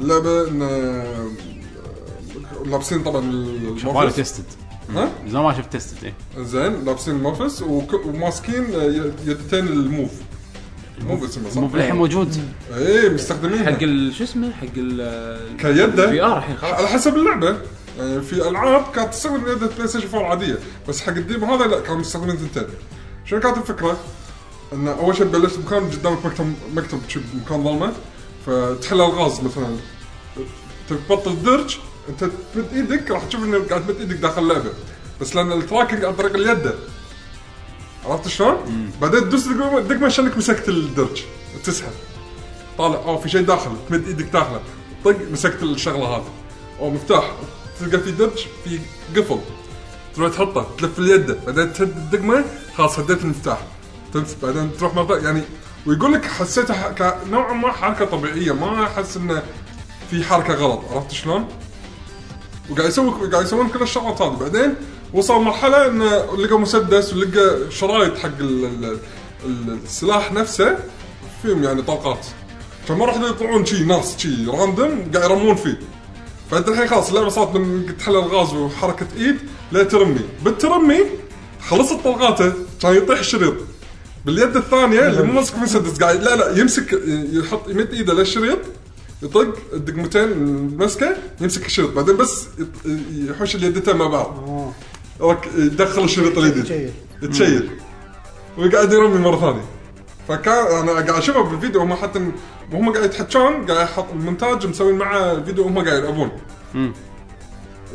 S2: اللعبه ان آه، لابسين طبعا
S1: شغاله
S2: المورفس
S1: تيستد
S2: ها
S1: زمان ما شفت تيستد ايه
S2: زين لابسين المورفس وك- وماسكين آه، يدتين الموف موف اسمه
S1: مو
S2: صح؟
S1: بالحين موجود
S2: ايه مستخدمين
S3: حق ال- شو اسمه حق ال في
S2: كيده
S3: ار الحين خلاص
S2: على حسب اللعبه يعني في العاب كانت تستخدم يد بلاي ستيشن 4 عاديه بس حق الديمو هذا لا كانوا مستخدمين ثنتين شنو كانت الفكره؟ ان اول شيء بلشت مكان قدامك مكتب مكتب شي مكان ظلمه فتحل الغاز مثلا تبطل الدرج انت تمد ايدك راح تشوف انك قاعد تمد ايدك داخل اللعبه بس لان التراكنج عن طريق اليد عرفت شلون؟ بعدين تدوس الدقمة- الدقمه شانك مسكت الدرج تسحب طالع اوه في شيء داخل تمد ايدك داخله طق مسكت الشغله هذه او مفتاح تلقى في درج في قفل تروح تحطه تلف اليد بعدين تهد الدقمه خلاص هديت المفتاح تمس بعدين تروح مره يعني ويقول لك حسيتها ح- كا- نوعا ما حركه طبيعيه ما احس انه في حركه غلط عرفت شلون؟ وقاعد يسوي قاعد يسوون كل الشغلات هذه بعدين وصل مرحله انه لقى مسدس ولقى شرايط حق ال- ال- ال- السلاح نفسه فيهم يعني طاقات فمره واحده يطلعون شي ناس شي راندوم قاعد يرمون فيه فانت الحين خلاص اللعبه صارت من تحل الغاز وحركه ايد لترمي بالترمي خلصت طلقاته كان يطيح الشريط باليد الثانيه اللي مو ماسك مسدس قاعد لا لا يمسك يحط يمد ايده للشريط يطق الدقمتين مسكه يمسك الشريط بعدين بس يط- يحوش اليدتين مع بعض
S4: آه.
S2: رك- يدخل الشريط الجديد
S4: يتشيل.
S2: يتشيل وقاعد يرمي مره ثانيه فكان انا قاعد اشوفه بالفيديو هم حتى وهم قاعد يتحكون قاعد يحط المونتاج مسوين معه فيديو وهم قاعد يلعبون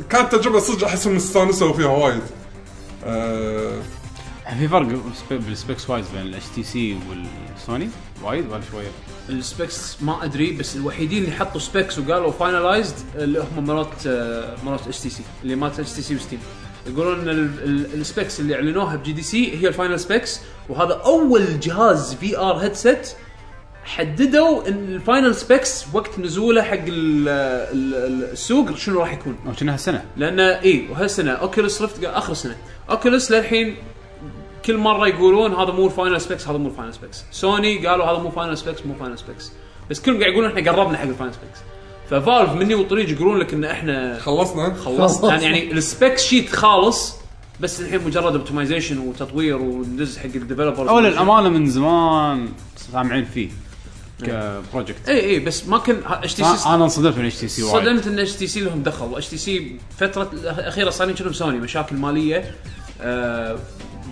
S2: كانت تجربه صدق احس انهم استانسوا فيها وايد آه،
S1: يعني في فرق بالسب- بالسبيكس وايز بين الاتش تي سي والسوني وايد ولا شويه؟
S3: السبيكس ما ادري بس الوحيدين اللي حطوا سبيكس وقالوا فاينلايزد اللي هم مرات آه، مرات اتش تي سي اللي مالت اتش تي سي وستيم يقولون ان ال- ال- السبيكس اللي اعلنوها بجي دي سي هي الفاينل سبيكس وهذا اول جهاز في ار هيدسيت حددوا ان الفاينل سبيكس وقت نزوله حق ال- ال- ال- السوق شنو راح يكون
S1: او كنا هالسنه
S3: لان اي وهالسنه اوكيوليس ريفت اخر سنه اوكيوليس للحين كل مره يقولون هذا مو الفاينل سبيكس هذا مو الفاينل سبيكس سوني قالوا هذا مو فاينل سبيكس مو فاينل سبيكس بس كلهم قاعد يقولون احنا قربنا حق الفاينل سبيكس ففالف مني وطريج يقولون لك ان احنا
S2: خلصنا
S3: خلصت يعني, يعني السبيك شيت خالص بس الحين مجرد اوبتمايزيشن وتطوير وندز حق الديفلوبرز
S1: او للامانه من زمان سامعين فيه إيه. كبروجكت
S3: اي اي إيه، بس ما كان اتش تي سي
S1: أنا- انا انصدمت من اتش تي سي وايد
S3: صدمت ان اتش تي سي لهم دخل واتش تي سي فتره الاخيره صارين شنو سوني مشاكل ماليه آه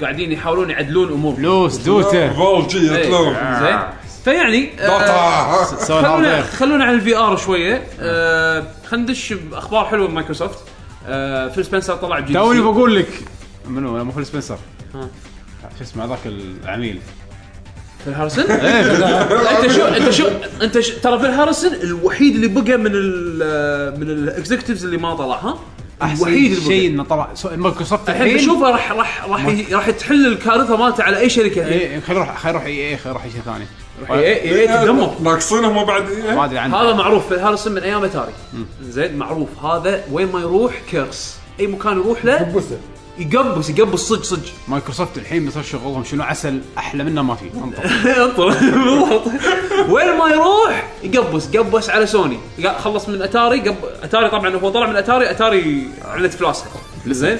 S3: قاعدين يحاولون يعدلون امور
S1: فلوس دوته
S2: فول جي
S3: إيه،
S2: يطلعون
S3: زين فيعني آه
S2: داتا
S1: سوي
S3: خلونا
S1: الهاردوير
S3: خلونا عن الفي ار شويه آه خلينا ندش باخبار حلوه من مايكروسوفت آه فيل سبنسر طلع جديد
S1: توني بقول لك منو مو فيل سبنسر
S3: ها.
S1: شو اسمه هذاك العميل
S3: فيل هارسون
S1: إيه،
S3: انت شو انت شو انت شو ترى فيل هارسون الوحيد اللي بقى من ال آه، من الاكزكتيفز اللي ما طلع ها الوحيد
S1: احسن
S3: اللي بقى.
S1: شيء انه طلع سو- مايكروسوفت
S3: الحين بشوفه راح راح راح ي- راح تحل الكارثه مالته على اي شركه الحين
S1: إيه، خلي يروح خلي يروح اي اي خلي يروح اي شيء ثاني
S3: اي
S2: إيه،
S3: اي تدمر
S2: ناقصينهم ما آه، بعد إيه؟
S1: ما ادري عنه
S3: هذا معروف في الهارسون من ايام اتاري زين معروف هذا وين ما يروح كرس اي مكان يروح له
S4: بوسه
S3: يقبس يقبس صدق صدق
S1: مايكروسوفت الحين بيصير شغلهم شنو عسل احلى منه ما في انطر
S3: انطر بالضبط وين ما يروح يقبس قبس على سوني قا- خلص من اتاري قب... اتاري طبعا هو طلع من اتاري اتاري علت فلاسها زين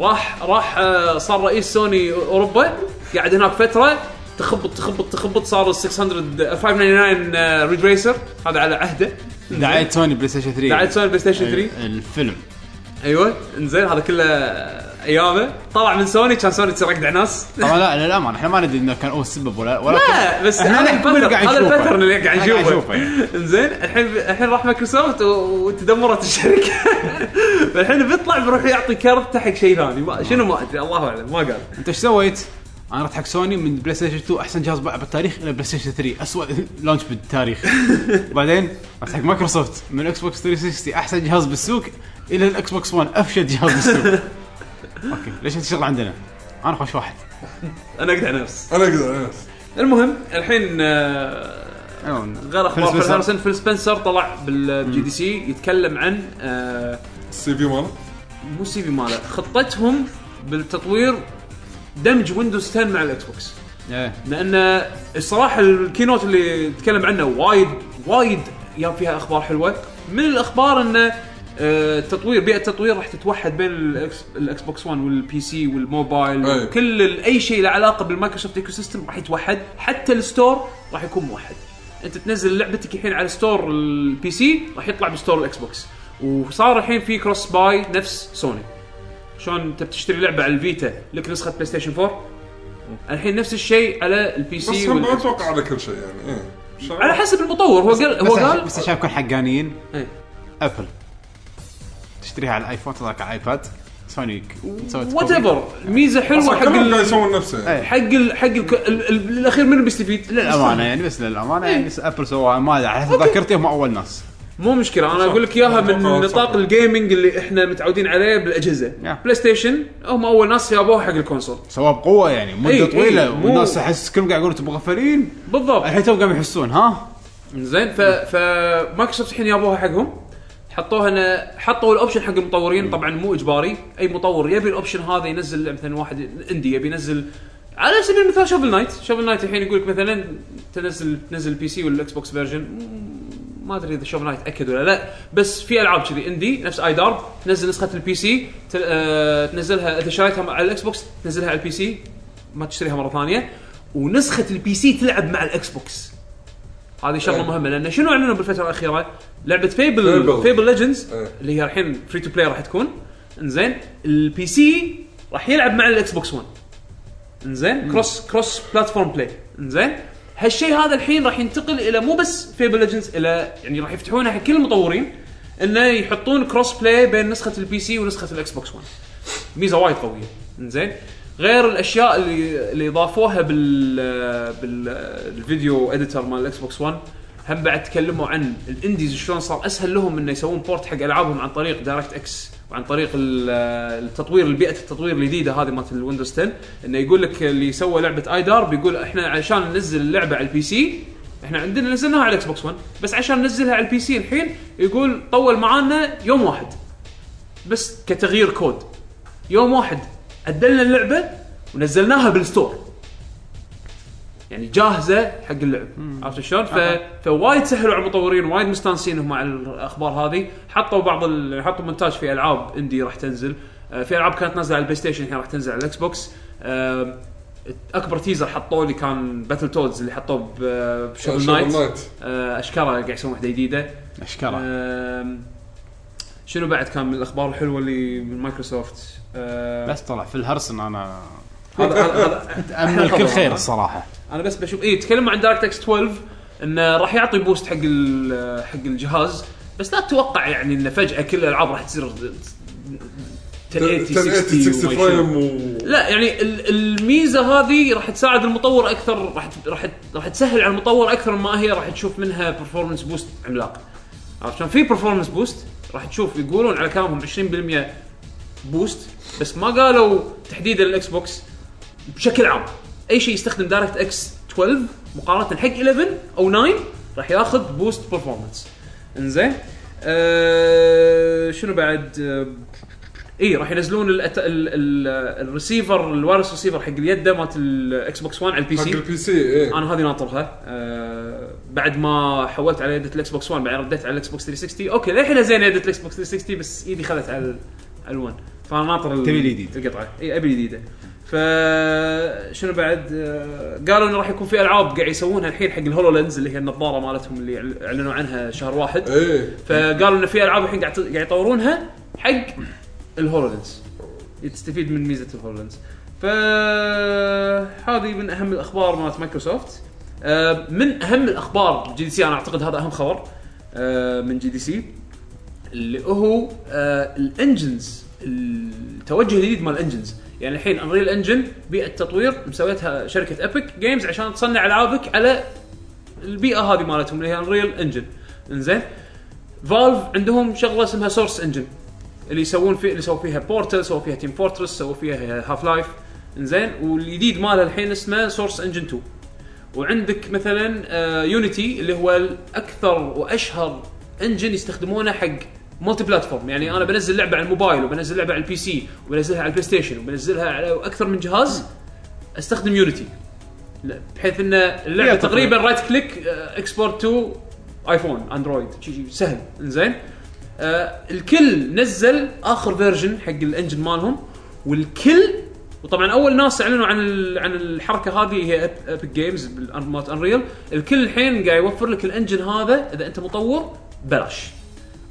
S3: راح راح آه، صار رئيس سوني اوروبا قاعد هناك فتره تخبط تخبط تخبط صار ال 600 آه، 599 ريد ريسر آه، هذا على عهده
S1: دعايه سوني بلاي ستيشن 3
S3: بعد سوني بلاي ستيشن 3
S1: الفيلم
S3: ايوه انزين هذا كله ايامه طلع من سوني كان سوني تصير اجدع ناس
S1: طبعا لا للامانه احنا ما ندري انه كان هو السبب ولا ولا
S3: لا بس
S1: احنا
S3: هذا
S1: نحكم اللي
S3: الباترن
S1: قاعد
S3: هذا
S1: نشوفه.
S3: الباترن اللي قاعد
S1: احنا قاعد نشوفه
S3: نشوفه
S1: يعني.
S3: انزين الحين الحين راح مايكروسوفت و- وتدمرت الشركه فالحين بيطلع بيروح يعطي كارت حق شيء ثاني ما- شنو ما ادري الله اعلم ما قال
S1: انت ايش سويت؟ انا رحت حق سوني من بلاي ستيشن 2 احسن جهاز باع بالتاريخ الى بلاي ستيشن 3 اسوء لونش بالتاريخ بعدين رحت حق مايكروسوفت من اكس بوكس 360 احسن جهاز بالسوق الى الاكس بوكس 1 افشل جهاز بالسوق اوكي ليش انت شغل عندنا؟ انا خوش واحد
S3: انا اقدع نفس
S2: انا اقدر أنا. إيه.
S3: المهم الحين آه، غير اخبار
S1: فيل
S3: فيل
S1: سبنسر.
S3: هارسن فيل سبنسر طلع بالجي دي سي يتكلم عن آه،
S2: السي في ماله
S3: مو سي في ماله خطتهم بالتطوير دمج ويندوز 10 مع الاكس بوكس
S1: إيه.
S3: لان الصراحه الكينوت اللي تكلم عنه وايد وايد جاب فيها اخبار حلوه من الاخبار انه آه، تطوير بيئه التطوير راح تتوحد بين الأكس- الاكس بوكس 1 والبي سي
S2: أي.
S3: والموبايل كل ال- اي شيء له علاقه بالمايكروسوفت ايكو سيستم راح يتوحد حتى الستور راح يكون موحد انت تنزل لعبتك الحين على ستور البي سي راح يطلع بستور الاكس بوكس وصار الحين في كروس باي نفس سوني شلون انت بتشتري لعبه على الفيتا لك نسخه بلاي ستيشن 4 الحين نفس الشيء على البي
S2: بس
S3: سي
S2: هم ما
S3: والإكس بوكس.
S2: اتوقع على كل شيء يعني ايه شغل-
S3: على حسب المطور هو قال هو
S1: بس عشان-
S3: قال
S1: بس عشان نكون حقانيين
S3: إيه.
S1: ابل تشتريها على الايفون تطلع على الايباد سوني سوت
S3: وات ايفر ميزه حلوه
S2: اصلا
S3: حق
S2: كلهم قاعد
S3: ال-
S2: يسوون نفسه يعني.
S1: إيه.
S3: حق ال حق ال ال- ال- بالاخير منو بيستفيد؟
S1: للامانه يعني بس للامانه
S3: إيه.
S1: يعني بس ابل سووها ما على حسب ذاكرتي هم اول ناس
S3: مو مشكله انا اقول لك اياها من
S2: أتوقع-
S3: نطاق
S2: أتوقع.
S3: الجيمنج اللي احنا متعودين عليه بالاجهزه
S1: Yeah.
S3: بلاي ستيشن هم اول ناس جابوها حق الكونسول
S1: سواها بقوه يعني مده
S3: إيه،
S1: أي
S3: إيه،
S1: طويله
S3: مو-
S1: والناس احس كلهم قاعد يقولون انتم مغفلين
S3: بالضبط
S1: الحين تو قاعد يحسون ها
S3: زين ف فمايكروسوفت الحين جابوها حقهم حطوها أنا حطوا الاوبشن حق المطورين طبعا مو اجباري اي مطور يبي الاوبشن هذا ينزل مثلا واحد اندي يبي ينزل على سبيل المثال شوفل نايت شوفل نايت الحين يقول لك مثلا تنزل تنزل البي سي والاكس بوكس فيرجن ما ادري اذا شوفل نايت اكد ولا لا بس في العاب كذي اندي نفس اي دارب تنزل نسخه البي سي تل- آه، تنزلها اذا شريتها على الاكس بوكس تنزلها على البي سي ما تشتريها مره ثانيه ونسخه البي سي تلعب مع الاكس بوكس هذه
S2: إيه.
S3: شغله مهمه لان شنو اعلنوا بالفتره الاخيره؟ لعبه فيبل
S2: Fable.
S3: فيبل ليجندز
S2: إيه.
S3: اللي هي الحين فري تو بلاي راح تكون انزين البي سي راح يلعب مع الاكس بوكس 1 انزين كروس كروس بلاتفورم بلاي انزين هالشيء هذا الحين راح ينتقل الى مو بس فيبل ليجندز الى يعني راح يفتحونها حق كل المطورين انه يحطون كروس بلاي بين نسخه البي سي ونسخه الاكس بوكس 1 ميزه وايد قويه انزين غير الاشياء اللي اللي ضافوها بال بال الفيديو اديتر مال الاكس بوكس 1 هم بعد تكلموا عن الانديز شلون صار اسهل لهم انه يسوون بورت حق العابهم عن طريق دايركت اكس وعن طريق ال- التطوير بيئه التطوير الجديده هذه مالت الويندوز 10 انه يقول لك اللي سوى لعبه ايدار بيقول احنا عشان ننزل اللعبه على البي سي احنا عندنا نزلناها على الاكس بوكس 1 بس عشان ننزلها على البي سي الحين يقول طول معانا يوم واحد بس كتغيير كود يوم واحد عدلنا اللعبه ونزلناها بالستور يعني جاهزه حق اللعب عرفت شلون؟ ف... فوايد سهلوا على المطورين وايد مستانسين هم على الاخبار هذه حطوا بعض ال... يعني حطوا مونتاج في العاب اندي راح تنزل آه، في العاب كانت نازله على البلاي ستيشن الحين راح تنزل على الاكس بوكس آه، اكبر تيزر حطوه اللي كان باتل تودز اللي حطوه ب- آه، بشغل
S2: شغل
S3: نايت
S2: نايت.
S3: آه، اشكره قاعد يسوون واحده جديده أه.
S1: اشكره
S3: آم، شنو بعد كان من الاخبار الحلوه اللي من مايكروسوفت آه،
S1: بس طلع في الهرسن انا
S3: هذا هذا- هذا
S1: اتامل كل خير الصراحه
S3: انا بس بشوف اي تكلموا عن دايركت اكس 12 انه راح يعطي بوست حق ال- حق الجهاز بس لا تتوقع يعني انه فجاه كل الالعاب راح تصير 1080
S2: 1080 60
S3: وما شنو.
S2: فريم و
S3: لا يعني ال- الميزه هذه راح تساعد المطور اكثر راح ت- راح ت- راح تسهل على المطور اكثر مما هي راح تشوف منها برفورمنس بوست عملاق عشان في برفورمنس بوست راح تشوف يقولون على كلامهم 20% بوست بس ما قالوا تحديدا الاكس بوكس بشكل عام اي شيء يستخدم دايركت اكس 12 مقارنه حق 11 او 9 راح ياخذ بوست برفورمانس انزين أه شنو بعد أه اي راح ينزلون ال ال ال الريسيفر الوايرلس ريسيفر حق اليد مالت الاكس بوكس 1 على البي
S2: حق
S3: سي
S2: البي سي ايه
S3: انا هذه ناطرها أه بعد ما حولت على يده الاكس بوكس 1 بعدين رديت على الاكس بوكس 360 اوكي للحين زين يده الاكس بوكس 360 بس ايدي خذت على ال- على ال1 فانا ناطر ال-
S1: تبي الجديد.
S3: القطعه اي ابي الجديده ف شنو بعد آه، قالوا انه راح يكون في العاب قاعد يسوونها الحين حق الهولو لينز اللي هي النظاره مالتهم اللي أعل- اعلنوا عنها شهر واحد
S2: ايه
S3: فقالوا انه في العاب الحين قاعد قاعد يطورونها حق الهولولينس تستفيد من ميزه الهولولينس فهذه من اهم الاخبار مالت مايكروسوفت آه، من اهم الاخبار جي دي سي انا اعتقد هذا اهم خبر آه، من جي دي سي اللي هو آه، الانجنز التوجه الجديد مال الانجنز يعني الحين انريل انجن بيئه تطوير مسويتها شركه ابيك جيمز عشان تصنع العابك على البيئه هذه مالتهم اللي هي انريل انجن انزين فالف عندهم شغله اسمها سورس انجن اللي يسوون فيه اللي سووا فيها بورتل سووا فيها تيم فورترس سووا فيها هاف لايف انزين والجديد مالها الحين اسمه سورس انجن 2 وعندك مثلا يونيتي اللي هو الاكثر واشهر انجن يستخدمونه حق ملتي بلاتفورم يعني انا بنزل لعبه على الموبايل وبنزل لعبه على البي سي وبنزلها على البلاي ستيشن وبنزلها على اكثر من جهاز استخدم يونيتي بحيث ان اللعبه
S1: يا تطبيق.
S3: تقريبا رايت كليك اكسبورت تو ايفون اندرويد شي شي سهل انزين آه الكل نزل اخر فيرجن حق الانجن مالهم والكل وطبعا اول ناس اعلنوا عن ال- عن الحركه هذه هي ابيك جيمز مالت انريل الكل الحين قاعد يوفر لك الانجن هذا اذا انت مطور بلاش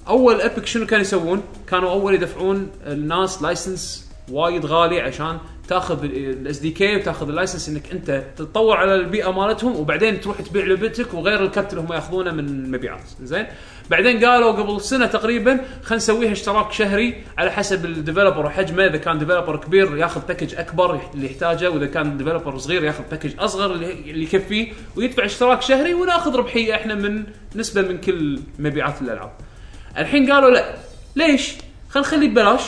S3: اول ابيك شنو كانوا يسوون؟ كانوا اول يدفعون الناس لايسنس وايد غالي عشان تاخذ الاس دي كي وتاخذ اللايسنس انك انت تتطور على البيئه مالتهم وبعدين تروح تبيع لعبتك وغير الكت اللي هم ياخذونه من مبيعات زين بعدين قالوا قبل سنه تقريبا خلينا نسويها اشتراك شهري على حسب الديفلوبر وحجمه اذا كان ديفلوبر كبير ياخذ باكج اكبر اللي يحتاجه واذا كان ديفلوبر صغير ياخذ باكج اصغر اللي اللي يكفيه ويدفع اشتراك شهري وناخذ ربحيه احنا من نسبه من كل مبيعات الالعاب الحين قالوا لا ليش؟ خلينا نخليه ببلاش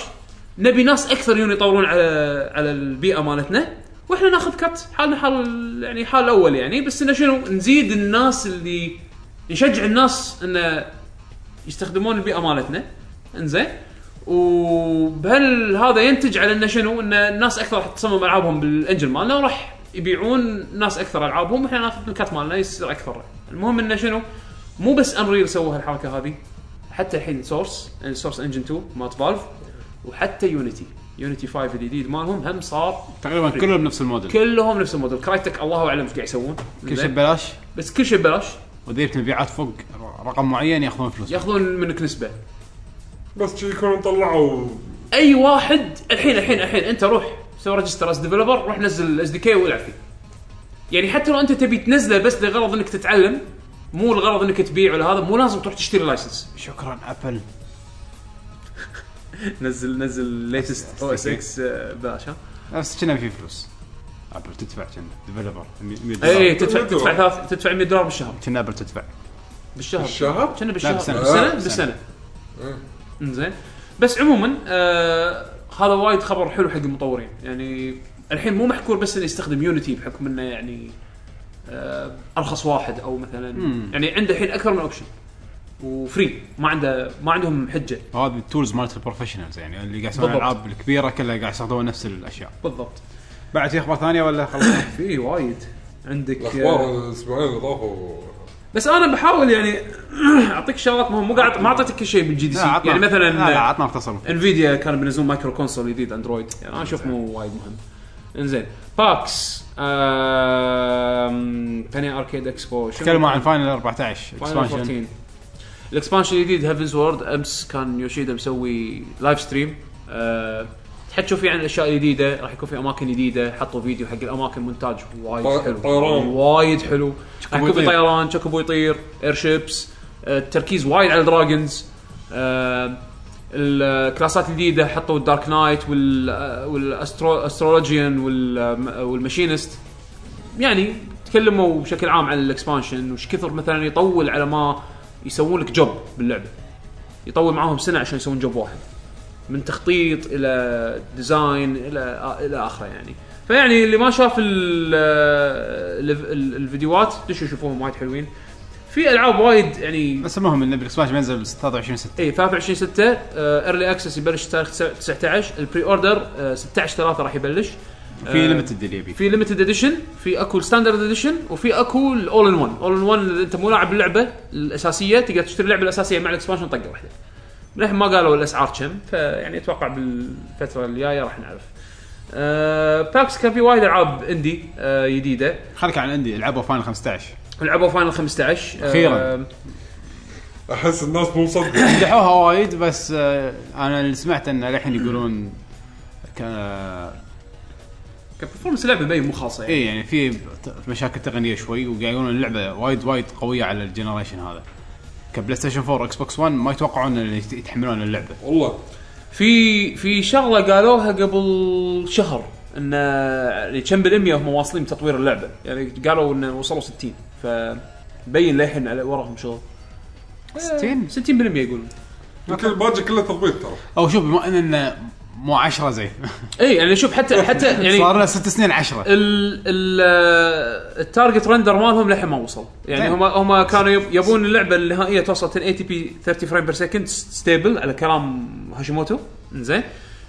S3: نبي ناس اكثر يون يطورون على على البيئه مالتنا واحنا ناخذ كت حالنا حال يعني حال الاول يعني بس انه شنو نزيد الناس اللي نشجع الناس انه يستخدمون البيئه مالتنا انزين وبهل هذا ينتج على انه شنو ان الناس اكثر راح تصمم العابهم بالانجل مالنا وراح يبيعون ناس اكثر العابهم واحنا ناخذ الكات مالنا يصير اكثر المهم انه شنو مو بس انريل سووا هالحركه هذه حتى الحين يعني سورس سورس انجن 2 مالت فالف وحتى يونيتي يونيتي 5 الجديد مالهم هم صار
S1: تقريبا كلهم نفس الموديل
S3: كلهم نفس الموديل كرايتك الله اعلم ايش قاعد يسوون
S1: كل شيء ببلاش
S3: بس كل شيء ببلاش
S1: واذا جبت مبيعات فوق رقم معين ياخذون فلوس
S3: ياخذون منك نسبه
S2: بس شي يكونوا طلعوا
S3: اي واحد الحين الحين الحين انت روح سوي ريجستر اس ديفلوبر روح نزل الاس دي كي والعب فيه يعني حتى لو انت تبي تنزله بس لغرض انك تتعلم مو الغرض انك تبيع ولا هذا مو لازم تروح تشتري لايسنس
S1: شكرا ابل
S3: نزل نزل ليتست
S1: أو إس
S3: اكس ببلاش آه، ها
S1: نفس كنا في فلوس ابل تدفع كنا ديفلوبر 100
S3: اي
S1: دولار
S3: إيه، تدفع تدفع ثلاث تدفع 100 دولار بالشهر
S1: كنا ابل تدفع
S3: بالشهر
S2: الشهر
S3: كنا بالشهر
S1: بالسنة.
S3: بالسنه
S1: آه.
S3: بالسنه انزين بس عموما آه هذا وايد خبر حلو حق المطورين يعني الحين مو محكور بس انه يستخدم يونيتي بحكم انه يعني آه ارخص واحد او مثلا
S1: مم.
S3: يعني عنده الحين اكثر من اوبشن وفري ما عنده ما عندهم حجه
S1: هذه التولز مالت البروفيشنالز يعني اللي قاعد يسوون
S3: بالضبط.
S1: الالعاب الكبيره كلها قاعد يستخدمون نفس الاشياء
S3: بالضبط
S1: بعد في اخبار ثانيه ولا خلاص
S3: في وايد عندك آه،
S2: الاخبار الاسبوعين اللي طافوا
S3: بس انا بحاول يعني اعطيك شغلات مهمه مو قاعد ما اعطيتك كل شيء بالجي دي سي
S1: لا، عطنا-
S3: يعني مثلا
S1: لا لا عطنا مختصر
S3: انفيديا كانوا بينزلون مايكرو كونسول جديد اندرويد يعني انا اشوف مو وايد مهم انزين باكس آم، ثاني اركيد اكسبو شنو
S1: تكلموا عن فاينل 14
S3: Final
S1: اكسبانشن
S3: 14. الاكسبانشن الجديد هيفنز وورد امس كان يوشيدا مسوي لايف ستريم أه تحكوا فيه عن الاشياء الجديده راح يكون في اماكن جديده حطوا فيديو حق الاماكن مونتاج وايد
S2: طي-
S3: حلو
S2: طيران.
S3: وايد حلو راح يكون في
S1: يطير.
S3: طيران شوكوبو يطير اير شيبس آه، التركيز وايد على آه، دراجونز الكلاسات الجديده آه، حطوا الدارك نايت وال آه، والاسترولوجيان وال- آه، والماشينست يعني تكلموا بشكل عام عن الاكسبانشن وش كثر مثلا يطول على ما يسوون لك جوب باللعبه يطول معاهم سنه عشان يسوون جوب واحد من تخطيط الى ديزاين الى الى اخره يعني فيعني اللي ما شاف ال آه، ال ال الفيديوهات دشوا شوفوهم وايد حلوين في العاب وايد يعني إيه،
S1: بس المهم ان الاكسبانشن بينزل 26 6
S3: اي 23 6 ايرلي اكسس آه، يبلش تاريخ 19 البري اوردر 16 3 راح يبلش
S1: في
S3: آه،
S1: ليمتد اللي يبي
S3: في ليمتد اديشن في اكو الستاندرد اديشن وفي اكو الاول ان 1 اول ان 1 انت مو لاعب اللعبه الاساسيه تقدر تشتري اللعبه الاساسيه مع الاكسبانشن طقه واحده للحين ما قالوا الاسعار كم فيعني اتوقع بالفتره الجايه راح نعرف أه باكس كان في وايد العاب اندي أه جديده
S1: خليك عن عندي العبوا فاينل 15
S3: لعبوا فاينل 15 آه،
S1: أخيراً.
S2: احس الناس مو مصدقه
S1: مدحوها وايد بس آه، انا اللي سمعت ان الحين يقولون كان
S3: كان برفورمس اللعبه باين مو خاصه يعني
S1: اي يعني في ت- مشاكل تقنيه شوي وقاعد يقولون اللعبه وايد وايد قويه على الجنريشن هذا كبلاي ستيشن 4 اكس بوكس 1 ما يتوقعون ان يت- يتحملون اللعبه
S2: والله
S3: في في شغله قالوها قبل شهر ان يعني كم بالميه هم واصلين بتطوير اللعبه يعني قالوا ان وصلوا 60 فبين للحين على وراهم شغل
S1: 60
S3: 60% يقولون
S2: يمكن الباجي كله تضبيط ترى
S1: او شوف بما ان إنه مو 10 زي
S3: اي يعني شوف حتى حتى يعني إيه.
S1: صار لنا ست سنين 10
S3: ال ال آه، التارجت رندر مالهم للحين ما وصل يعني
S1: طيب.
S3: هم هم كانوا يب- يبون اللعبه النهائيه توصل 1080 بي 30 فريم بير سكند ستيبل على كلام هاشيموتو زين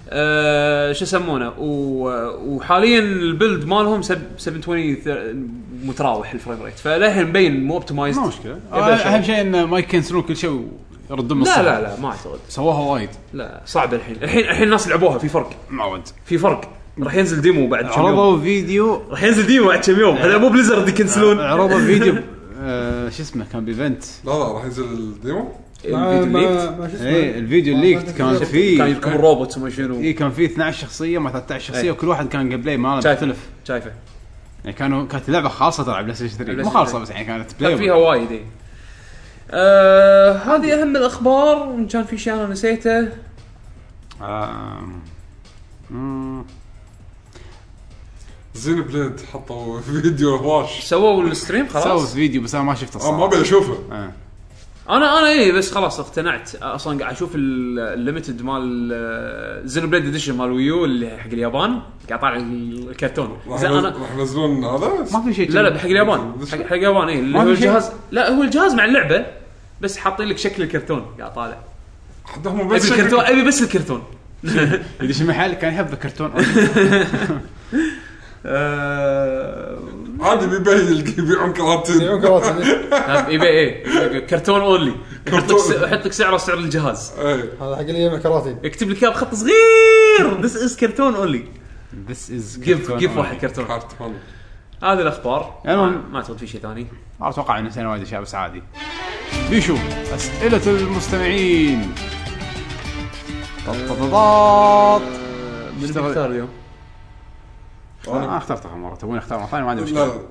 S3: أه شو يسمونه و- وحاليا البيلد مالهم سب- 720 ث- متراوح الفريم ريت فللحين مبين مو اوبتمايز
S1: ما مشكله آه، اهم شيء انه ما يكنسلون كل شيء ويردون من
S3: إيه، لا
S1: الصفر.
S3: لا لا ما اعتقد
S1: سووها وايد
S3: لا صعب الحين الحين الحين الناس لعبوها في فرق
S1: معود
S3: في فرق راح ينزل ديمو بعد كم يوم
S1: عرضوا فيديو
S3: راح ينزل ديمو بعد كم يوم هذا مو بليزرد يكنسلون
S1: عرضوا فيديو آه، شو اسمه كان بيفنت
S2: لا لا راح ينزل الديمو
S4: ما-
S3: الفيديو
S4: ما-
S3: ليكت.
S4: ما شو اسمه.
S1: ايه الفيديو
S4: ما-
S1: الليكت
S4: ما-
S1: كان
S3: كان
S1: فيه
S3: يركب الروبوت وما شنو
S1: اي كان فيه 12 شخصيه مع 13 شخصيه
S3: إيه.
S1: وكل واحد كان جيم بلاي ماله
S3: شايفه
S1: مختلف
S3: شايفه
S1: يعني كانوا كانت لعبه خاصه تلعب بلاي ستيشن 3
S3: بلاي
S1: مو
S3: ستيشن
S1: خالصه بس يعني كانت
S3: كان فيها
S1: بلاي
S3: وايد اي آه هذه اهم الاخبار وان كان في شيء انا نسيته
S1: آه، آم. مم.
S2: زين بليد حطوا فيديو هواش
S3: سووا الستريم
S1: سووا
S3: خلاص
S1: فيديو بس انا ما شفته
S2: اه ما ابي
S1: الصراحه
S2: اشوفه
S1: آه.
S3: انا انا اي إيه، بس خلاص اقتنعت اصلا قاعد اشوف ال- الليمتد مال زينو بليد اديشن مال ويو اللي حق اليابان قاعد طالع الكرتون
S2: راح
S3: زين انا
S2: راح ينزلون هذا
S1: ما في شيء
S3: لا لا
S1: كذي.
S3: حق اليابان حق حق اليابان اي اللي
S1: ما
S3: هو
S1: في شيء.
S3: الجهاز لا هو الجهاز مع اللعبه بس حاطين لك شكل الكرتون قاعد طالع
S2: حدهم
S3: ابي
S2: بس
S3: الكرتون ابي بس الكرتون
S1: يدش المحل كان يحب الكرتون
S3: آه،
S2: عادي بيبين يبيعون كراتين
S3: اي اي إيه، كرتون اونلي يحط لك س- يحط لك سعره سعر الجهاز
S2: ايه
S4: هذا حق اللي يجمع كراتين
S3: يكتب لك اياه بخط صغير ذس از كرتون اونلي
S1: ذس از
S3: جيف جيف واحد كرتون
S2: كرتون
S3: هذه الاخبار
S1: المهم.
S3: ما- ما اعتقد في شيء ثاني
S1: ما اتوقع ان نسينا وايد اشياء بس عادي بيشو اسئله المستمعين طط طط طط.
S3: من
S1: اشتغل.
S3: اختار اليوم؟
S1: انا اخترت اخر مره تبوني اختار مره ثانيه طيب، ما عندي
S2: لا
S1: مشكله
S2: لا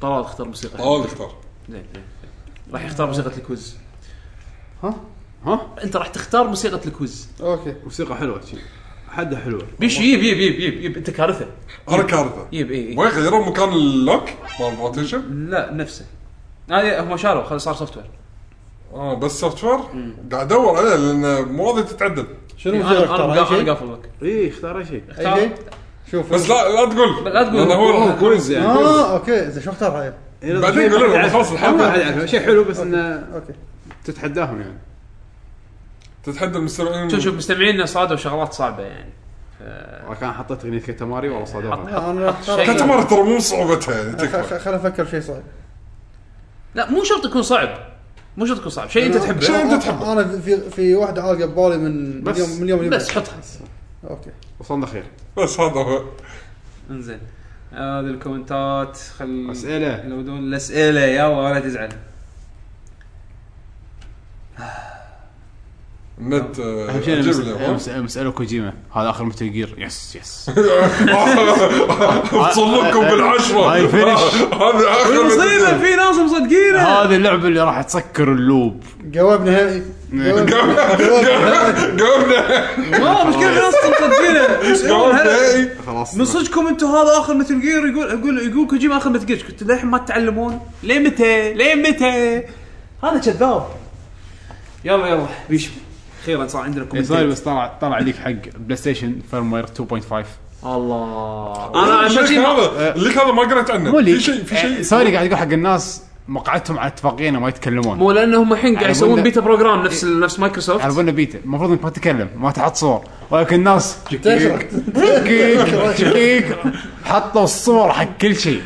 S3: طلال اختار موسيقى
S2: طول اختار
S3: زين زين. راح يختار موسيقى الكوز
S1: ها ها
S3: انت راح تختار موسيقى الكوز
S4: اوكي
S1: موسيقى حلوه شي. حدها حلوه
S3: بيشو يب يب يب يب, يب. انت كارثه
S2: انا كارثه
S3: يب اي
S2: ما يغيرون مكان اللوك مال روتيشن
S3: لا نفسه هذه هم شالوا خلاص صار سوفت وير
S2: اه بس سوفت وير قاعد ادور عليه لانه مو راضي تتعدل
S4: شنو
S3: انا
S4: مصيرك
S3: انا
S4: ترى؟ أي شيء؟
S3: قافل لك
S1: اي إيه، اختار شيء
S4: أي شيء؟ شوف
S2: بس لا لا تقول
S3: لا تقول.
S2: لأنه
S1: هو
S2: هو
S1: كويز يعني
S4: اه اوكي اذا شو اختار هاي
S1: إيه،
S2: بعدين قول لهم خلاص الحلقه
S1: شيء حلو بس انه
S4: اوكي
S1: تتحداهم يعني
S2: تتحدى المستمعين
S3: شوف شوف مستمعينا صادوا شغلات صعبه يعني
S1: والله كان حطيت اغنيه كتماري والله صادوها
S4: لا، انا اختار
S3: شيء.
S4: خ-
S2: كتمر ترى مو صعوبتها يعني
S4: خ-
S2: تكفى
S4: خل افكر شيء صعب
S3: لا مو شرط يكون صعب مو شرط يكون صعب شيء انت تحبه
S2: شيء أنت
S4: أنا-
S2: تحبه.
S4: انا في في واحده عالقه ببالي من من
S1: بس.
S4: يوم من يوم اللي
S3: بس
S4: بعد.
S3: حطها
S4: اوكي
S1: وصلنا خير
S2: بس هذا هو
S3: انزين هذه الكومنتات خل
S1: اسئله
S3: لو دون الاسئله يلا ولا تزعل
S2: النت
S1: اهم شيء
S2: آه، جيب له
S1: مسألة كوجيما هذا اخر متل جير يس يس
S2: بتصلكم بالعشره
S1: هاي فينش.
S2: هذا اخر
S3: المصيبه في ناس مصدقينه
S1: هذه اللعبه اللي راح تسكر اللوب
S4: جاوبنا هاي
S2: قمنا
S3: ما مشكله في ناس مصدقينه يسألون هل-
S2: قمنا
S1: خلاص
S3: من صدقكم انتم هذا اخر مثل جير يقول يقول يقول كوجيما اخر مثل جير كنت للحين ما تتعلمون ليه متى؟ ليه متى؟ هذا كذاب يلا يلا بيشو اخيرا صار عندنا
S1: صاير
S3: كومنتات
S1: طيب، بس طلع طلع ليك حق بلاي ستيشن فيرموير 2.5
S3: الله انا عشان شي ما-
S2: هذا الليك هذا ما قريت عنه
S1: مو ليك
S2: في شيء في
S1: آه،
S2: شيء
S1: سوري قاعد يقول حق الناس مقعدتهم على اتفاقيه انه ما يتكلمون
S3: مو لانهم الحين قاعد
S1: على
S3: يسوون
S1: Windows-
S3: بيتا بروجرام نفس نفس مايكروسوفت
S1: عرفونا بيتا المفروض انك ما تتكلم ما تحط صور ولكن الناس
S4: تشرد.
S1: دقيق دقيق حطوا الصور حق كل شيء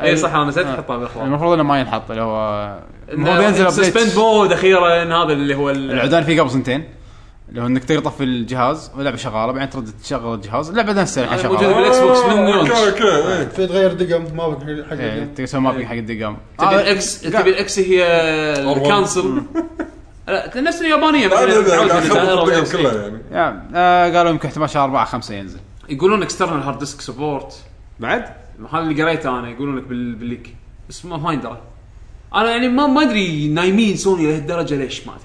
S3: اي إيه، صح انا نسيت احطها بالاخبار
S1: المفروض انه ما ينحط اللي هو المفروض ينزل
S3: سسبند
S1: update.
S3: مود اخيرا هذا اللي هو ال-
S1: العدوان فيه قبل سنتين اللي هو انك تطفي الجهاز واللعبه شغاله بعدين ترد تشغل الجهاز اللعبه نفسها الحين
S3: هذا موجود
S1: شغاله
S3: بالاكس بوكس من
S2: آه،
S3: يونج
S2: اوكي اوكي إيه.
S4: في تغير دقم ما بك حق
S1: إيه،
S4: الدقم.
S1: آه، تقدر تسوي مابينج حق الدقام
S3: تبي الاكس تبي الاكس هي الكانسل لا نفس اليابانيه
S2: لا لا لا
S3: متعود
S2: قاعد
S3: بالظاهرة
S2: اخبط
S3: ولا
S2: الدقم
S3: شيء.
S2: كلها يعني
S1: يعني آه قالوا يمكن احتمال شهر 4 5 ينزل
S3: يقولون اكسترنال هارد ديسك سبورت
S1: بعد
S3: هذا اللي قريته انا يقولون لك بال- بالليك بس ما ما يندرى انا يعني ما ما ادري نايمين سوني لهالدرجه ليش ما ادري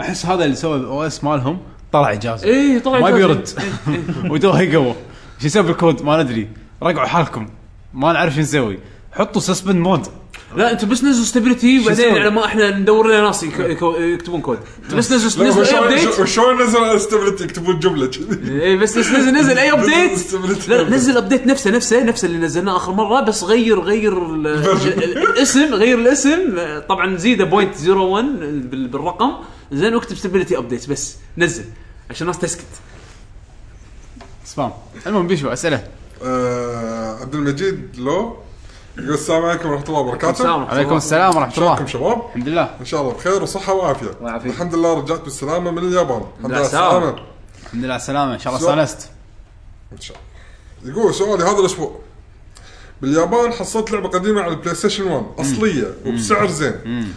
S1: احس هذا اللي سوى الاو اس مالهم طلع اجازه
S3: ايه طلع
S1: ما
S3: جوزي.
S1: بيرد
S3: إيه، إيه.
S1: وتوه يقوى شو يسوي بالكود ما ندري رقعوا حالكم ما نعرف شو نسوي حطوا سسبند مود
S3: لا انتم بس نزلوا ستابيليتي وبعدين
S1: يسوي؟
S3: على ما احنا ندور لنا ناس يك- يك- يكتبون كود انت بس نزل
S2: لا،
S3: نزل اي
S2: وشلون-
S3: ابديت
S2: وشلون نزل استابيليتي يكتبون جمله كذي
S3: اي بس بس إيه، نزل نزل اي ابديت
S2: Stability.
S3: لا لا، نزل ابديت نفسه نفسه نفسه اللي نزلناه اخر مره بس غير غير ال-
S2: Version.
S3: ال- الاسم غير الاسم طبعا زيده بوينت 01 بال- بالرقم زين واكتب ستابيليتي ابديت بس نزل عشان الناس تسكت
S1: سبام المهم بيشو اسئله
S2: آه، عبد المجيد لو يقول السلام عليكم ورحمه الله وبركاته
S1: عليكم السلام ورحمه الله
S2: شلونكم شباب؟
S1: الحمد لله
S2: ان شاء الله بخير وصحه وعافيه
S3: الله يعافيك.
S2: الحمد لله رجعت بالسلامه من اليابان الحمد
S3: لله
S2: لله
S3: سلامة.
S2: سلامه
S1: الحمد لله على السلامه ان شاء الله
S2: شلون؟
S1: استانست
S2: ان شاء الله يقول سؤالي هذا الاسبوع باليابان حصلت لعبه قديمه على البلاي ستيشن 1 اصليه وبسعر زين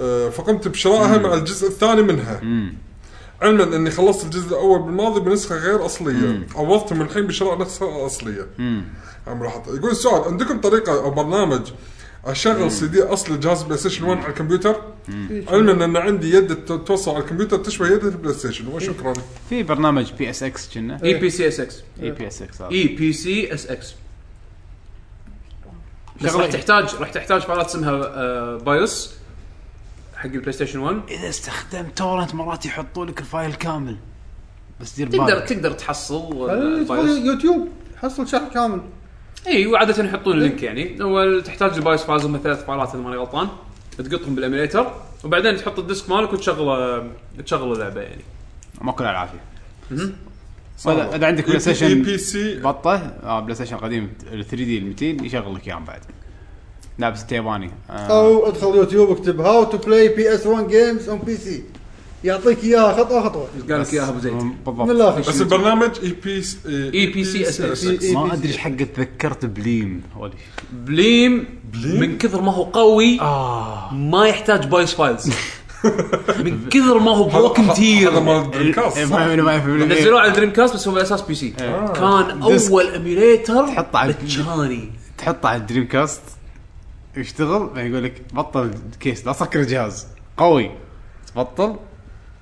S2: آه، فقمت بشرائها مع الجزء الثاني منها علما اني خلصت الجزء الاول بالماضي بنسخه غير اصليه عوضتهم الحين بشراء نسخه الاصليه عم راح أط- يقول السؤال عندكم طريقه او برنامج اشغل سي دي اصل جهاز بلاي ستيشن 1 على الكمبيوتر علما ان عندي يد ت- توصل على الكمبيوتر تشبه يد البلاي ستيشن وشكرا
S1: في برنامج بي اس اكس كنا إيه،
S3: اي بي سي اس اكس
S1: اي بي اس اكس
S3: اي بي سي اس اكس بس
S2: إيه.
S1: شغلة-
S3: راح تحتاج راح تحتاج فايلات اسمها آه، بايوس حق البلاي ستيشن 1
S1: اذا استخدمت تورنت مرات يحطوا لك الفايل كامل بس دير
S3: تقدر
S1: بالك
S3: تقدر تحصل آه،
S4: خلي
S3: البايوس
S4: تدخل يوتيوب حصل شرح كامل
S3: اي وعاده يحطون
S2: إيه.
S3: اللينك يعني اول تحتاج البايوس فايلز هم ثلاث فايلات اذا ماني غلطان تقطهم بالاميليتر وبعدين تحط الديسك مالك وتشغله تشغله لعبه يعني
S1: ماكو العافيه
S3: مهم.
S1: ولا اذا
S2: إيه،
S1: عندك بلاي
S2: اي
S1: ستيشن
S2: بي سي
S1: بطه آه بلاي ستيشن قديم 3 دي ال 200 يشغل لك اياهم بعد لابس انت ياباني آه.
S4: او ادخل يوتيوب اكتب هاو تو بلاي بي اس 1 جيمز اون بي سي يعطيك اياها خطوه خطوه
S3: قال لك اياها ابو زيد
S4: من
S1: بالضبط
S4: الاخر
S2: بس البرنامج اي بي
S3: اي بي سي اس
S2: اس
S3: اس
S1: ما ادري ايش حق تذكرت بليم ولا شيء.
S3: بليم
S2: بليم؟ آه.
S3: من كثر ما هو قوي ما يحتاج بايوس فايلز من كثر ما هو بروكن تير
S2: هذا مال دريمكاست
S1: إيه،
S2: صح؟
S1: ما- ما- ما-
S3: نزلوه على دريم كاست بس هو بالاساس بي سي كان
S1: ديسك.
S3: اول ايميليتر
S1: تحطه على-
S3: مجاني
S1: تحطه على الدريم كاست يشتغل بعدين يقول لك بطل الكيس لا سكر الجهاز قوي تبطل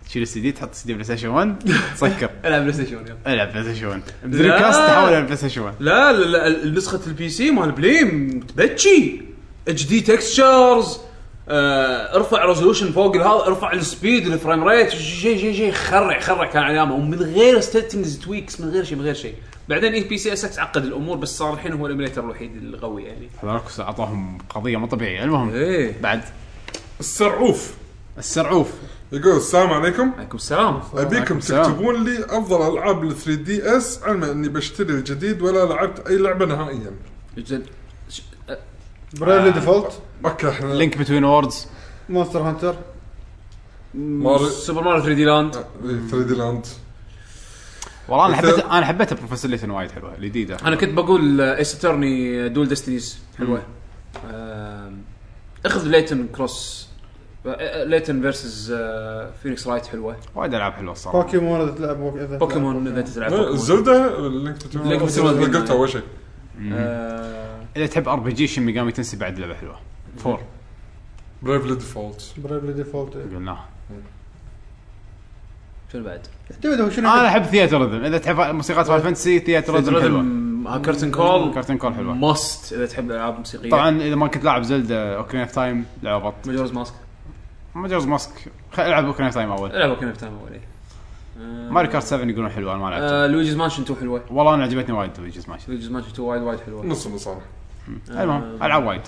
S1: تشيل السي دي تحط السي دي بلاي ستيشن 1 تسكر
S3: العب بلاي ستيشن يلا.
S1: العب بلاي ستيشن 1 دريم
S3: لا.
S1: كاست تحول على بلاي ستيشن 1
S3: لا لا لا نسخه البي سي مال بليم تبكي اتش دي تكستشرز آه، ارفع ريزولوشن فوق هذا ارفع السبيد الفريم ريت شيء شيء شيء خرع خرع كان على ايامه ومن غير ستيتنجز تويكس من غير شيء من غير شيء بعدين إيه، اي بي سي اس اكس عقد الامور بس صار الحين هو الايميليتر الوحيد القوي يعني
S1: هذولك اعطاهم قضيه مو طبيعيه المهم
S3: ايه
S1: بعد
S2: السرعوف
S1: السرعوف
S2: يقول السلام عليكم
S3: عليكم السلام
S2: ابيكم
S1: السلام.
S2: تكتبون لي افضل العاب ال 3 دي اس علما اني بشتري الجديد ولا لعبت اي لعبه نهائيا
S3: زين ش- أه،
S4: برايفلي ديفولت
S2: اوكي احنا
S1: لينك بتوين ووردز
S4: مونستر هانتر
S2: ماري
S3: سوبر ماريو 3 دي لاند
S2: 3 دي لاند
S1: والله انا
S2: أنت-
S1: حبيت انا حبيتها بروفيسور ليتن وايد حلوه الجديده
S3: انا كنت بقول ايس اترني دول ديستنيز حلوه آم، اخذ ليتن كروس آه، ليتن فيرسز آه، فينيكس رايت حلوه
S1: وايد العاب حلوه الصراحه
S4: بوكيمون اذا تلعب بوك- إذا
S3: بوكيمون
S4: تلعب
S3: اذا تلعب
S2: لا،
S3: بوكيمون
S2: الزلدة لينك تو
S3: لينك تو
S2: أنا
S3: تيومن.
S2: قلتها اول شيء
S3: آه،
S1: اذا تحب ار بي جي شن ميجامي تنسي بعد لعبه حلوه فور
S2: برايفلي ديفولت
S4: برايفلي ديفولت إيه.
S1: قلناها
S3: شنو بعد؟
S4: يعتمد هو شنو
S1: انا احب ثياتر ريزم اذا تحب موسيقى فاينل فانتسي ثياتر ريزم حلوه
S3: ريذم كارتن كول
S1: كارتن كول حلوه
S3: ماست اذا تحب الالعاب موسيقيه
S1: طبعا اذا ما كنت لاعب زلدا اوكرين اوف تايم لعبه بط
S3: ماجورز ماسك
S1: مجرز ماسك خل العب اوكرين اوف تايم اول
S3: العب اوكي تايم اولي
S1: ماري كارت 7 يقولون حلوه انا ما لعبتها
S3: لويجيز مانشن 2 حلوه
S1: والله انا عجبتني وايد تويجز ماشي
S3: لويجيز مانشن 2 وايد وايد حلوه
S2: نص نص أنا.
S3: آه،
S1: المهم العاب وايد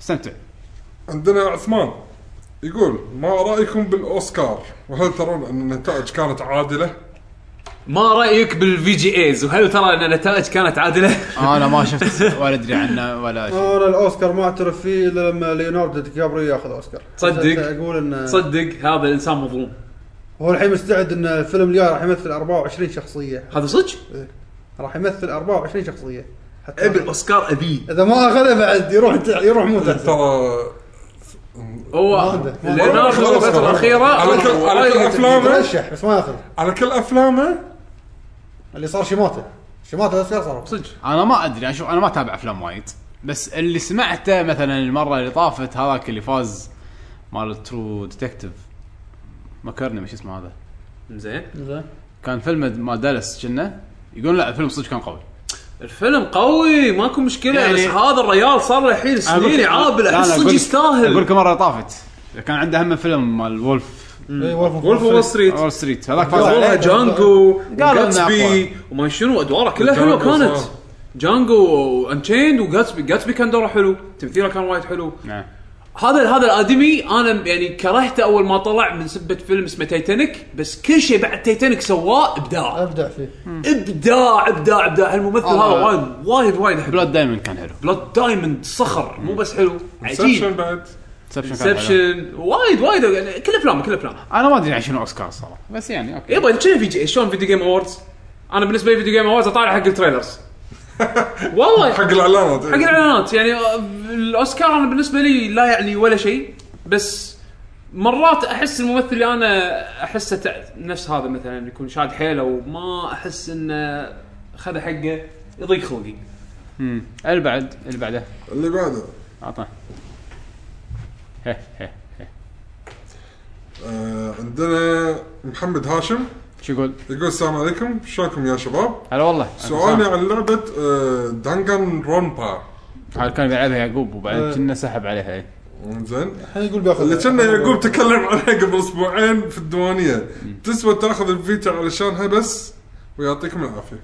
S1: استمتع
S2: عندنا عثمان يقول ما رايكم بالاوسكار؟ وهل ترون ان النتائج كانت عادله؟
S3: ما رايك بالفي جي ايز وهل ترى ان النتائج كانت عادله؟
S1: انا ما شفت ولا ادري عنه ولا شيء
S4: انا الاوسكار ما اعترف فيه الا لما ليوناردو دي كابريو ياخذ اوسكار
S3: تصدق؟
S4: اقول انه
S3: صدق هذا الانسان مظلوم
S4: هو الحين مستعد ان الفيلم اللي جاي راح يمثل 24 شخصيه
S3: هذا صدق؟
S4: راح يمثل 24 شخصيه حتى
S3: ابي الاوسكار ابي
S4: اذا ما اخذه بعد يروح يروح موت أحسن.
S2: ترى
S3: هو
S4: عنده.
S3: ليوناردو
S2: خلاص
S3: الفتره
S2: خلاص.
S3: الاخيره
S2: على كل- على
S3: وايد
S2: كل أفلامه.
S4: ترشح بس ما ياخذ
S2: على كل افلامه
S4: اللي صار شيماتا شيماتا الاوسكار صار
S3: صدق
S1: انا ما ادري انا شوف انا ما اتابع افلام وايد بس اللي سمعته مثلا المره اللي طافت هذاك اللي فاز مال ترو ديتكتيف مكرني شو اسمه هذا
S3: زين
S4: زين
S1: كان فيلم مال دالس كنا يقول لا الفيلم صدق كان قوي
S3: الفيلم قوي ماكو مشكله
S1: يعني-
S3: بس هذا الريال صار له الحين
S1: أنا أقول-
S3: سنين يعابل
S1: لا، لا،
S3: احس
S1: أقول
S3: صدق
S1: لك-
S3: يستاهل
S1: اقول لك مره طافت كان عنده هم فيلم مال وولف
S4: إي، وولف أوف
S3: وولف
S4: وول
S3: وول ستريت
S1: وول ستريت هذاك
S4: قالوا
S1: فاز
S3: دورها
S4: عليه.
S3: جانجو
S1: قالوا إنه
S3: جاتسبي
S1: أقوى.
S3: وما شنو ادواره كلها
S2: جانجو
S3: حلوه كانت
S2: صح.
S3: جانجو وانشيند وجاتسبي جاتسبي كان دوره حلو تمثيله كان وايد حلو
S1: نعم.
S3: هذا هذا الادمي انا يعني كرهته اول ما طلع من سبه فيلم اسمه تايتانيك بس كل شيء بعد تايتانيك سواه ابداع
S4: ابدع فيه
S3: ابداع ابداع ابداع الممثل
S1: آه.
S3: هذا وايد وايد وايد احبه
S1: بلاد دايموند كان حلو
S3: بلاد دايموند صخر مو بس حلو
S2: سكشن
S3: عجيب
S2: بعد
S1: انسبشن كان حلو
S3: انسبشن وايد وايد يعني كل افلامه كل افلامه
S1: انا ما ادري عن شنو اوسكار الصراحه بس يعني اوكي
S3: يبا انت شنو فيديو شلون فيديو جيم اووردز؟ انا بالنسبه لي فيديو جيم اووردز اطالع حق التريلرز والله
S2: حق
S3: حق
S2: الاعلانات إيه.
S3: الاعلانات يعني آه، الاوسكار انا بالنسبه لي لا يعني ولا شيء بس مرات احس الممثل اللي انا احسه تع- نفس هذا مثلا يكون شاد حيله وما احس انه خذ حقه يضيق خلقي
S1: امم اللي بعد اللي بعده
S2: اللي بعده
S1: اعطاه هه هه
S2: آه عندنا محمد هاشم
S1: شو يقول؟
S2: يقول السلام عليكم شلونكم يا شباب
S1: هلا والله
S2: سؤالي عن لعبه آه دانجان رونبا
S1: هذا كان بيلعبها يعقوب
S2: آه.
S1: وبعدين كنا سحب عليها إيه.
S2: زين
S4: الحين يقول بياخذ
S2: اللي كنا يعقوب تكلم عليها قبل اسبوعين في الديوانيه تسوى تاخذ الفيتا علشانها بس ويعطيكم العافيه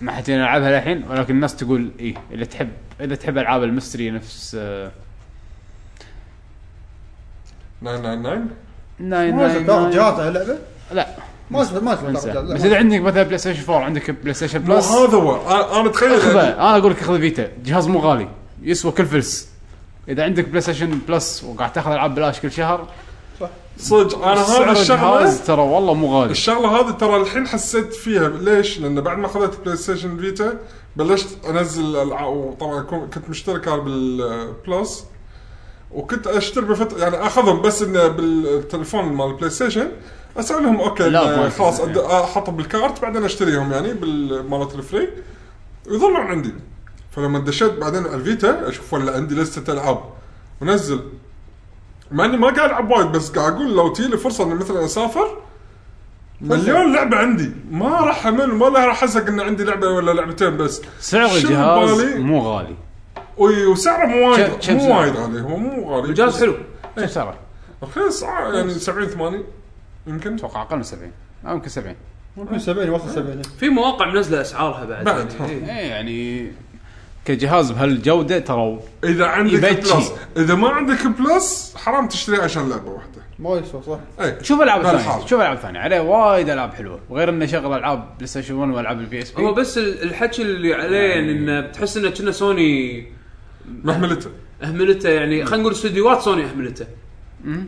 S1: ما حد يلعبها الحين ولكن الناس تقول ايه اللي تحب اذا تحب العاب المستري نفس آه،
S2: 999
S1: ناين
S4: ما
S1: ناين
S4: يصير تاخذ
S1: ناين.
S4: جهاز على اللعبه
S1: لا
S4: ما يصير ما يصير
S1: انسى
S4: تاخذ
S1: بس اذا عندك مثلا بلاي ستيشن 4 عندك بلاي ستيشن
S2: مو
S1: بلس
S2: هذا هو أنا- يعني
S1: خذه
S2: انا تخيل
S1: انا اقول لك خذ فيتا جهاز مو غالي يسوى كل فلس اذا عندك بلاي ستيشن بلس وقاعد تاخذ العاب بلاش كل شهر
S2: صدق انا
S1: سعر
S2: هذا الشغله
S1: الجهاز ترى والله مو غالي
S2: الشغله هذه ترى الحين حسيت فيها ليش؟ لان بعد ما اخذت بلاي ستيشن فيتا بلشت انزل العاب وطبعا كو- كنت مشترك على بالبلس وكنت اشتري بفتره يعني اخذهم بس انه بالتليفون مال البلاي ستيشن اسوي لهم اوكي
S1: لا،
S2: إنه
S1: ما في.
S2: خلاص أد- احطهم بالكارت بعدين اشتريهم يعني بال- مالت الفري ويظلون عندي فلما دشيت بعدين على الفيتا اشوف ولا عندي لسته العاب ونزل مع اني ما قاعد العب وايد بس قاعد اقول لو تجي لي فرصه اني مثلا اسافر مليون لعبه عندي ما راح امل وما راح ازهق ان عندي لعبه ولا لعبتين بس
S1: سعر
S2: شنو
S1: الجهاز
S2: ببالي؟
S1: مو غالي
S2: وي- وسعره مو وايد
S1: كم- كم
S2: مو
S1: سعره؟
S2: وايد غالي هو مو غالي
S3: الجهاز حلو
S2: إيه.
S1: كم سعره؟
S2: رخيص آه، يعني 70 80 يمكن
S1: اتوقع اقل من 70 او يمكن 70
S4: ممكن 70 وصل 70
S3: في مواقع منزله اسعارها بعد
S2: بعد،
S3: يعني إيه.
S1: ايه يعني كجهاز بهالجوده ترى
S2: اذا عندك
S1: يبكي.
S2: بلس اذا ما عندك بلس حرام تشتري عشان إيه، لعبه واحده
S4: ما يسوى صح
S2: اي
S1: شوف العاب
S2: هذا
S1: ثانيه
S2: حاضر.
S1: شوف العاب ثانيه عليه وايد العاب حلوه وغير انه شغل العاب بلاي ستيشن 1 والعاب البي اس
S3: هو
S1: بي
S3: بس ال- الحكي اللي عليه يعني انه بتحس انه كنا سوني
S2: محملته
S3: اهملته يعني خلينا نقول استديوهات سوني اهملته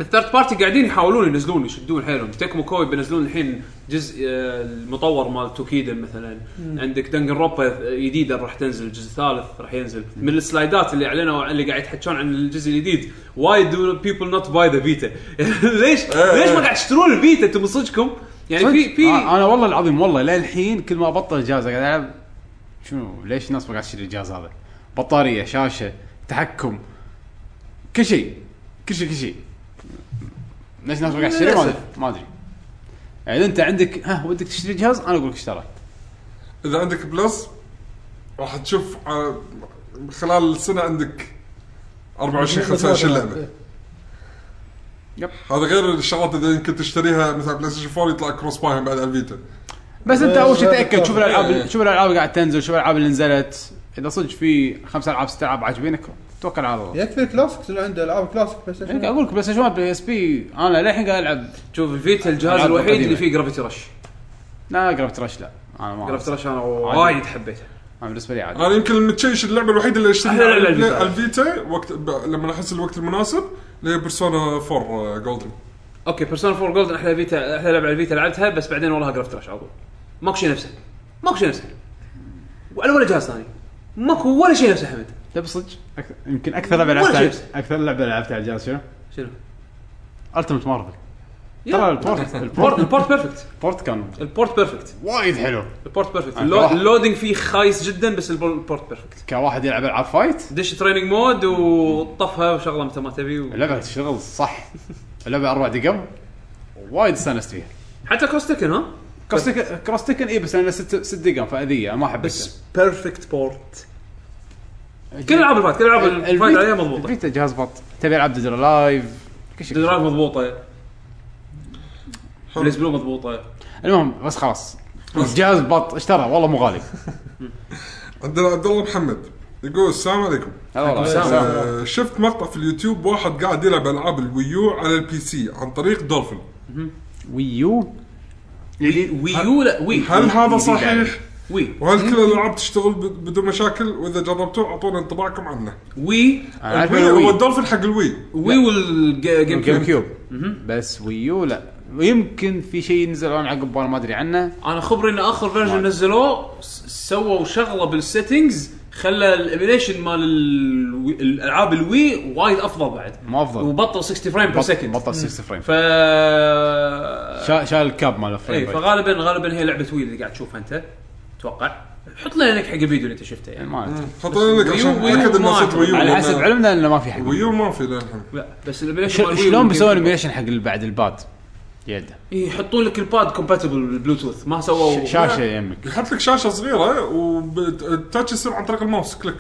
S3: الثيرد بارتي قاعدين يحاولون ينزلون يشدون حيلهم تكمو كوي بينزلون الحين جزء آه، المطور مال توكيدا مثلا عندك دنجن روبا جديده راح تنزل الجزء الثالث راح ينزل من السلايدات اللي اعلنوا اللي قاعد يتحكون عن الجزء الجديد واي دو بيبل نوت باي ذا بيتا ليش ليش ما قاعد تشترون البيتا انتم من صدقكم يعني في في
S1: آه، انا والله العظيم والله للحين كل ما بطل جهاز قاعد العب شنو ليش الناس ما قاعد تشتري الجهاز هذا؟ بطاريه شاشه تحكم كل شيء كل شيء كل شيء ليش الناس ما قاعد تشتري ما ادري ما ادري يعني إذا انت عندك ها ودك تشتري جهاز انا اقول لك اشترى
S2: اذا عندك بلس راح تشوف آه، خلال السنه عندك 24 25 لعبه
S4: إيه.
S2: هذا غير الشغلات اللي يمكن تشتريها مثلا بلاي ستيشن 4 يطلع كروس باي بعد على الفيتا
S1: بس انت اول شيء
S4: إيه،
S1: تاكد شوف
S4: إيه.
S1: الالعاب شوف الالعاب اللي قاعد تنزل شوف الالعاب اللي نزلت اذا صدق في خمس العاب ست العاب عاجبينك توكل على الله
S4: يكفي الكلاسيكس اللي عنده العاب كلاسيك بلاي
S1: يعني
S4: ستيشن
S1: قاعد اقول لك بلاي ستيشن 1 بلاي اس بي انا للحين قاعد العب
S3: شوف الفيتا الجهاز
S1: ألعاب
S3: الوحيد
S1: آه، قديمة. آه.
S3: اللي فيه جرافيتي رش
S1: لا جرافت رش لا انا ما
S3: جرافيتي
S1: أعرف.
S3: رش انا وايد حبيته
S1: انا بالنسبه لي عادي
S2: انا يمكن المتشيش اللعبه الوحيده اللي
S3: أحلى
S2: اشتريها
S3: لعبة
S2: على
S3: الفيتا.
S2: الفيتا- الفيتا وقت ب... لما احس الوقت المناسب اللي هي آه، بيرسونا 4 جولدن
S3: اوكي بيرسونا 4 جولدن احلى فيتا احلى لعبه على الفيتا لعبتها بس بعدين وراها جرافت رش على طول ماكو شيء نفسه ماكو شيء نفسه وعلى ولا جهاز ثاني ماكو ولا شيء نفسه حمد
S1: لا بصدق أكثر- يمكن اكثر لعبه
S3: ولا
S1: لعبتها على-
S3: شيء.
S1: اكثر لعبه لعبتها على الجهاز شنو؟
S3: شنو؟
S1: التمت مارفل
S3: يلا.
S1: ترى البورت
S3: البورت
S1: البورت
S3: البورت بيرفكت
S1: البورت كان
S3: البورت بيرفكت
S1: وايد حلو
S3: البورت بيرفكت
S1: آه،
S3: اللو-
S1: صراحة.
S3: اللودينج فيه خايس جدا بس البول- البورت بيرفكت
S1: كواحد يلعب العاب فايت
S3: دش تريننج مود وطفها وشغله متى ما تبي و...
S1: اللعبه تشتغل صح اللعبه اربع دقم وايد استانست فيها
S3: حتى كروس تكن ها
S1: كروس تكن كروس تكن اي إيه، بس انا ست ست دقم فاذيه ما احب
S3: بس بيرفكت بورت كل العاب الفايت كل العاب الفايت
S1: الفيتا-
S3: عليها مضبوطه
S1: الفيتا جهاز بط تبي العب ديد لايف كل شيء
S3: درايف مضبوطه بليز بلو مضبوطه
S1: المهم بس خلاص جهاز بط اشترى والله مو غالي
S2: عندنا عبد الله محمد يقول السلام عليكم
S1: هلا والله.
S4: السلام.
S1: سلام.
S2: آه، شفت مقطع في اليوتيوب واحد قاعد يلعب العاب الويو على البي سي عن طريق دولفين
S1: ويو
S3: وي يو لا وي
S2: هل هذا صحيح؟
S3: وي
S2: وهل كل الالعاب تشتغل ب- بدون مشاكل؟ واذا جربتوه اعطونا انطباعكم عنه.
S3: وي
S1: أنا عارف
S2: الوي
S1: إنه
S2: هو
S1: وي.
S2: الدولفين حق الوي
S3: وي والجيم
S1: جيم
S3: كيوب
S1: كيوب بس ويو لا ويمكن في شيء ينزل انا عقب وانا ما ادري عنه
S3: انا خبري ان اخر فيرجن نزلوه س- سووا شغله بالسيتنجز خلى الايميليشن مال الوي- الالعاب الوي وايد افضل بعد
S1: مو افضل
S3: وبطل 60 فريم بير
S1: بط-
S3: سكند
S1: بطل 60 فريم
S3: ف إيه،
S1: شال شال الكاب مال
S3: اي
S1: الفريم ريت.
S3: فغالبا غالبا هي لعبه وي اللي قاعد تشوفها انت اتوقع حط لنا لينك حق الفيديو اللي انت شفته يعني
S1: ما أدري.
S2: حطينا لك
S3: ويو-
S2: عشان
S3: ويو
S2: نتاكد انه
S3: ما
S2: صوت ويو
S1: على
S2: لأن
S1: حسب علمنا انه ما في حق
S2: ويو ما في للحين
S3: لا بس الايميليشن
S1: ش- شلون بيسوون ايميليشن حق اللي بعد الباد يده
S3: إيه، يحطون لك الباد كومباتبل بالبلوتوث ما سووا
S1: شاشه يمك
S2: يحط لك شاشه صغيره وتاتش يصير عن طريق الماوس كليك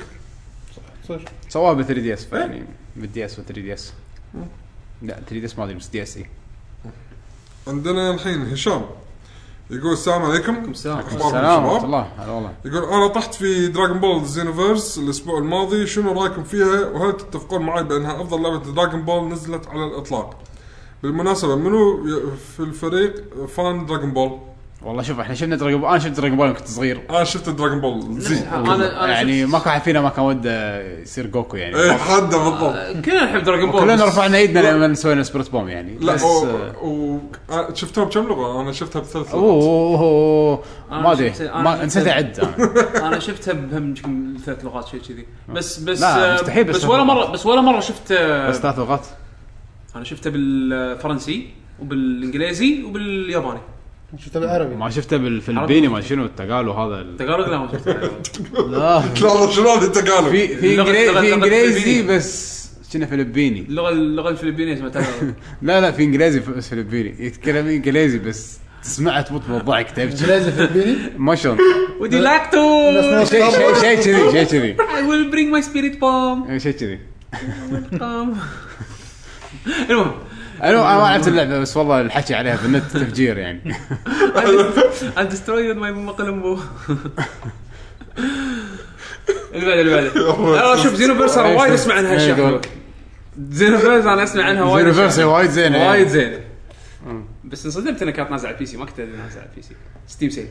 S1: سواها ب 3 دي
S3: إيه.
S1: اس يعني بال دي اس و 3 دي اس لا 3 دي اس ما ادري بس دي اس اي
S2: عندنا الحين هشام يقول السلام عليكم
S3: السلام.
S2: اخباركم
S1: سلام ورحمه
S2: شباب
S1: الله هلا والله
S2: يقول انا طحت في دراجون بول زينوفيرس الاسبوع الماضي شنو رايكم فيها وهل تتفقون معي بانها افضل لعبه دراجون بول نزلت على الاطلاق بالمناسبه منو ي- في الفريق فان دراجون بول
S1: والله شوف احنا شفنا دراجون بول انا شفت دراجون بول يوم كنت صغير
S2: انا شفت دراجون بول زي
S3: انا انا
S1: يعني
S3: يعني
S1: ما كان واحد فينا ما كان وده يصير جوكو يعني
S2: ايه حدا بالضبط
S3: كلنا نحب دراجون بول
S1: كلنا
S3: إيه. بس-
S1: رفعنا ايدنا لما سوينا سبريت بوم يعني
S2: لا
S1: بس
S2: و...
S1: آه،
S2: و... آه، شفتها بكم لغه انا شفتها بثلاث
S1: اوه
S2: لغات
S1: أوه، أوه،
S3: أنا
S1: ما ادري
S3: شفت- أنا
S1: ما
S3: شفت-
S1: نسيت اعد أنا.
S3: انا شفتها بهم يمكن ثلاث لغات شيء كذي بس بس
S1: لا،
S3: آه،
S1: مستحيل
S3: بس,
S1: بس
S3: بس ولا مره بس ولا مره شفت آه،
S1: بس ثلاث لغات
S3: انا شفتها بالفرنسي وبالانجليزي وبالياباني
S4: شفت بالعربي
S1: ما شفته بالفلبيني ما شفته التقالو هذا ال-
S3: تقالوغ لا ما شفتها
S1: لا
S2: لا شلون انت قالب
S1: في في
S3: اللغة-
S1: إنجلي-
S3: اللغة-
S1: في
S3: اللغة
S1: انجليزي
S3: الفلبينية.
S1: بس كنا فلبيني
S3: اللغه اللغه الفلبينيه اسمها تقالوغ
S1: لا لا في انجليزي في فلبيني يتكلم انجليزي بس تسمعه تموت من ضحك تبكي
S4: انجليزي فلبيني
S1: ما شلون
S3: ودي لاكتو
S4: ناس-
S1: شيء شيء شيء كذي شيء كذي
S3: I will bring my spirit bomb
S1: شيء كذي
S3: Um. المهم
S1: انا ما لعبت اللعبه بس والله الحكي عليها في النت تفجير يعني
S3: I'll destroy you with my مقلمبو اللي بعده اللي بعده انا شوف زينوفيرس انا وايد اسمع عنها اشياء زينوفيرس انا اسمع عنها وايد أشياء.
S1: زينوفيرس وايد زينه يعني.
S3: وايد زينه بس انصدمت انها كانت نازله على البي سي ما كنت ادري إنها نازله على البي سي ستيم سيل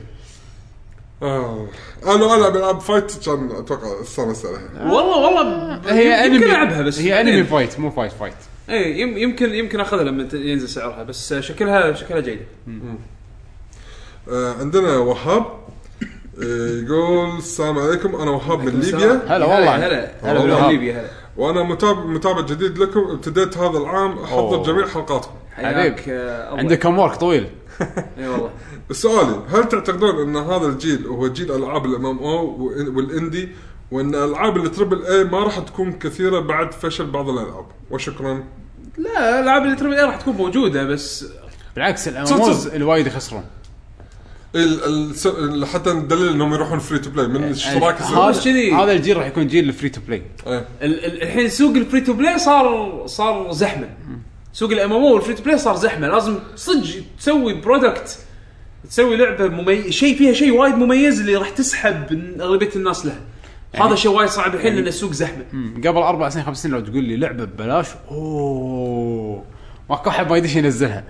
S2: آه. انا العب العاب فايت كان اتوقع استانست عليها
S3: والله والله ب-
S1: آه. هي
S3: يمكن
S1: انمي
S3: العبها بس
S1: هي انمي فايت مو فايت فايت
S3: اي يمكن يمكن اخذها لما ت- ينزل سعرها بس شكلها شكلها جيده
S2: آه. عندنا وهاب آه، يقول السلام عليكم انا وهاب من ليبيا
S1: هلا والله
S3: هلا
S1: هلا
S3: هلا
S1: بالوهاب.
S3: ليبيا هلا
S2: وانا متابع متابع جديد لكم ابتديت هذا العام احضر
S1: أوه.
S2: جميع حلقاتكم
S1: حبيب.
S3: حياك، آه، الله.
S1: عندك كم ورك طويل
S3: اي والله
S2: سؤالي هل تعتقدون ان هذا الجيل هو جيل العاب الام ام او والاندي وان العاب التربل اي ما راح تكون كثيره بعد فشل بعض الالعاب وشكرا
S3: لا العاب التربل اي راح تكون موجوده بس
S1: بالعكس
S2: صدق،
S1: الاموز
S2: صدق.
S1: الوايد يخسرون
S2: ال- الس- ال- حتى الدليل انهم يروحون فري تو بلاي من الاشتراك
S1: هذا
S3: بس كذي.
S1: هذا الجيل راح يكون جيل الفري تو بلاي
S2: إيه.
S3: ال- ال- الحين سوق الفري تو بلاي صار صار زحمه سوق الام ام او والفري تو بلاي صار زحمه لازم صدق تسوي برودكت تسوي لعبه ممي... شيء فيها شيء وايد مميز اللي راح تسحب ن- اغلبيه الناس له يعني هذا شيء وايد صعب الحين لان السوق زحمه
S1: مم. قبل اربع سنين خمس سنين لو تقول لي لعبه ببلاش اوه ماكو احد ما يدش ينزلها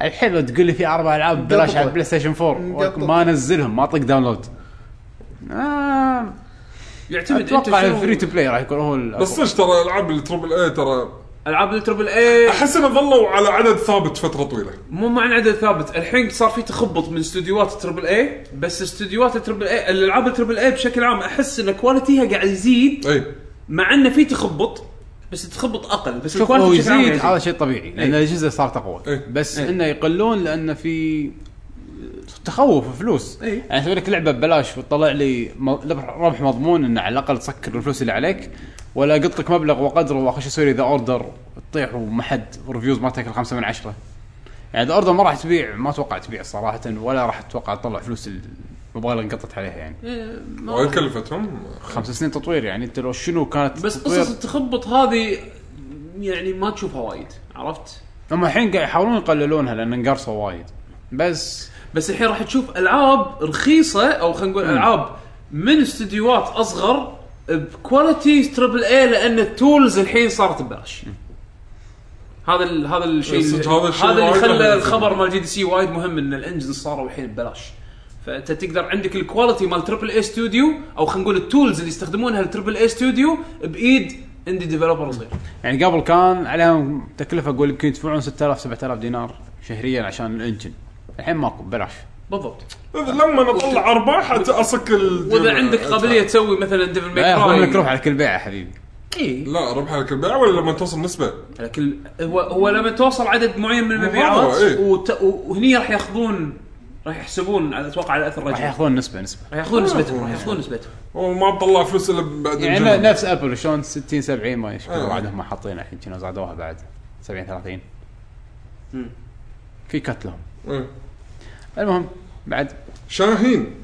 S1: الحين لو تقول لي في اربع العاب ببلاش على
S4: مقطط.
S1: البلاي ستيشن 4
S4: مقطط.
S1: ما انزلهم ما اطق داونلود آه
S3: يعتمد
S1: اتوقع
S3: انت شنو-
S1: الفري تو بلاي راح يكون هو الأقوى.
S2: بس صدق ترى العاب التربل اي ترى
S3: العاب التربل اي
S2: احس انه ظلوا على عدد ثابت فتره طويله
S3: مو مع عدد ثابت الحين صار في تخبط من استديوهات التربل اي بس استديوهات التربل اي الالعاب التربل اي بشكل عام احس ان كواليتيها قاعد يزيد
S2: اي
S3: مع انه في تخبط بس تخبط اقل بس
S1: شوف
S3: الكواليتي
S1: هو
S3: بشكل عام
S1: يزيد هذا شيء طبيعي لان
S3: إيه.
S1: الجزء صار تقوى
S2: إيه.
S1: بس
S3: إيه.
S1: انه يقلون لان في تخوف فلوس
S3: إيه.
S1: يعني اسوي لك لعبه ببلاش وتطلع لي م- ربح مضمون انه على الاقل تسكر الفلوس اللي عليك ولا قلت لك مبلغ وقدره واخش اسوي لي ذا اوردر تطيح وما حد ريفيوز ما تاكل خمسه من عشره يعني ذا اوردر ما راح تبيع ما اتوقع تبيع صراحه ولا راح اتوقع تطلع فلوس المبالغ اللي انقطعت عليها يعني
S3: إيه، ما-
S2: وايد كلفتهم
S1: خمس سنين تطوير يعني انت لو شنو كانت
S3: بس
S1: تطوير-
S3: قصص التخبط هذه يعني ما تشوفها وايد عرفت؟
S1: هم الحين قاعد يحاولون يقللونها لان انقرصوا وايد بس
S3: بس الحين راح تشوف العاب رخيصه او خلينا نقول العاب من استديوهات اصغر بكواليتي تربل اي لان التولز الحين صارت ببلاش هذا ال هذا الشيء
S2: صدق هذا الشيء
S3: هذا اللي
S2: وايد مهم.
S3: خلى الخبر مال جي دي سي وايد مهم ان الانجن صاروا الحين ببلاش فانت تقدر عندك الكواليتي مال تربل اي ستوديو او خلينا نقول التولز اللي يستخدمونها التربل اي ستوديو بايد اندي ديفلوبر صغير
S1: يعني قبل كان عليهم تكلفه اقول يمكن يدفعون 6000 7000 دينار شهريا عشان الانجن الحين ماكو ببلاش
S3: بالضبط
S2: إذا لما نطلع ارباح حتى اصك ال-
S3: واذا عندك قابليه تسوي مثلا ديفل
S1: لا ياخذون لك روح
S3: ميك
S1: على كل بيعه حبيبي
S3: اي
S2: لا ربح على كل بيع ولا لما توصل نسبه؟
S3: لكن هو هو لما توصل عدد معين من المبيعات
S2: إيه.
S3: وت... وهني راح ياخذون راح يحسبون على اتوقع على اثر
S1: راح آه.
S3: الرجل
S1: ياخذون نسبه نسبه
S3: راح ياخذون نسبتهم راح ياخذون نسبتهم
S2: وما بطلع فلوس الا بعد
S1: يعني
S2: الجنة.
S1: ن- نفس ابل شلون 60 70 ما ايش
S2: آه.
S1: بعد هم حاطين الحين كنا زادوها بعد 70 30
S3: مم.
S1: في كت لهم
S2: إيه.
S1: المهم بعد
S2: شاهين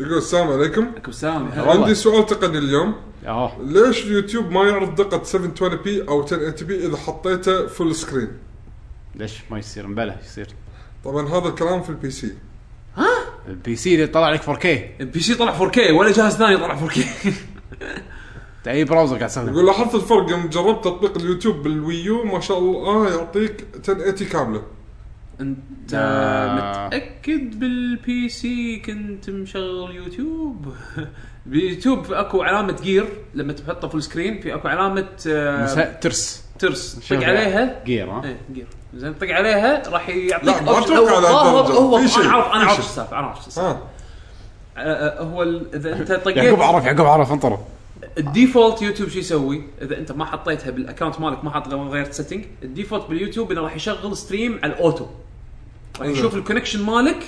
S2: يقول السلام عليكم
S3: عليكم السلام
S1: هلا. والله.
S2: عندي سؤال تقني اليوم
S1: اه
S2: ليش اليوتيوب ما يعرض دقة 720 بي او 1080 بي اذا حطيته فول سكرين؟
S1: ليش ما يصير مبلى يصير
S2: طبعا هذا الكلام في البي سي
S1: البي سي اللي طلع لك 4K
S3: بي سي طلع 4K ولا جهاز ثاني طلع 4K
S1: أنت اي براوزر قاعد تستخدم
S2: يقول لاحظت الفرق يوم جربت تطبيق اليوتيوب بالويو ما شاء الله آه، يعطيك 1080 كامله
S3: انت
S1: آه.
S3: متاكد بالبي سي كنت مشغل يوتيوب باليوتيوب اكو علامه جير لما تحطها فول سكرين في اكو علامه آه،
S1: مسا- ترس
S3: ترس
S1: شوف
S3: طق عليها
S1: جير ها
S3: ايه جير زين طق عليها راح يعطيك
S2: لا، ما
S3: option.
S2: أتوقع
S3: هو-
S2: على
S3: هو
S2: الدرجة.
S3: هو
S2: في شيء،
S3: انا عارف
S2: في
S3: انا عارف
S2: شيء.
S3: شو السالفه انا عارف شو السالفه
S2: ها
S3: آه، آه، هو ال- اذا انت
S2: يعني
S1: يعقوب
S3: طقيت
S1: عرف يعقوب عرف انطره
S3: الديفولت يوتيوب شو يسوي؟ اذا انت ما حطيتها بالاكونت مالك ما حط ما غيرت سيتنج الديفولت باليوتيوب انه راح يشغل ستريم على الاوتو راح يشوف الكونكشن مالك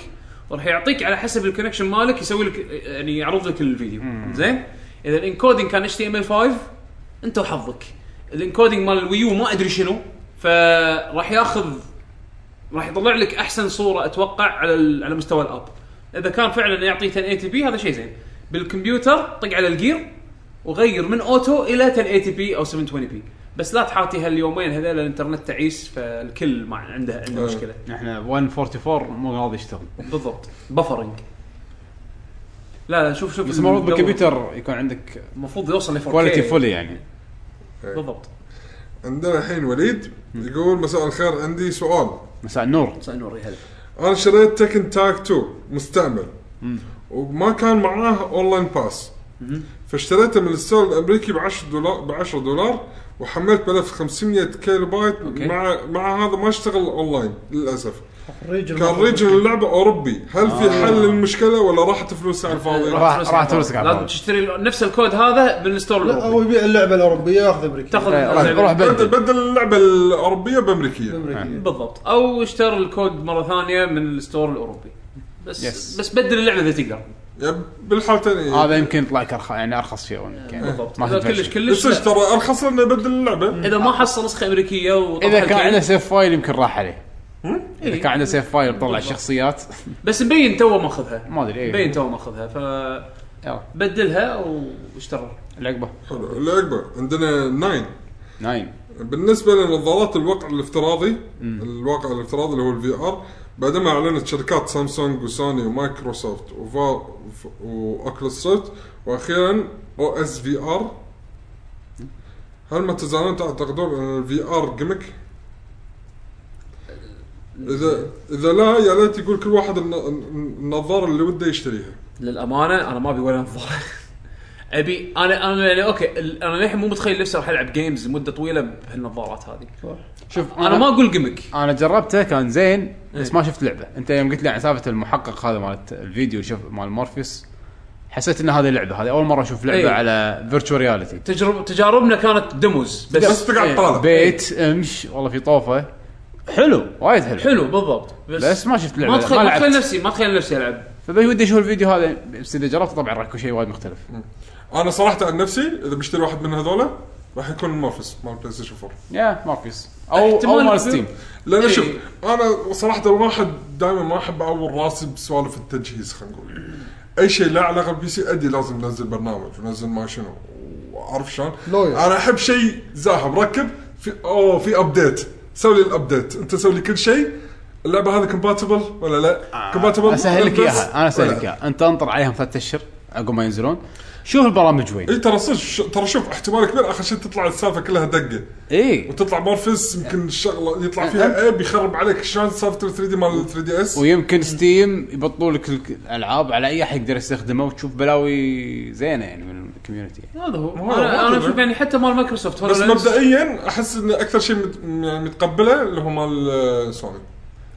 S3: وراح يعطيك على حسب الكونكشن مالك يسوي لك يعني يعرض لك الفيديو زين اذا الانكودينج كان اتش تي ام ال 5 انت وحظك الانكودينج مال الويو ما ادري شنو فراح ياخذ راح يطلع لك احسن صوره اتوقع على ال- على مستوى الاب اذا كان فعلا يعطي 1080 بي هذا شيء زين بالكمبيوتر طق على الجير وغير من اوتو الى 1080 بي او 720 بي بس لا تحاتي هاليومين هذول الانترنت تعيس فالكل ما عنده عنده
S2: أه.
S3: مشكله
S1: احنا 144 مو راضي يشتغل
S3: بالضبط بفرنج لا لا شوف شوف
S1: بس المفروض
S3: الدور-
S1: بالكمبيوتر يكون عندك
S3: المفروض يوصل ل 4K
S1: كواليتي فولي يعني
S3: بالضبط
S2: عندنا الحين وليد يقول مساء الخير عندي سؤال
S1: مساء النور
S3: بس نوري هلا
S2: انا شريت تكن تاك 2 مستعمل وما كان معاه اونلاين باس فاشتريته من الستور الامريكي ب 10 دولار ب 10 دولار وحملت ملف 500 كيلو بايت
S3: أوكي.
S2: مع مع هذا ما اشتغل اونلاين للاسف
S4: الريجل
S2: كان ريجن اللعبه اوروبي هل في حل للمشكله ولا راحت فلوسي على الفاضي؟
S1: راح- راح تفلسك على
S3: لازم
S1: الفاضي.
S3: تشتري نفس الكود هذا من الستور
S4: لا هو
S3: الاوروبي
S4: يبيع اللعبه الاوروبيه ياخذ امريكا
S3: تاخذ
S1: إيه، روح روح
S2: بدل
S1: بدل
S2: بدل اللعبه الاوروبيه بامريكيه
S4: امريكيه
S3: بالضبط او اشتر الكود مره ثانيه من الستور الاوروبي بس
S1: Yes.
S3: بس بدل اللعبه اذا تقدر
S2: يعني بالحالتين إيه.
S1: هذا يمكن يطلع لك أرخ- يعني ارخص شيء عندك يعني
S3: بالضبط
S1: ما
S3: اذا
S1: تدفع
S3: كلش
S1: شيء.
S3: كلش
S2: بس
S3: لا.
S2: إيش ترى ارخص لنا بدل اللعبه
S3: اذا ما حصل نسخه امريكيه وطفح
S1: اذا كان
S3: الكيل.
S1: عنده سيف فايل يمكن راح عليه اذا
S3: يعني. إيه.
S1: كان عنده سيف فايل طلع الشخصيات
S3: بس مبين تو ماخذها
S1: ما ادري
S3: مبين
S1: ايه
S3: تو ماخذها فبدلها
S1: يلا
S3: واشترى
S1: العقبه
S2: حلو اللي اكبر عندنا 9
S1: نايم
S2: بالنسبه لنظارات الواقع الافتراضي الواقع الافتراضي اللي هو الفي ار بعدما اعلنت شركات سامسونج وسوني ومايكروسوفت وفا واوكلس سوفت واخيرا او اس في ار هل ما تزالون تعتقدون ان الفي ار جيمك؟ اذا اذا لا يا ليت يقول كل واحد الن- النظاره اللي وده يشتريها.
S3: للامانه انا ما ابي ولا نظاره ابي انا انا يعني اوكي ال- انا للحين مو متخيل نفسي راح العب جيمز لمده طويله بهالنظارات هذه
S1: شوف
S3: انا ما اقول جيمك
S1: انا جربته كان زين
S3: إيه.
S1: بس ما شفت لعبه انت يوم قلت لي عن سالفه المحقق هذا مالت الفيديو شوف مال مورفيوس حسيت ان هذه لعبه هذه اول مره اشوف لعبه
S3: إيه.
S1: على فيرتشوال رياليتي
S3: تجرب تجاربنا كانت ديموز بس
S2: بس تقعد
S3: إيه.
S2: طالع
S1: بيت امش والله في طوفه حلو وايد حلو
S3: حلو بالضبط بس,
S1: بس ما شفت لعبه
S3: ما تخيل ما
S1: لعبت.
S3: تخيل نفسي ما تخيل نفسي العب
S1: فبي ودي اشوف الفيديو هذا بس اذا جربت طبعا راح يكون شيء وايد مختلف
S2: انا صراحه عن نفسي اذا بشتري واحد من هذولا راح يكون المنافس مال بلاي ستيشن 4
S1: يا ماركس او او
S3: احتمال
S1: مال
S3: في-
S1: ستيم
S2: لان
S3: إيه.
S2: شوف انا صراحه واحد دائما ما احب اعور راسي بسوالف التجهيز خلينا نقول اي شيء له علاقه بالبي سي ادري لازم ننزل برنامج وننزل ما شنو وعارف شلون؟
S4: لوير.
S2: انا احب شيء زاهب ركب في اوه في ابديت سوي لي الابديت انت سوي لي كل شيء اللعبه هذه كومباتبل ولا لا؟ كومباتبل
S1: اسهل آه، لك اياها انا اسهل لك اياها انت انطر عليهم ثلاثة اشهر عقب ما ينزلون شوف البرامج وين
S2: اي ترى صدق ش- ترى شوف احتمال كبير اخر شيء تطلع السالفه كلها دقه
S1: اي
S2: وتطلع مورفس يمكن الشغله يطلع فيها اي بيخرب عليك شلون سالفه 3 دي مال 3 دي اس
S1: ويمكن ستيم يبطلوا لك الك- الالعاب على اي احد يقدر يستخدمه وتشوف بلاوي زينه يعني من الكوميونتي يعني.
S3: هذا هو
S2: هو-
S3: انا
S2: هو
S3: انا
S2: كذا.
S3: اشوف يعني حتى مال مايكروسوفت
S2: بس
S3: هولولينز،
S2: مبدئيا احس ان اكثر شيء مت... يعني متقبله اللي هو مال آه، سوني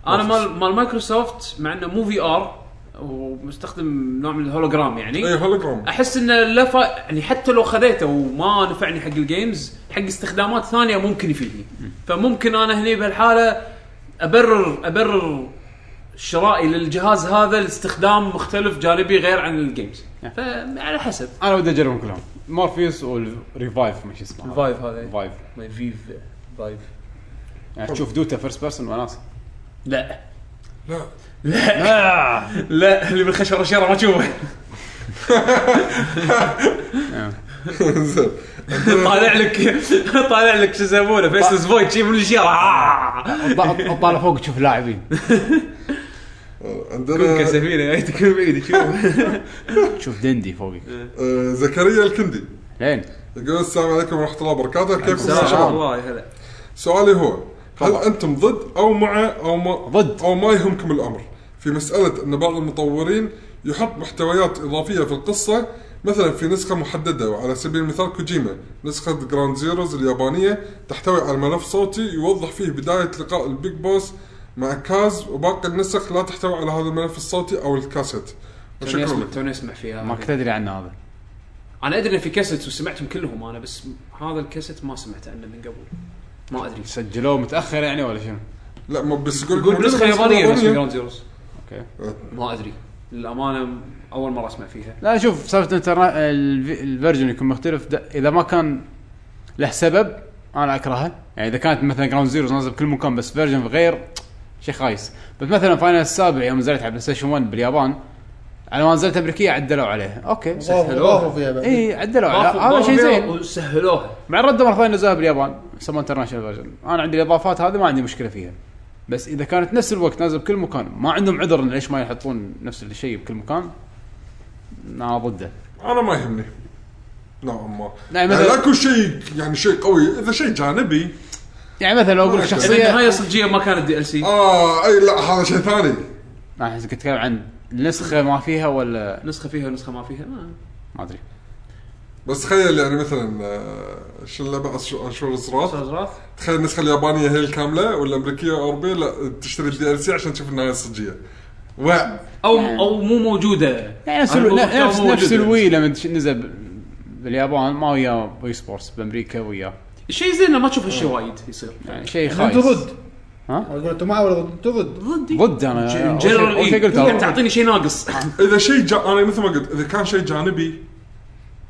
S3: انا مال مال مايكروسوفت مع انه مو في ار ومستخدم نوع من الهولوجرام يعني
S2: اي إيه، هولوجرام
S3: احس انه لا ف... يعني حتى لو خذيته وما نفعني حق الجيمز حق استخدامات ثانيه ممكن يفيدني فممكن انا هني بهالحاله ابرر ابرر شرائي للجهاز هذا لاستخدام مختلف جانبي غير عن الجيمز فعلى حسب
S1: انا ودي اجربهم كلهم مورفيوس والريفايف ما شو اسمه هذا.
S3: الفايف هذا
S1: ريفايف
S3: ما فيف فايف
S1: يعني تشوف دوتا فيرست بيرسون وناس
S3: لا
S2: لا
S3: لا اللي بالخشب والشيره ما تشوفه
S2: زين
S3: طالع لك طالع لك شو يسمونه فيسلس فويد شي من الشيره آه.
S1: اطلع أطلع فوق تشوف لاعبين
S2: عندنا
S3: كسفينه تكون بعيد شوف
S1: تشوف دندي فوقك
S2: آه، زكريا الكندي
S1: لين
S2: يقول السلام عليكم ورحمه الله وبركاته كيفكم يا شباب؟
S3: الله يهلا
S2: سؤالي هو هل انتم ضد او مع او ما
S1: ضد.
S2: او ما يهمكم الامر في مساله ان بعض المطورين يحط محتويات اضافيه في القصه مثلا في نسخه محدده وعلى سبيل المثال كوجيما نسخه جراند زيروز اليابانيه تحتوي على ملف صوتي يوضح فيه بدايه لقاء البيج بوس مع كاز وباقي النسخ لا تحتوي على هذا الملف الصوتي او الكاسيت
S3: توني
S2: وشكرا
S3: اسمع
S2: لكم.
S3: توني اسمع طيب، فيها
S1: ما كنت ادري عنه هذا
S3: انا ادري ان في كاسيت وسمعتهم كلهم انا بس هذا الكاسيت ما سمعت عنه من قبل ما ادري
S1: سجلوه متاخر يعني ولا شنو؟
S2: لا ما بس
S3: يقول نسخه يابانيه بس جراند زيروز
S1: اوكي
S3: ما ادري للامانه م- اول مره اسمع فيها
S1: لا شوف سالفه الانترنا- الفي- الفيرجن يكون مختلف ده اذا ما كان له سبب انا اكرهه يعني اذا كانت مثلا جراوند زيروز نازل بكل مكان بس فيرجن غير شيء خايس بس مثلا فاينل السابع يوم نزلت على بلاي ستيشن 1 باليابان على ما نزلت امريكيه عدلوا عليها اوكي
S4: ضافوا فيها بعد
S1: اي عدلوا
S3: ضافوا-
S1: عليها هذا
S3: ضافوا
S1: شيء
S3: فيها
S1: زين
S3: وسهلوها
S1: مع الرده مره ثانيه نزلوها باليابان سموها انترناشونال فيرجن انا عندي الاضافات هذه ما عندي مشكله فيها بس اذا كانت نفس الوقت نازل بكل مكان ما عندهم عذر إن ليش ما يحطون نفس الشيء بكل مكان انا ضده
S2: انا ما يهمني نوعا ما
S1: لا،
S2: يعني
S1: مثلا-
S2: اكو شيء يعني شيء قوي اذا شيء جانبي
S1: يعني مثلا لو اقول لك
S2: إذا
S3: اذا
S1: شخصيه
S3: النهايه صجيه ما كانت دي ال
S1: آه.
S3: سي
S2: اه اي لا هذا شيء ثاني
S1: انا كنت اتكلم عن نسخه ما فيها ولا
S3: نسخه فيها ونسخه ما فيها آه. ما.
S1: ما ادري
S2: بس تخيل يعني مثلا آه، شو اللعبه أش- اشهر الصراط
S3: صراحة.
S2: تخيل النسخه اليابانيه هي الكامله والامريكيه والاوروبيه لا تشتري الدي ال سي عشان تشوف النهايه الصجيه و
S3: او او مو موجوده
S1: يعني نفس
S3: أنا
S1: الو...
S3: بقول
S1: نفس,
S3: لك
S1: نفس,
S3: مو موجودة.
S1: الوي لما تش- نزل ب- باليابان ما ويا وي سبورتس بامريكا وياه
S3: شيء زين إنه ما تشوف هالشيء وايد يصير
S1: يعني شيء
S4: انت
S1: خايس
S4: ضد
S1: ها؟
S4: انا اقول انت مع ولا ضد انت ضد
S3: ضدي
S1: ضد انا أول شيء-
S3: جنرال
S1: أول شيء
S3: اي
S1: قلتها.
S3: قاعد تعطيني شيء ناقص
S2: اذا شيء جا... انا مثل ما قلت اذا كان شيء جانبي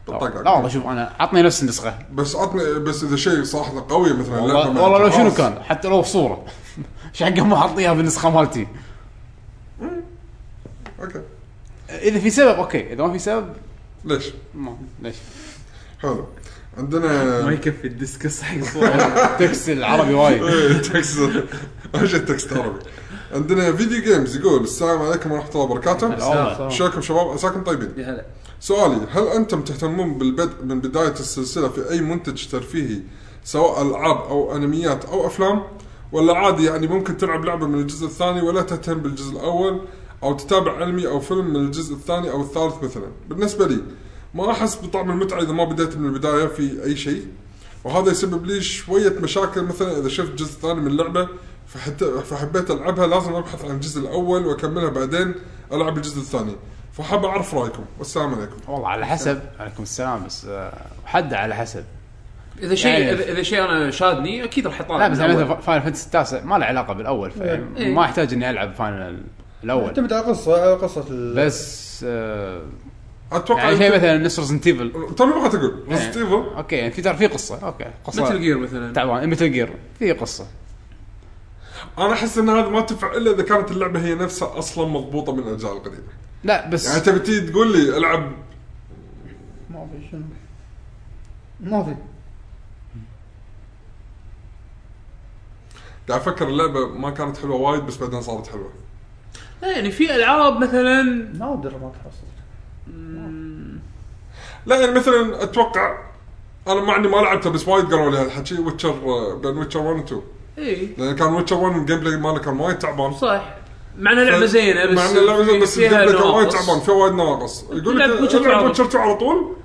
S2: بطقعك.
S1: لا والله شوف انا عطني نفس النسخه
S2: بس عطني بس اذا شيء صراحه قوي مثلا لعبة
S1: والله
S2: مع
S1: والله لو شنو
S2: جهاز.
S1: كان حتى لو صوره ايش حقه ما حطيها بالنسخه مالتي
S2: اوكي
S1: اذا في سبب اوكي اذا ما في سبب
S2: ليش؟
S1: ما ليش
S2: حلو عندنا
S3: يكفي الديسكس حق صورة
S1: التكست العربي وايد
S2: إيه، تكست اهم شيء تكست عربي عندنا فيديو جيمز يقول السلام عليكم ورحمه الله وبركاته
S1: والله.
S2: شلونكم شباب عساكم طيبين
S3: يا هلا
S2: سؤالي هل انتم تهتمون بالبدء من بدايه السلسله في اي منتج ترفيهي سواء العاب او انميات او افلام ولا عادي يعني ممكن تلعب لعبه من الجزء الثاني ولا تهتم بالجزء الاول او تتابع انمي او فيلم من الجزء الثاني او الثالث مثلا بالنسبه لي ما احس بطعم المتعه اذا ما بديت من البدايه في اي شيء وهذا يسبب لي شويه مشاكل مثلا اذا شفت جزء ثاني من اللعبه فحتى فحبيت العبها لازم ابحث عن الجزء الاول واكملها بعدين العب الجزء الثاني فحاب اعرف رايكم والسلام عليكم
S1: والله على حسب عليكم السلام بس آه، حد على حسب
S3: اذا شيء
S1: يعني-
S3: اذا إذا شيء انا شادني اكيد راح احطه
S1: لا بس يعني
S3: بالأول.
S1: مثلا فاينل فانتسي التاسع ما له علاقه بالاول
S3: إيه.
S1: فما يحتاج اني العب فاينل الاول
S4: تعتمد على قصه على قصه ال-
S1: بس آه،
S2: اتوقع
S1: يعني شيء مثلا نفس ريزنت ايفل
S2: ترى طيب، ما تقول ريزنت ايفل
S1: اوكي يعني في ترى في قصه اوكي قصه
S3: مثل جير مثلا
S1: تعبان مثل جير في قصه
S2: انا احس ان هذا ما تنفع الا اذا كانت اللعبه هي نفسها اصلا مضبوطه من الاجزاء القديمه
S1: لا بس
S2: يعني تبي تيجي تقول لي العب
S4: ما في شنو ما في
S2: قاعد افكر اللعبه ما كانت حلوه وايد بس بعدين صارت حلوه
S3: لا، يعني في العاب مثلا
S4: نادر ما تحصل
S2: لا يعني مثلا اتوقع انا مع اني ما لعبتها بس وايد قالوا لي هالحكي آه، ويتشر بين ويتشر 1 و 2
S3: اي
S2: لان كان ويتشر 1 الجيم بلاي ماله كان وايد تعبان
S3: إيه، صح مع انها لعبه زينه يعني بس
S2: مع ان اللعبه زينه بس
S3: فيها
S2: الجيم بلاي كان وايد
S3: نواقص.
S2: تعبان فيها وايد نواقص يقول لك
S3: لعب Witcher two
S2: العب
S3: على
S2: ويتشر 2 على طول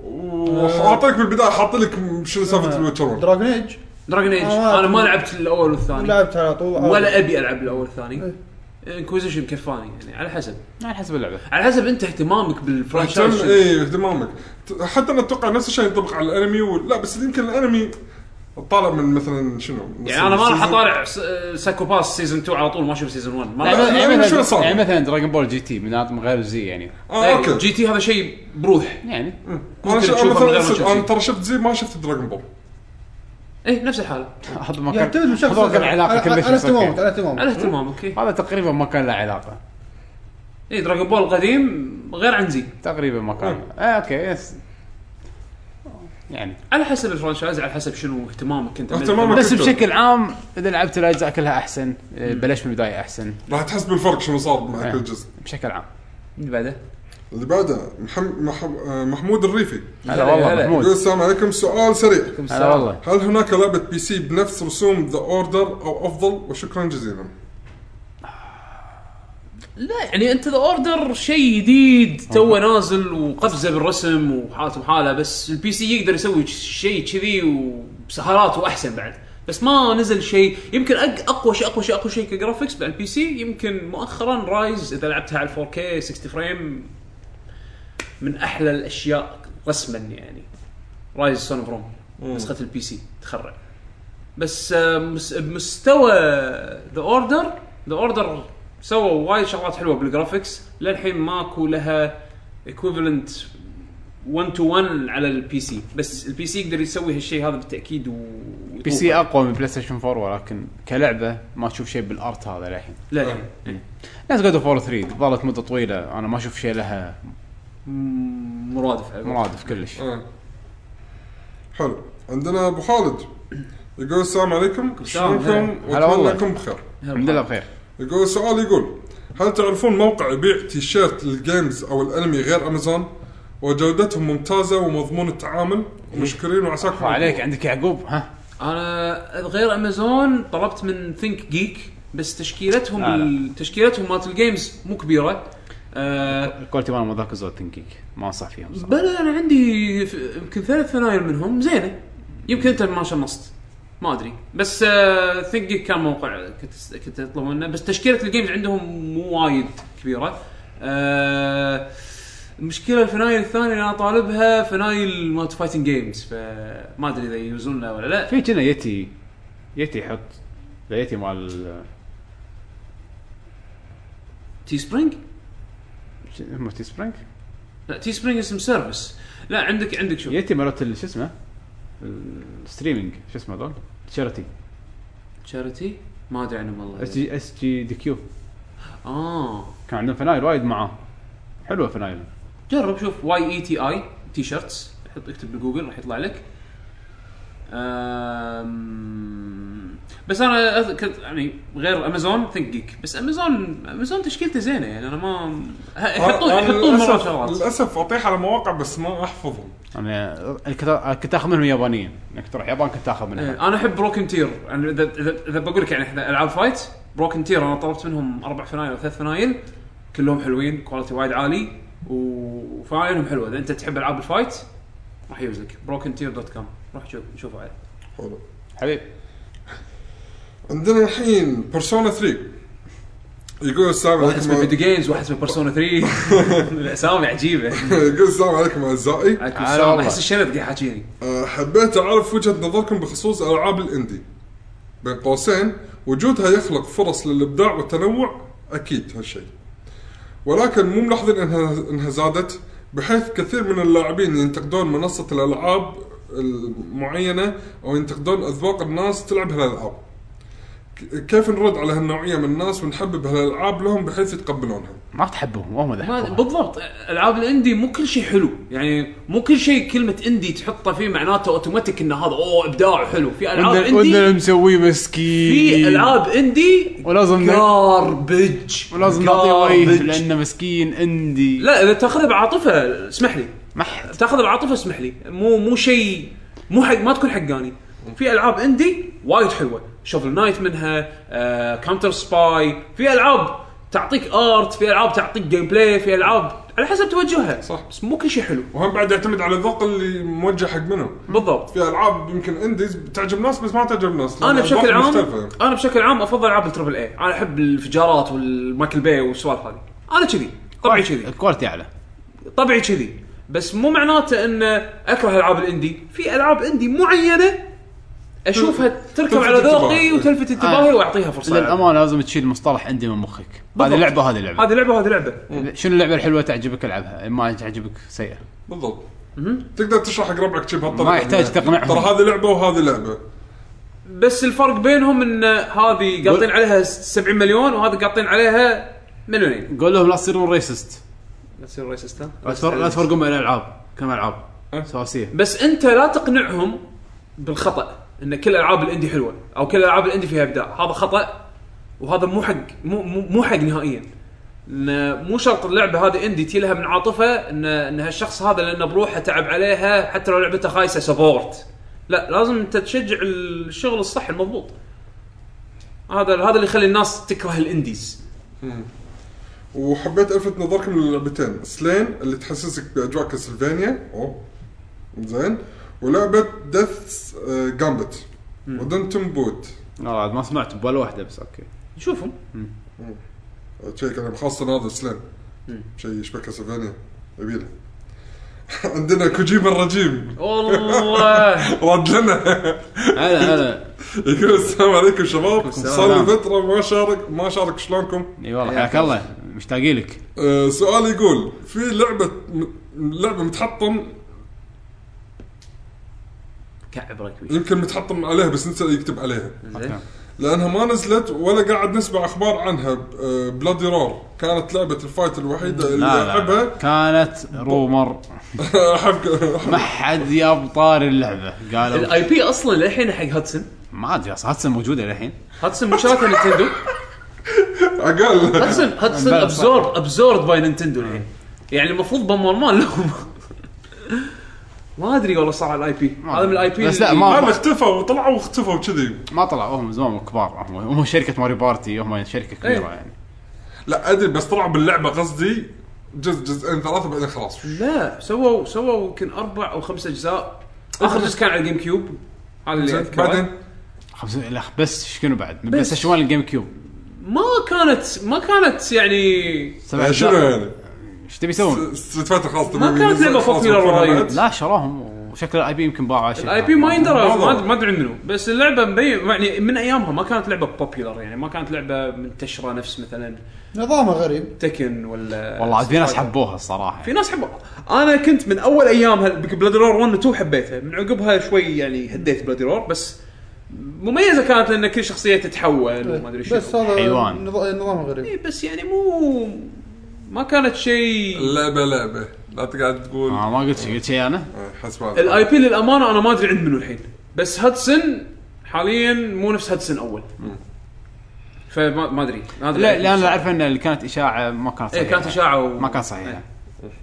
S2: واعطيك بالبدايه حاط لك شنو
S3: آه.
S2: سالفه الويتشر 1
S4: دراجون ايج
S3: دراجون ايج
S4: آه،
S3: انا ما
S4: آه.
S3: لعبت الاول والثاني
S4: لعبتها على طول
S3: ولا ابي العب الاول والثاني
S4: إيه.
S3: انكوزيشن مكفاني يعني على حسب
S1: على حسب اللعبه
S3: على حسب انت اهتمامك بالفرانشايز شنو.
S2: اي إيه، اهتمامك ت- حتى انا اتوقع نفس الشيء ينطبق على الانمي وال- لا بس يمكن الانمي طالع من مثلا شنو
S3: يعني انا ما راح اطالع س- سايكو باس سيزون 2 على طول ما اشوف سيزون 1 ما
S1: لا،
S3: راح
S2: لا،
S1: يعني,
S2: يعني شنو
S1: مثلا
S2: صار؟
S1: يعني مثلا دراجون بول جي تي من من غير زي يعني
S2: اه اوكي
S3: إيه، جي تي هذا شيء بروح
S1: يعني
S2: انا ش-
S3: ممكن تشوفه من
S2: مثلا
S3: غير ما
S2: أصد-
S3: تشوف
S2: انا
S3: شيء.
S2: ترى شفت زي ما شفت دراجون بول
S3: اي إيه، نفس الحاله
S1: هذا ما كان
S4: يعتمد من شخص
S1: هذا ما كان
S4: لشخص. على
S1: علاقه كلش
S4: على
S1: بس أوكي.
S4: اهتمامك على اهتمامك
S3: على اهتمامك إيه. اي
S1: هذا تقريبا ما كان له علاقه
S3: اي دراجون بول القديم غير عن زي
S1: تقريبا ما كان آه اوكي يس يعني
S3: على حسب الفرانشايز على حسب شنو اهتمامك انت
S2: اهتمامك
S1: بس
S2: أنت
S1: بشكل عام اذا لعبت الاجزاء كلها احسن آه، بلشت من البدايه احسن
S2: راح تحس بالفرق شنو صار مع
S1: إيه.
S2: كل جزء
S1: بشكل عام
S3: اللي بعده
S2: اللي بعده محم... مح... آه، محمود الريفي
S1: هلا والله
S3: هلا.
S2: يقول
S1: محمود
S2: السلام عليكم سؤال سريع
S1: هلا والله
S2: هل هناك لعبه بي سي بنفس رسوم ذا اوردر او افضل وشكرا جزيلا
S3: لا يعني انت ذا اوردر شيء جديد تو نازل وقفزه بالرسم وحالته بحاله بس البي سي يقدر يسوي شيء كذي وسهرات واحسن بعد بس ما نزل شيء يمكن أق- اقوى شيء اقوى شيء اقوى شيء كجرافكس على البي سي يمكن مؤخرا رايز اذا لعبتها على 4K 60 فريم من احلى الاشياء رسما يعني رايز سون اوف روم نسخه البي سي تخرع بس آه، مس- بمستوى ذا اوردر ذا اوردر سووا وايد شغلات حلوه بالجرافكس للحين ماكو لها ايكوفلنت 1 تو 1 على البي سي بس البي سي يقدر يسوي هالشيء هذا بالتاكيد و
S1: بي سي اقوى من بلاي ستيشن 4 ولكن كلعبه ما تشوف شيء بالارت هذا للحين
S3: لا يعني
S1: ناس جود اوف 3 ظلت مده طويله انا ما اشوف شيء لها
S3: م- مرادف على قولتهم.
S1: مرادف كلش
S2: آه. حلو عندنا ابو خالد يقول السلام عليكم
S3: السلام،
S2: شلونكم
S1: هلا والله.
S2: واتمنى لكم بخير
S1: الحمد لله بخير
S2: يقول السؤال يقول هل تعرفون موقع يبيع تيشيرت للجيمز او الانمي غير امازون وجودتهم ممتازه ومضمون التعامل ومشكورين وعساكم
S1: وعليك عندك يعقوب ها
S3: انا غير امازون طلبت من ثينك جيك بس تشكيلتهم
S1: لا، لا.
S3: ال- تشكيلتهم مالت الجيمز مو كبيره آه،
S1: الكواليتي مال مو ذاك الزود تنكيك ما انصح فيهم صراحه
S3: بلا انا عندي ف- يمكن ثلاث ثناير منهم زينه يمكن انت ما شمصت ما ادري بس آه ثينك جيك كان موقع كنت كنت اطلب منه بس تشكيله الجيمز عندهم مو وايد كبيره آه المشكله الفنايل الثانيه اللي انا طالبها فنايل مالت فايتنج جيمز فما ادري اذا يوزونها ولا لا
S1: في كنا يتي يتي يحط لا يتي مال
S3: تي سبرينج
S1: هم تي سبرينج
S3: لا تي سبرينج اسم سيرفيس لا عندك عندك شوف
S1: يتي مالت ال- شو اسمه الستريمينج شو اسمه هذول شارتي
S3: تشاريتي ما ادري عنهم والله
S1: اس جي اس جي دي كيو
S3: اه
S1: كان عندهم فنايل وايد معاه حلوه فنايل
S3: جرب شوف E واي اي تي اي تي شيرتس حط اكتب بجوجل راح يطلع لك أم... بس انا أذ- كنت يعني غير امازون ثينك جيك بس امازون امازون تشكيلته زينه يعني انا ما ه- يحطون
S2: أنا- أنا
S3: يحطون
S2: آه، يعني للأسف-
S3: مرات شغلات
S2: للاسف اطيح على مواقع بس ما احفظهم
S1: انا أنا كنت يعني كنت اخذ منهم يابانيين انك تروح يابان كنت اخذ منهم
S3: إيه، انا احب بروكن تير يعني اذا اذا اذا بقول لك يعني إحنا العاب فايت بروكن تير انا طلبت منهم اربع فنايل او ثلاث فنايل كلهم حلوين كواليتي وايد عالي و- وفنايلهم حلوه اذا انت تحب العاب الفايت راح يوزك بروكن تير دوت كوم روح شوف شوفوا عليه
S2: حلو
S1: حبيب
S2: عندنا الحين بيرسونا 3 يقول السلام
S3: واحد اسمه فيديو
S2: عليكم
S3: جيمز واحد اسمه بيرسونا 3 الاسامي عجيبه
S2: يقول السلام عليكم اعزائي
S3: عليكم
S1: على
S3: السلام
S1: الله.
S3: احس الشنب قاعد يحاكيني
S2: أه، حبيت اعرف وجهه نظركم بخصوص العاب الاندي بين قوسين وجودها يخلق فرص للابداع والتنوع اكيد هالشيء ولكن مو ملاحظين انها انها زادت بحيث كثير من اللاعبين ينتقدون منصه الالعاب المعينه او ينتقدون اذواق الناس تلعب هالالعاب ك- كيف نرد على هالنوعيه من الناس ونحبب هالالعاب لهم بحيث يتقبلونها
S1: ما تحبهم هم ذا
S3: ما بالضبط العاب الاندي مو كل شيء حلو يعني مو كل شيء كلمه اندي تحطه فيه معناته اوتوماتيك ان هذا اوه ابداع حلو في العاب اندي
S1: مسويه مسكين
S3: في العاب اندي
S1: ولازم-
S3: جاربج
S1: ولازم نعطيه وجه لانه مسكين اندي
S3: لا اذا تاخذها بعاطفه اسمح لي
S1: ما حد
S3: تاخذها بعاطفه اسمح لي مو مو شيء مو حق ما تكون حقاني في العاب اندي وايد حلوه شوفل نايت منها آه، كاونتر سباي في العاب تعطيك ارت في العاب تعطيك جيم بلاي في العاب على حسب توجهها
S2: صح.
S3: بس مو كل شيء حلو
S2: وهم بعد يعتمد على الذوق اللي موجه حق منهم
S3: بالضبط
S2: في العاب يمكن انديز تعجب ناس بس ما تعجب ناس لأن
S3: انا بشكل
S2: الأذواق
S3: عام
S2: مختلفة.
S3: انا بشكل عام افضل العاب التربل إيه. اي انا احب الانفجارات والمايكل باي والسوالف هذه انا كذي طبعي كذي
S1: الكواليتي اعلى
S3: طبعي كذي بس مو معناته ان اكره العاب الاندي في العاب اندي معينه اشوفها تركب
S2: تلفت
S3: على ذوقي
S2: انتباهي.
S3: والتفت انتباهي
S1: آه.
S3: واعطيها فرصه ألعب.
S1: للامانه لازم تشيل مصطلح اندي من مخك هذه
S3: بالضبط.
S1: لعبه هذه لعبه
S3: هذه لعبه وهذه لعبه
S1: شنو اللعبه الحلوه تعجبك العبها ما تعجبك سيئه
S2: بالضبط تقدر تشرح حق ربعك شي بهالطريقه
S1: ما يحتاج
S2: إنه
S1: تقنعهم.
S2: ترى هذه لعبه وهذه لعبه
S3: بس الفرق بينهم ان هذه قاطين عليها 70 مليون وهذه قاطين عليها مليونين
S1: قول لهم لا تصيرون ريسست
S3: لا تصير ريسست
S1: لا تفر- لا تفرقون بين الالعاب كم العاب
S2: أه.
S1: سواسيه
S3: بس انت لا تقنعهم بالخطا ان كل العاب الاندي حلوه او كل العاب الاندي فيها ابداع هذا خطا وهذا مو حق مو مو, مو حق نهائيا ان مو شرط اللعبه هذه اندي تي لها من عاطفه ان ان هالشخص هذا لانه بروحه تعب عليها حتى لو لعبته خايسه سبورت لا لازم انت تشجع الشغل الصح المضبوط هذا هذا اللي يخلي الناس تكره الانديز
S2: وحبيت الفت نظركم للعبتين سلين اللي تحسسك باجواء كاسلفانيا اوه زين آه، ولعبه ديث جامبت ودنتم بوت
S1: والله عاد ما سمعت بولا واحده بس اوكي
S3: نشوفهم
S2: شيء كلام خاصه هذا سلين شيء يشبه كاسلفانيا يبيله عندنا كوجيما الرجيم
S3: والله
S2: رد لنا
S1: هلا هلا
S2: يقول السلام عليكم شباب صار
S1: السلام.
S2: لي فتره ما شارك ما شارك شلونكم؟
S1: اي والله حياك الله مشتاقين لك
S2: آه، سؤال يقول في لعبه م- لعبه متحطم
S3: كعب ركبي
S2: يمكن متحطم عليها بس نسى يكتب عليها
S3: زين.
S2: لانها ما نزلت ولا قاعد نسمع اخبار عنها بلادي رور كانت لعبه الفايت الوحيده اللي
S1: لا لا
S2: العبها
S1: كانت رومر
S2: احب
S1: ما حد ياب طار اللعبه قالوا
S3: الاي بي اصلا للحين حق هاتسن
S1: ما ادري اصلا هاتسن موجوده للحين
S3: هاتسن مو شريتها نينتندو
S2: اقل
S3: هاتسون هاتسون
S1: بلى، صح.
S3: ابزورب ابزورب باي نينتندو الحين يعني المفروض بمر مان لهم ما ادري والله صار على الاي بي هذا من الاي بي
S1: بس لا، ما-
S2: هم اختفوا طلعوا واختفوا كذي
S1: ما طلعوا هم زمان كبار هم هم شركه ماري بارتي هم شركه كبيره
S3: إيه.
S1: يعني
S2: لا ادري بس طلعوا باللعبه قصدي جزء جزئين ثلاثه بعدين خلاص
S3: لا سووا سووا يمكن اربع او خمس اجزاء اخر جزء كان على الجيم كيوب هذا اللي أذكره.
S2: بعدين
S1: خمسة لا بس شنو بعد بس اشوال الجيم كيوب
S3: ما كانت ما كانت يعني
S1: سبع
S2: شنو
S1: أجزاء.
S2: يعني؟
S1: ايش تبي يسوون؟
S2: ستريت فايتر خلاص
S3: ما كانت لعبة popular وايد.
S1: لا شراهم وشكل الاي بي يمكن باعوا عشان
S3: الاي بي ما يندرى
S2: ما
S3: ما
S2: ضر.
S3: ما ادري منو بس اللعبه مبين يعني من ايامها ما كانت لعبه بوبيلر يعني ما كانت لعبه منتشره نفس مثلا
S4: نظامه غريب
S3: تكن ولا
S1: والله عاد في ناس حبوها الصراحه
S3: في ناس حبوا انا كنت من اول ايام بلادرور 1 و 2 حبيتها من عقبها شوي يعني هديت بلادرور بس مميزه كانت لان كل شخصيه تتحول وما ادري شنو
S4: بس هذا
S1: حيوان.
S4: نظ- نظامه غريب
S3: إيه، بس يعني مو ما كانت شيء
S2: اللعبه لعبه لا تقعد تقول
S1: آه ما قلت شيء قلت شيء انا
S2: آه، حسبان
S3: الاي بي للامانه انا ما ادري عند منو الحين بس هدسن حاليا مو نفس هدسن اول فما ما ادري ما أدري.
S1: لا لا انا اعرف ان اللي كانت اشاعه ما كانت
S3: إيه،
S1: صحيحه
S3: كانت اشاعه و...
S1: ما كان صحيحه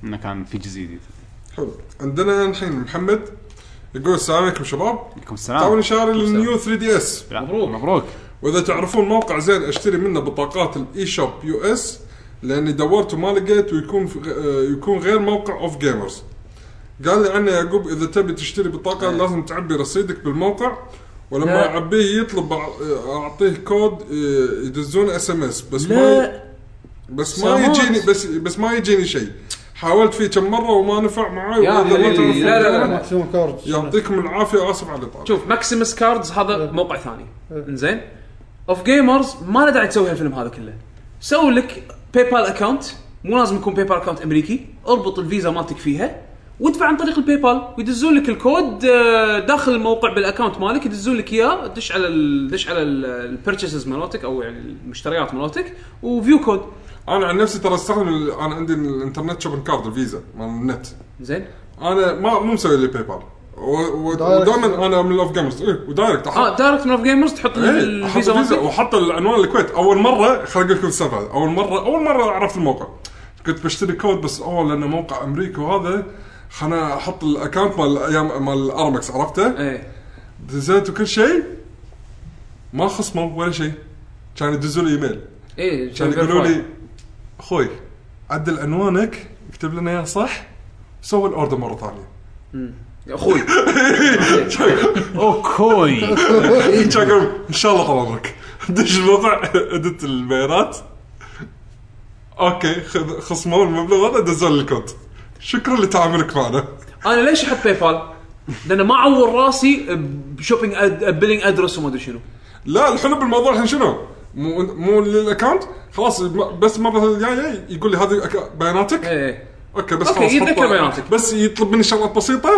S1: انه كان في جزء جديد
S2: حلو عندنا الحين محمد يقول السلام عليكم شباب
S1: عليكم
S2: تعوني
S1: السلام
S2: شاري النيو 3 دي اس
S1: لا،
S3: مبروك.
S1: مبروك
S2: واذا تعرفون موقع زين اشتري منه بطاقات الاي شوب يو اس لاني دورت وما لقيت ويكون في آه، يكون غير موقع اوف جيمرز قال لي عنه يعقوب اذا تبي تشتري بطاقه لازم تعبي رصيدك بالموقع ولما
S3: إيه. لا.
S2: اعبيه يطلب أع- اعطيه كود آه، ي- يدزون اس ام اس بس ما
S3: لا
S2: بس ما
S3: سامات.
S2: يجيني بس بس ما يجيني شيء حاولت فيه كم مره وما نفع معاي
S3: يا
S2: وإلا ما
S3: حليلي.
S2: تعرف
S3: لا، لا، لا.
S2: وين.
S4: ماكسيموم كارد
S2: يعطيكم العافيه اسف على الاطاله
S3: شوف ماكسيمس كاردز هذا موقع ثاني انزين اوف جيمرز ما له داعي تسوي هالفيلم هذا كله سوي لك باي بال اكونت مو لازم يكون باي بال اكونت امريكي اربط الفيزا مالتك فيها وادفع عن طريق الباي بال ويدزون لك الكود آه، داخل الموقع بالاكونت مالك يدزون لك اياه دش على ال- دش على البيرتشيزز مالتك او يعني المشتريات مالتك وفيو كود
S2: انا عن نفسي ترى استخدم ال- انا عندي الانترنت شوبن كارد الفيزا مال النت
S3: زين
S2: انا ما مو مسوي لي باي بال و- و-
S4: دايركت.
S2: ودائما انا من الاوف جيمرز ايه ودايركت احط
S3: اه دايركت من اوف جيمرز تحط
S2: إيه، احط
S3: الفيزا
S2: الفيزا
S3: مالتك
S2: وحط العنوان الكويت اول مره خليني اقول لكم السالفه هذه. اول مره اول مره عرفت الموقع كنت بشتري كود بس اوه لانه موقع امريكي وهذا خلنا احط الاكونت مال ايام مال ارمكس عرفته
S3: ايه
S2: دزيت وكل شيء ما خصموا ولا شيء كانوا يدزوا لي ايميل
S3: ايه
S2: كانوا يقولوا يعني لي اخوي عدل عنوانك اكتب لنا اياه صح سوي الاوردر مره ثانيه
S3: اخوي
S1: اوكي
S2: كان يقول، ان شاء الله طال عمرك دش الموقع ادت البيانات اوكي خذ خصموا المبلغ هذا دزوا لي الكود شكرا لتعاملك معنا
S3: انا ليش احط باي بال؟ لان ما اعور راسي بشوبينج أد... بيلينج ادرس وما ادري شنو
S2: لا الحلو بالموضوع الحين شنو؟ مو مو للاكونت خلاص الم- بس مره الجايه يقول لي هذه أك- بياناتك
S3: ايه
S2: اوكي بس
S3: أوكي،
S2: خلاص
S3: يتذكر
S2: حطها.
S3: بياناتك.
S2: بس يطلب مني شغلات بسيطه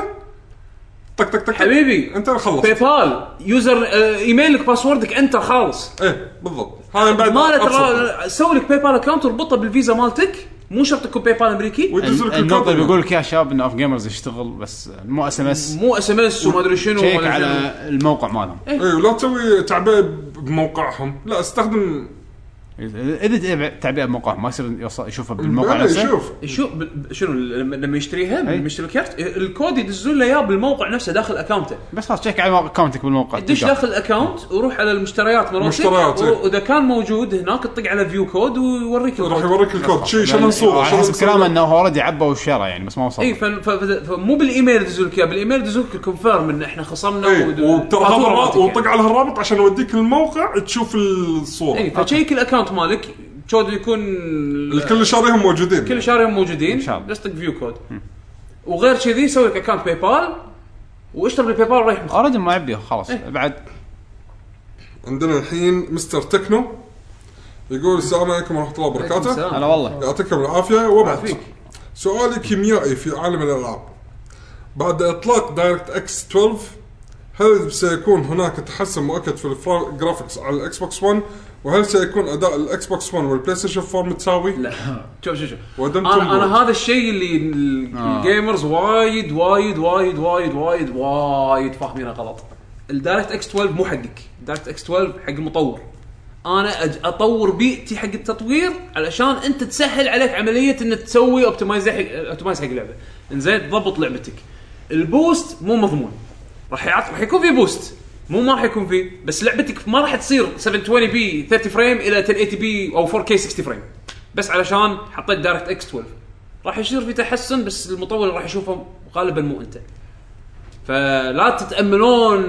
S2: طق طق طق
S3: حبيبي
S2: انت خلص
S3: باي بال يوزر آه، ايميلك باسوردك انت خالص
S2: ايه بالضبط هذا بعد
S3: ما له
S2: أبسط.
S3: ترى سوي لك باي بال اكونت واربطه بالفيزا مالتك مو شرط تكون باي بال امريكي
S2: ويدز لك
S1: النقطة
S2: الكود.
S1: اللي بيقول لك يا شباب ان اوف جيمرز يشتغل بس مو اس ام اس
S3: مو اس ام اس وما ادري شنو
S1: شيك
S3: ولا
S1: على
S3: شنو.
S1: الموقع مالهم
S2: اي ولا إيه، تسوي تعبئه بموقعهم لا استخدم
S1: اذا تعب- تعبئه بموقعهم ما يصير يوصل- يشوفها بالموقع
S2: يعني
S1: نفسه
S2: شوف
S3: شو ب- شنو لما لما يشتريها
S1: إيه.
S3: لما يشتري الكرت الكود يدزون له اياه بالموقع نفسه داخل اكونته
S1: بس خلاص شيك على اكونتك بالموقع
S3: دش
S1: تلقاه.
S3: داخل الاكونت وروح على المشتريات مالتك
S2: مشتريات، إيه.
S3: واذا كان موجود هناك تطق على فيو كود ويوريك
S2: راح
S3: الكود.
S2: يوريك الكود شيء شنو صوره
S1: يعني على
S2: شنو
S1: حسب
S2: صورة.
S1: كلامه انه هو اوريدي عبى وشرى يعني بس ما وصل
S3: اي إيه، فن- ف- ف- فمو بالايميل يدزوا لك اياه بالايميل يدزوا لك الكونفيرم ان احنا خصمنا
S2: إيه،
S3: ود-
S2: وترى هذا
S3: فاتورة
S2: الرابط
S3: مالتك يعني.
S2: وطق على هالرابط عشان اوديك الموقع تشوف الصوره
S1: إيه،
S3: اي إيه، فشيك الاكونت مالك شود يكون
S2: الكل شاريهم موجودين
S3: كل شهر يوم موجودين
S1: شاء الله.
S3: بس طق فيو كود وغير كذي سوي لك اكونت باي بال واشتري بالباي بال ورايح مخ-
S1: اوريدي ما يبي خلاص
S3: إيه.
S1: بعد
S2: عندنا الحين مستر تكنو يقول السلام عليكم ورحمه الله
S3: عليكم
S2: وبركاته
S3: السلام.
S1: هلا والله
S2: يعطيكم العافيه وبعد سؤالي كيميائي في عالم الالعاب بعد اطلاق دايركت اكس 12 هل سيكون هناك تحسن مؤكد في الفرا- الجرافيكس على الاكس بوكس 1 وهل سيكون اداء الاكس بوكس 1 والبلاي ستيشن 4 متساوي؟
S3: لا شوف شوف شوف
S2: ودمتم
S3: انا
S2: بوت.
S3: انا هذا الشيء اللي ال- الجيمرز وايد وايد وايد وايد وايد وايد فاهمينه غلط الدايركت اكس 12 مو حقك الدايركت اكس 12 حق المطور انا أج- اطور بيئتي حق التطوير علشان انت تسهل عليك عمليه ان تسوي اوبتمايز حق اوبتمايز حق اللعبه انزين تضبط لعبتك البوست مو مضمون راح يعط راح يكون في بوست مو ما راح يكون في بس لعبتك ما راح تصير 720 بي 30 فريم الى 1080 بي او 4 كي 60 فريم بس علشان حطيت دايركت اكس 12 راح يصير في تحسن بس المطور اللي راح يشوفه غالبا مو انت فلا تتاملون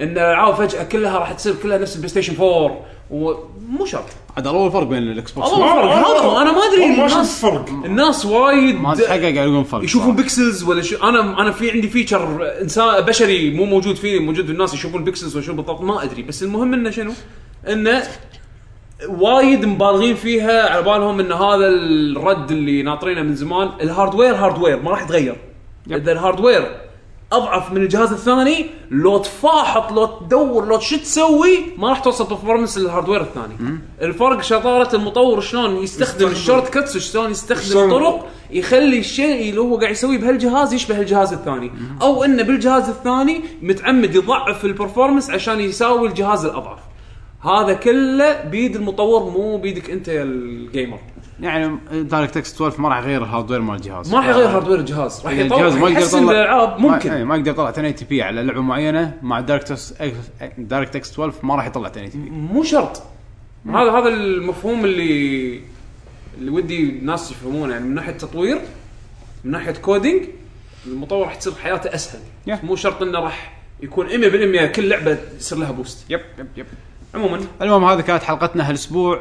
S3: ان الالعاب فجاه كلها راح تصير كلها نفس البلاي ستيشن 4 ومو شرط
S1: عاد اول فرق بين الاكس بوكس
S3: أول فرق. هذا هو، أنا ما أدري
S2: والله ما
S3: الناس-
S2: شفت فرق
S3: الناس وايد
S1: ما تحقق قاعد يقولون فرق
S3: يشوفون بيكسلز ولا شو انا انا في عندي فيتشر انسان بشري مو موجود فيه موجود بالناس يشوفون بيكسلز ولا شو بالضبط ما ادري بس المهم انه شنو؟ انه وايد مبالغين فيها على بالهم ان هذا الرد اللي ناطرينه من زمان الهاردوير هاردوير ما راح يتغير اذا الهاردوير اضعف من الجهاز الثاني لو تفاحط لو تدور لو شو تسوي ما راح توصل برفورمنس للهاردوير الثاني الفرق شطاره المطور شلون يستخدم الشورت كاتس وشلون يستخدم
S2: شلون-
S3: طرق يخلي الشيء اللي هو قاعد يسويه بهالجهاز يشبه الجهاز الثاني او انه بالجهاز الثاني متعمد يضعف البرفورمانس عشان يساوي الجهاز الاضعف هذا كله بيد المطور مو بيدك انت يا الجيمر
S1: يعني دايركت اكس 12 ما راح يغير الهاردوير مال الجهاز
S3: ما راح يغير هاردوير الجهاز راح
S1: يعني
S3: يطور
S1: الجهاز ما يقدر
S3: يحسن الالعاب
S1: ما-
S3: ممكن
S1: إيه، ما يقدر يطلع 1080 بي على لعبه معينه مع دايركت اكس دايركت اكس 12 ما راح يطلع 1080 بي
S3: مو شرط هذا هذا المفهوم اللي اللي ودي الناس يفهمونه يعني من ناحيه تطوير من ناحيه كودينج المطور راح تصير حياته اسهل
S1: Yeah.
S3: مو شرط انه راح يكون 100% كل لعبه يصير لها بوست
S1: يب يب يب
S3: عموما
S1: المهم هذه كانت حلقتنا هالاسبوع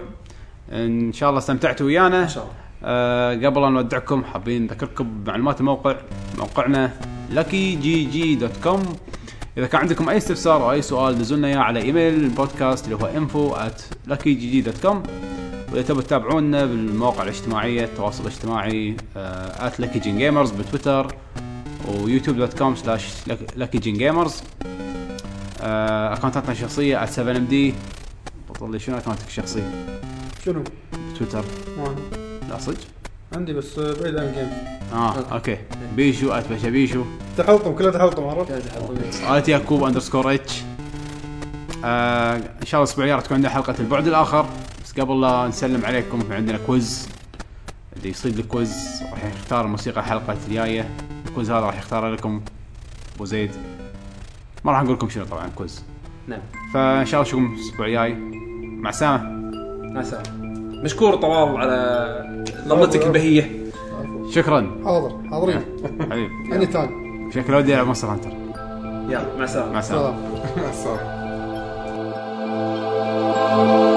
S1: ان شاء الله استمتعتوا ويانا ان
S3: شاء الله.
S1: آه قبل ان نودعكم حابين نذكركم بمعلومات الموقع موقعنا luckygg.com اذا كان عندكم اي استفسار او اي سؤال دزوا لنا اياه على ايميل البودكاست اللي هو info@luckygg.com واذا تبوا تتابعونا بالمواقع الاجتماعيه التواصل الاجتماعي آه @luckygingamers بتويتر ويوتيوب.com luckygingamers آه، اكونتاتنا الشخصيه 7 md بطل لي شنو اكونتك الشخصي
S4: شنو؟
S1: تويتر
S4: وين؟
S1: لا صدق
S4: عندي بس بعيد عن الجيم
S1: اه اوكي بيشو اتبشى بيشو
S4: تحلطم كله تحلطم عرفت؟
S1: ات يعقوب اندرسكور اتش آه، ان شاء الله الاسبوع الجاي راح تكون عندنا حلقه البعد الاخر بس قبل لا نسلم عليكم في عندنا كويز اللي يصيد الكويز راح يختار موسيقى حلقه الجايه الكويز هذا راح يختار لكم ابو زيد ما راح نقول لكم شنو طبعا كويز
S3: نعم
S1: فان شاء الله نشوفكم الاسبوع الجاي مع السلامه
S3: مع السلامه مشكور طلال على ضمتك البهيه
S1: شكرا
S4: حاضر حاضرين
S1: حبيب
S4: اني تايم
S1: شكله ودي العب مونستر هانتر
S3: يلا مع السلامه
S1: مع السلامه
S4: سلام
S2: مع السلامه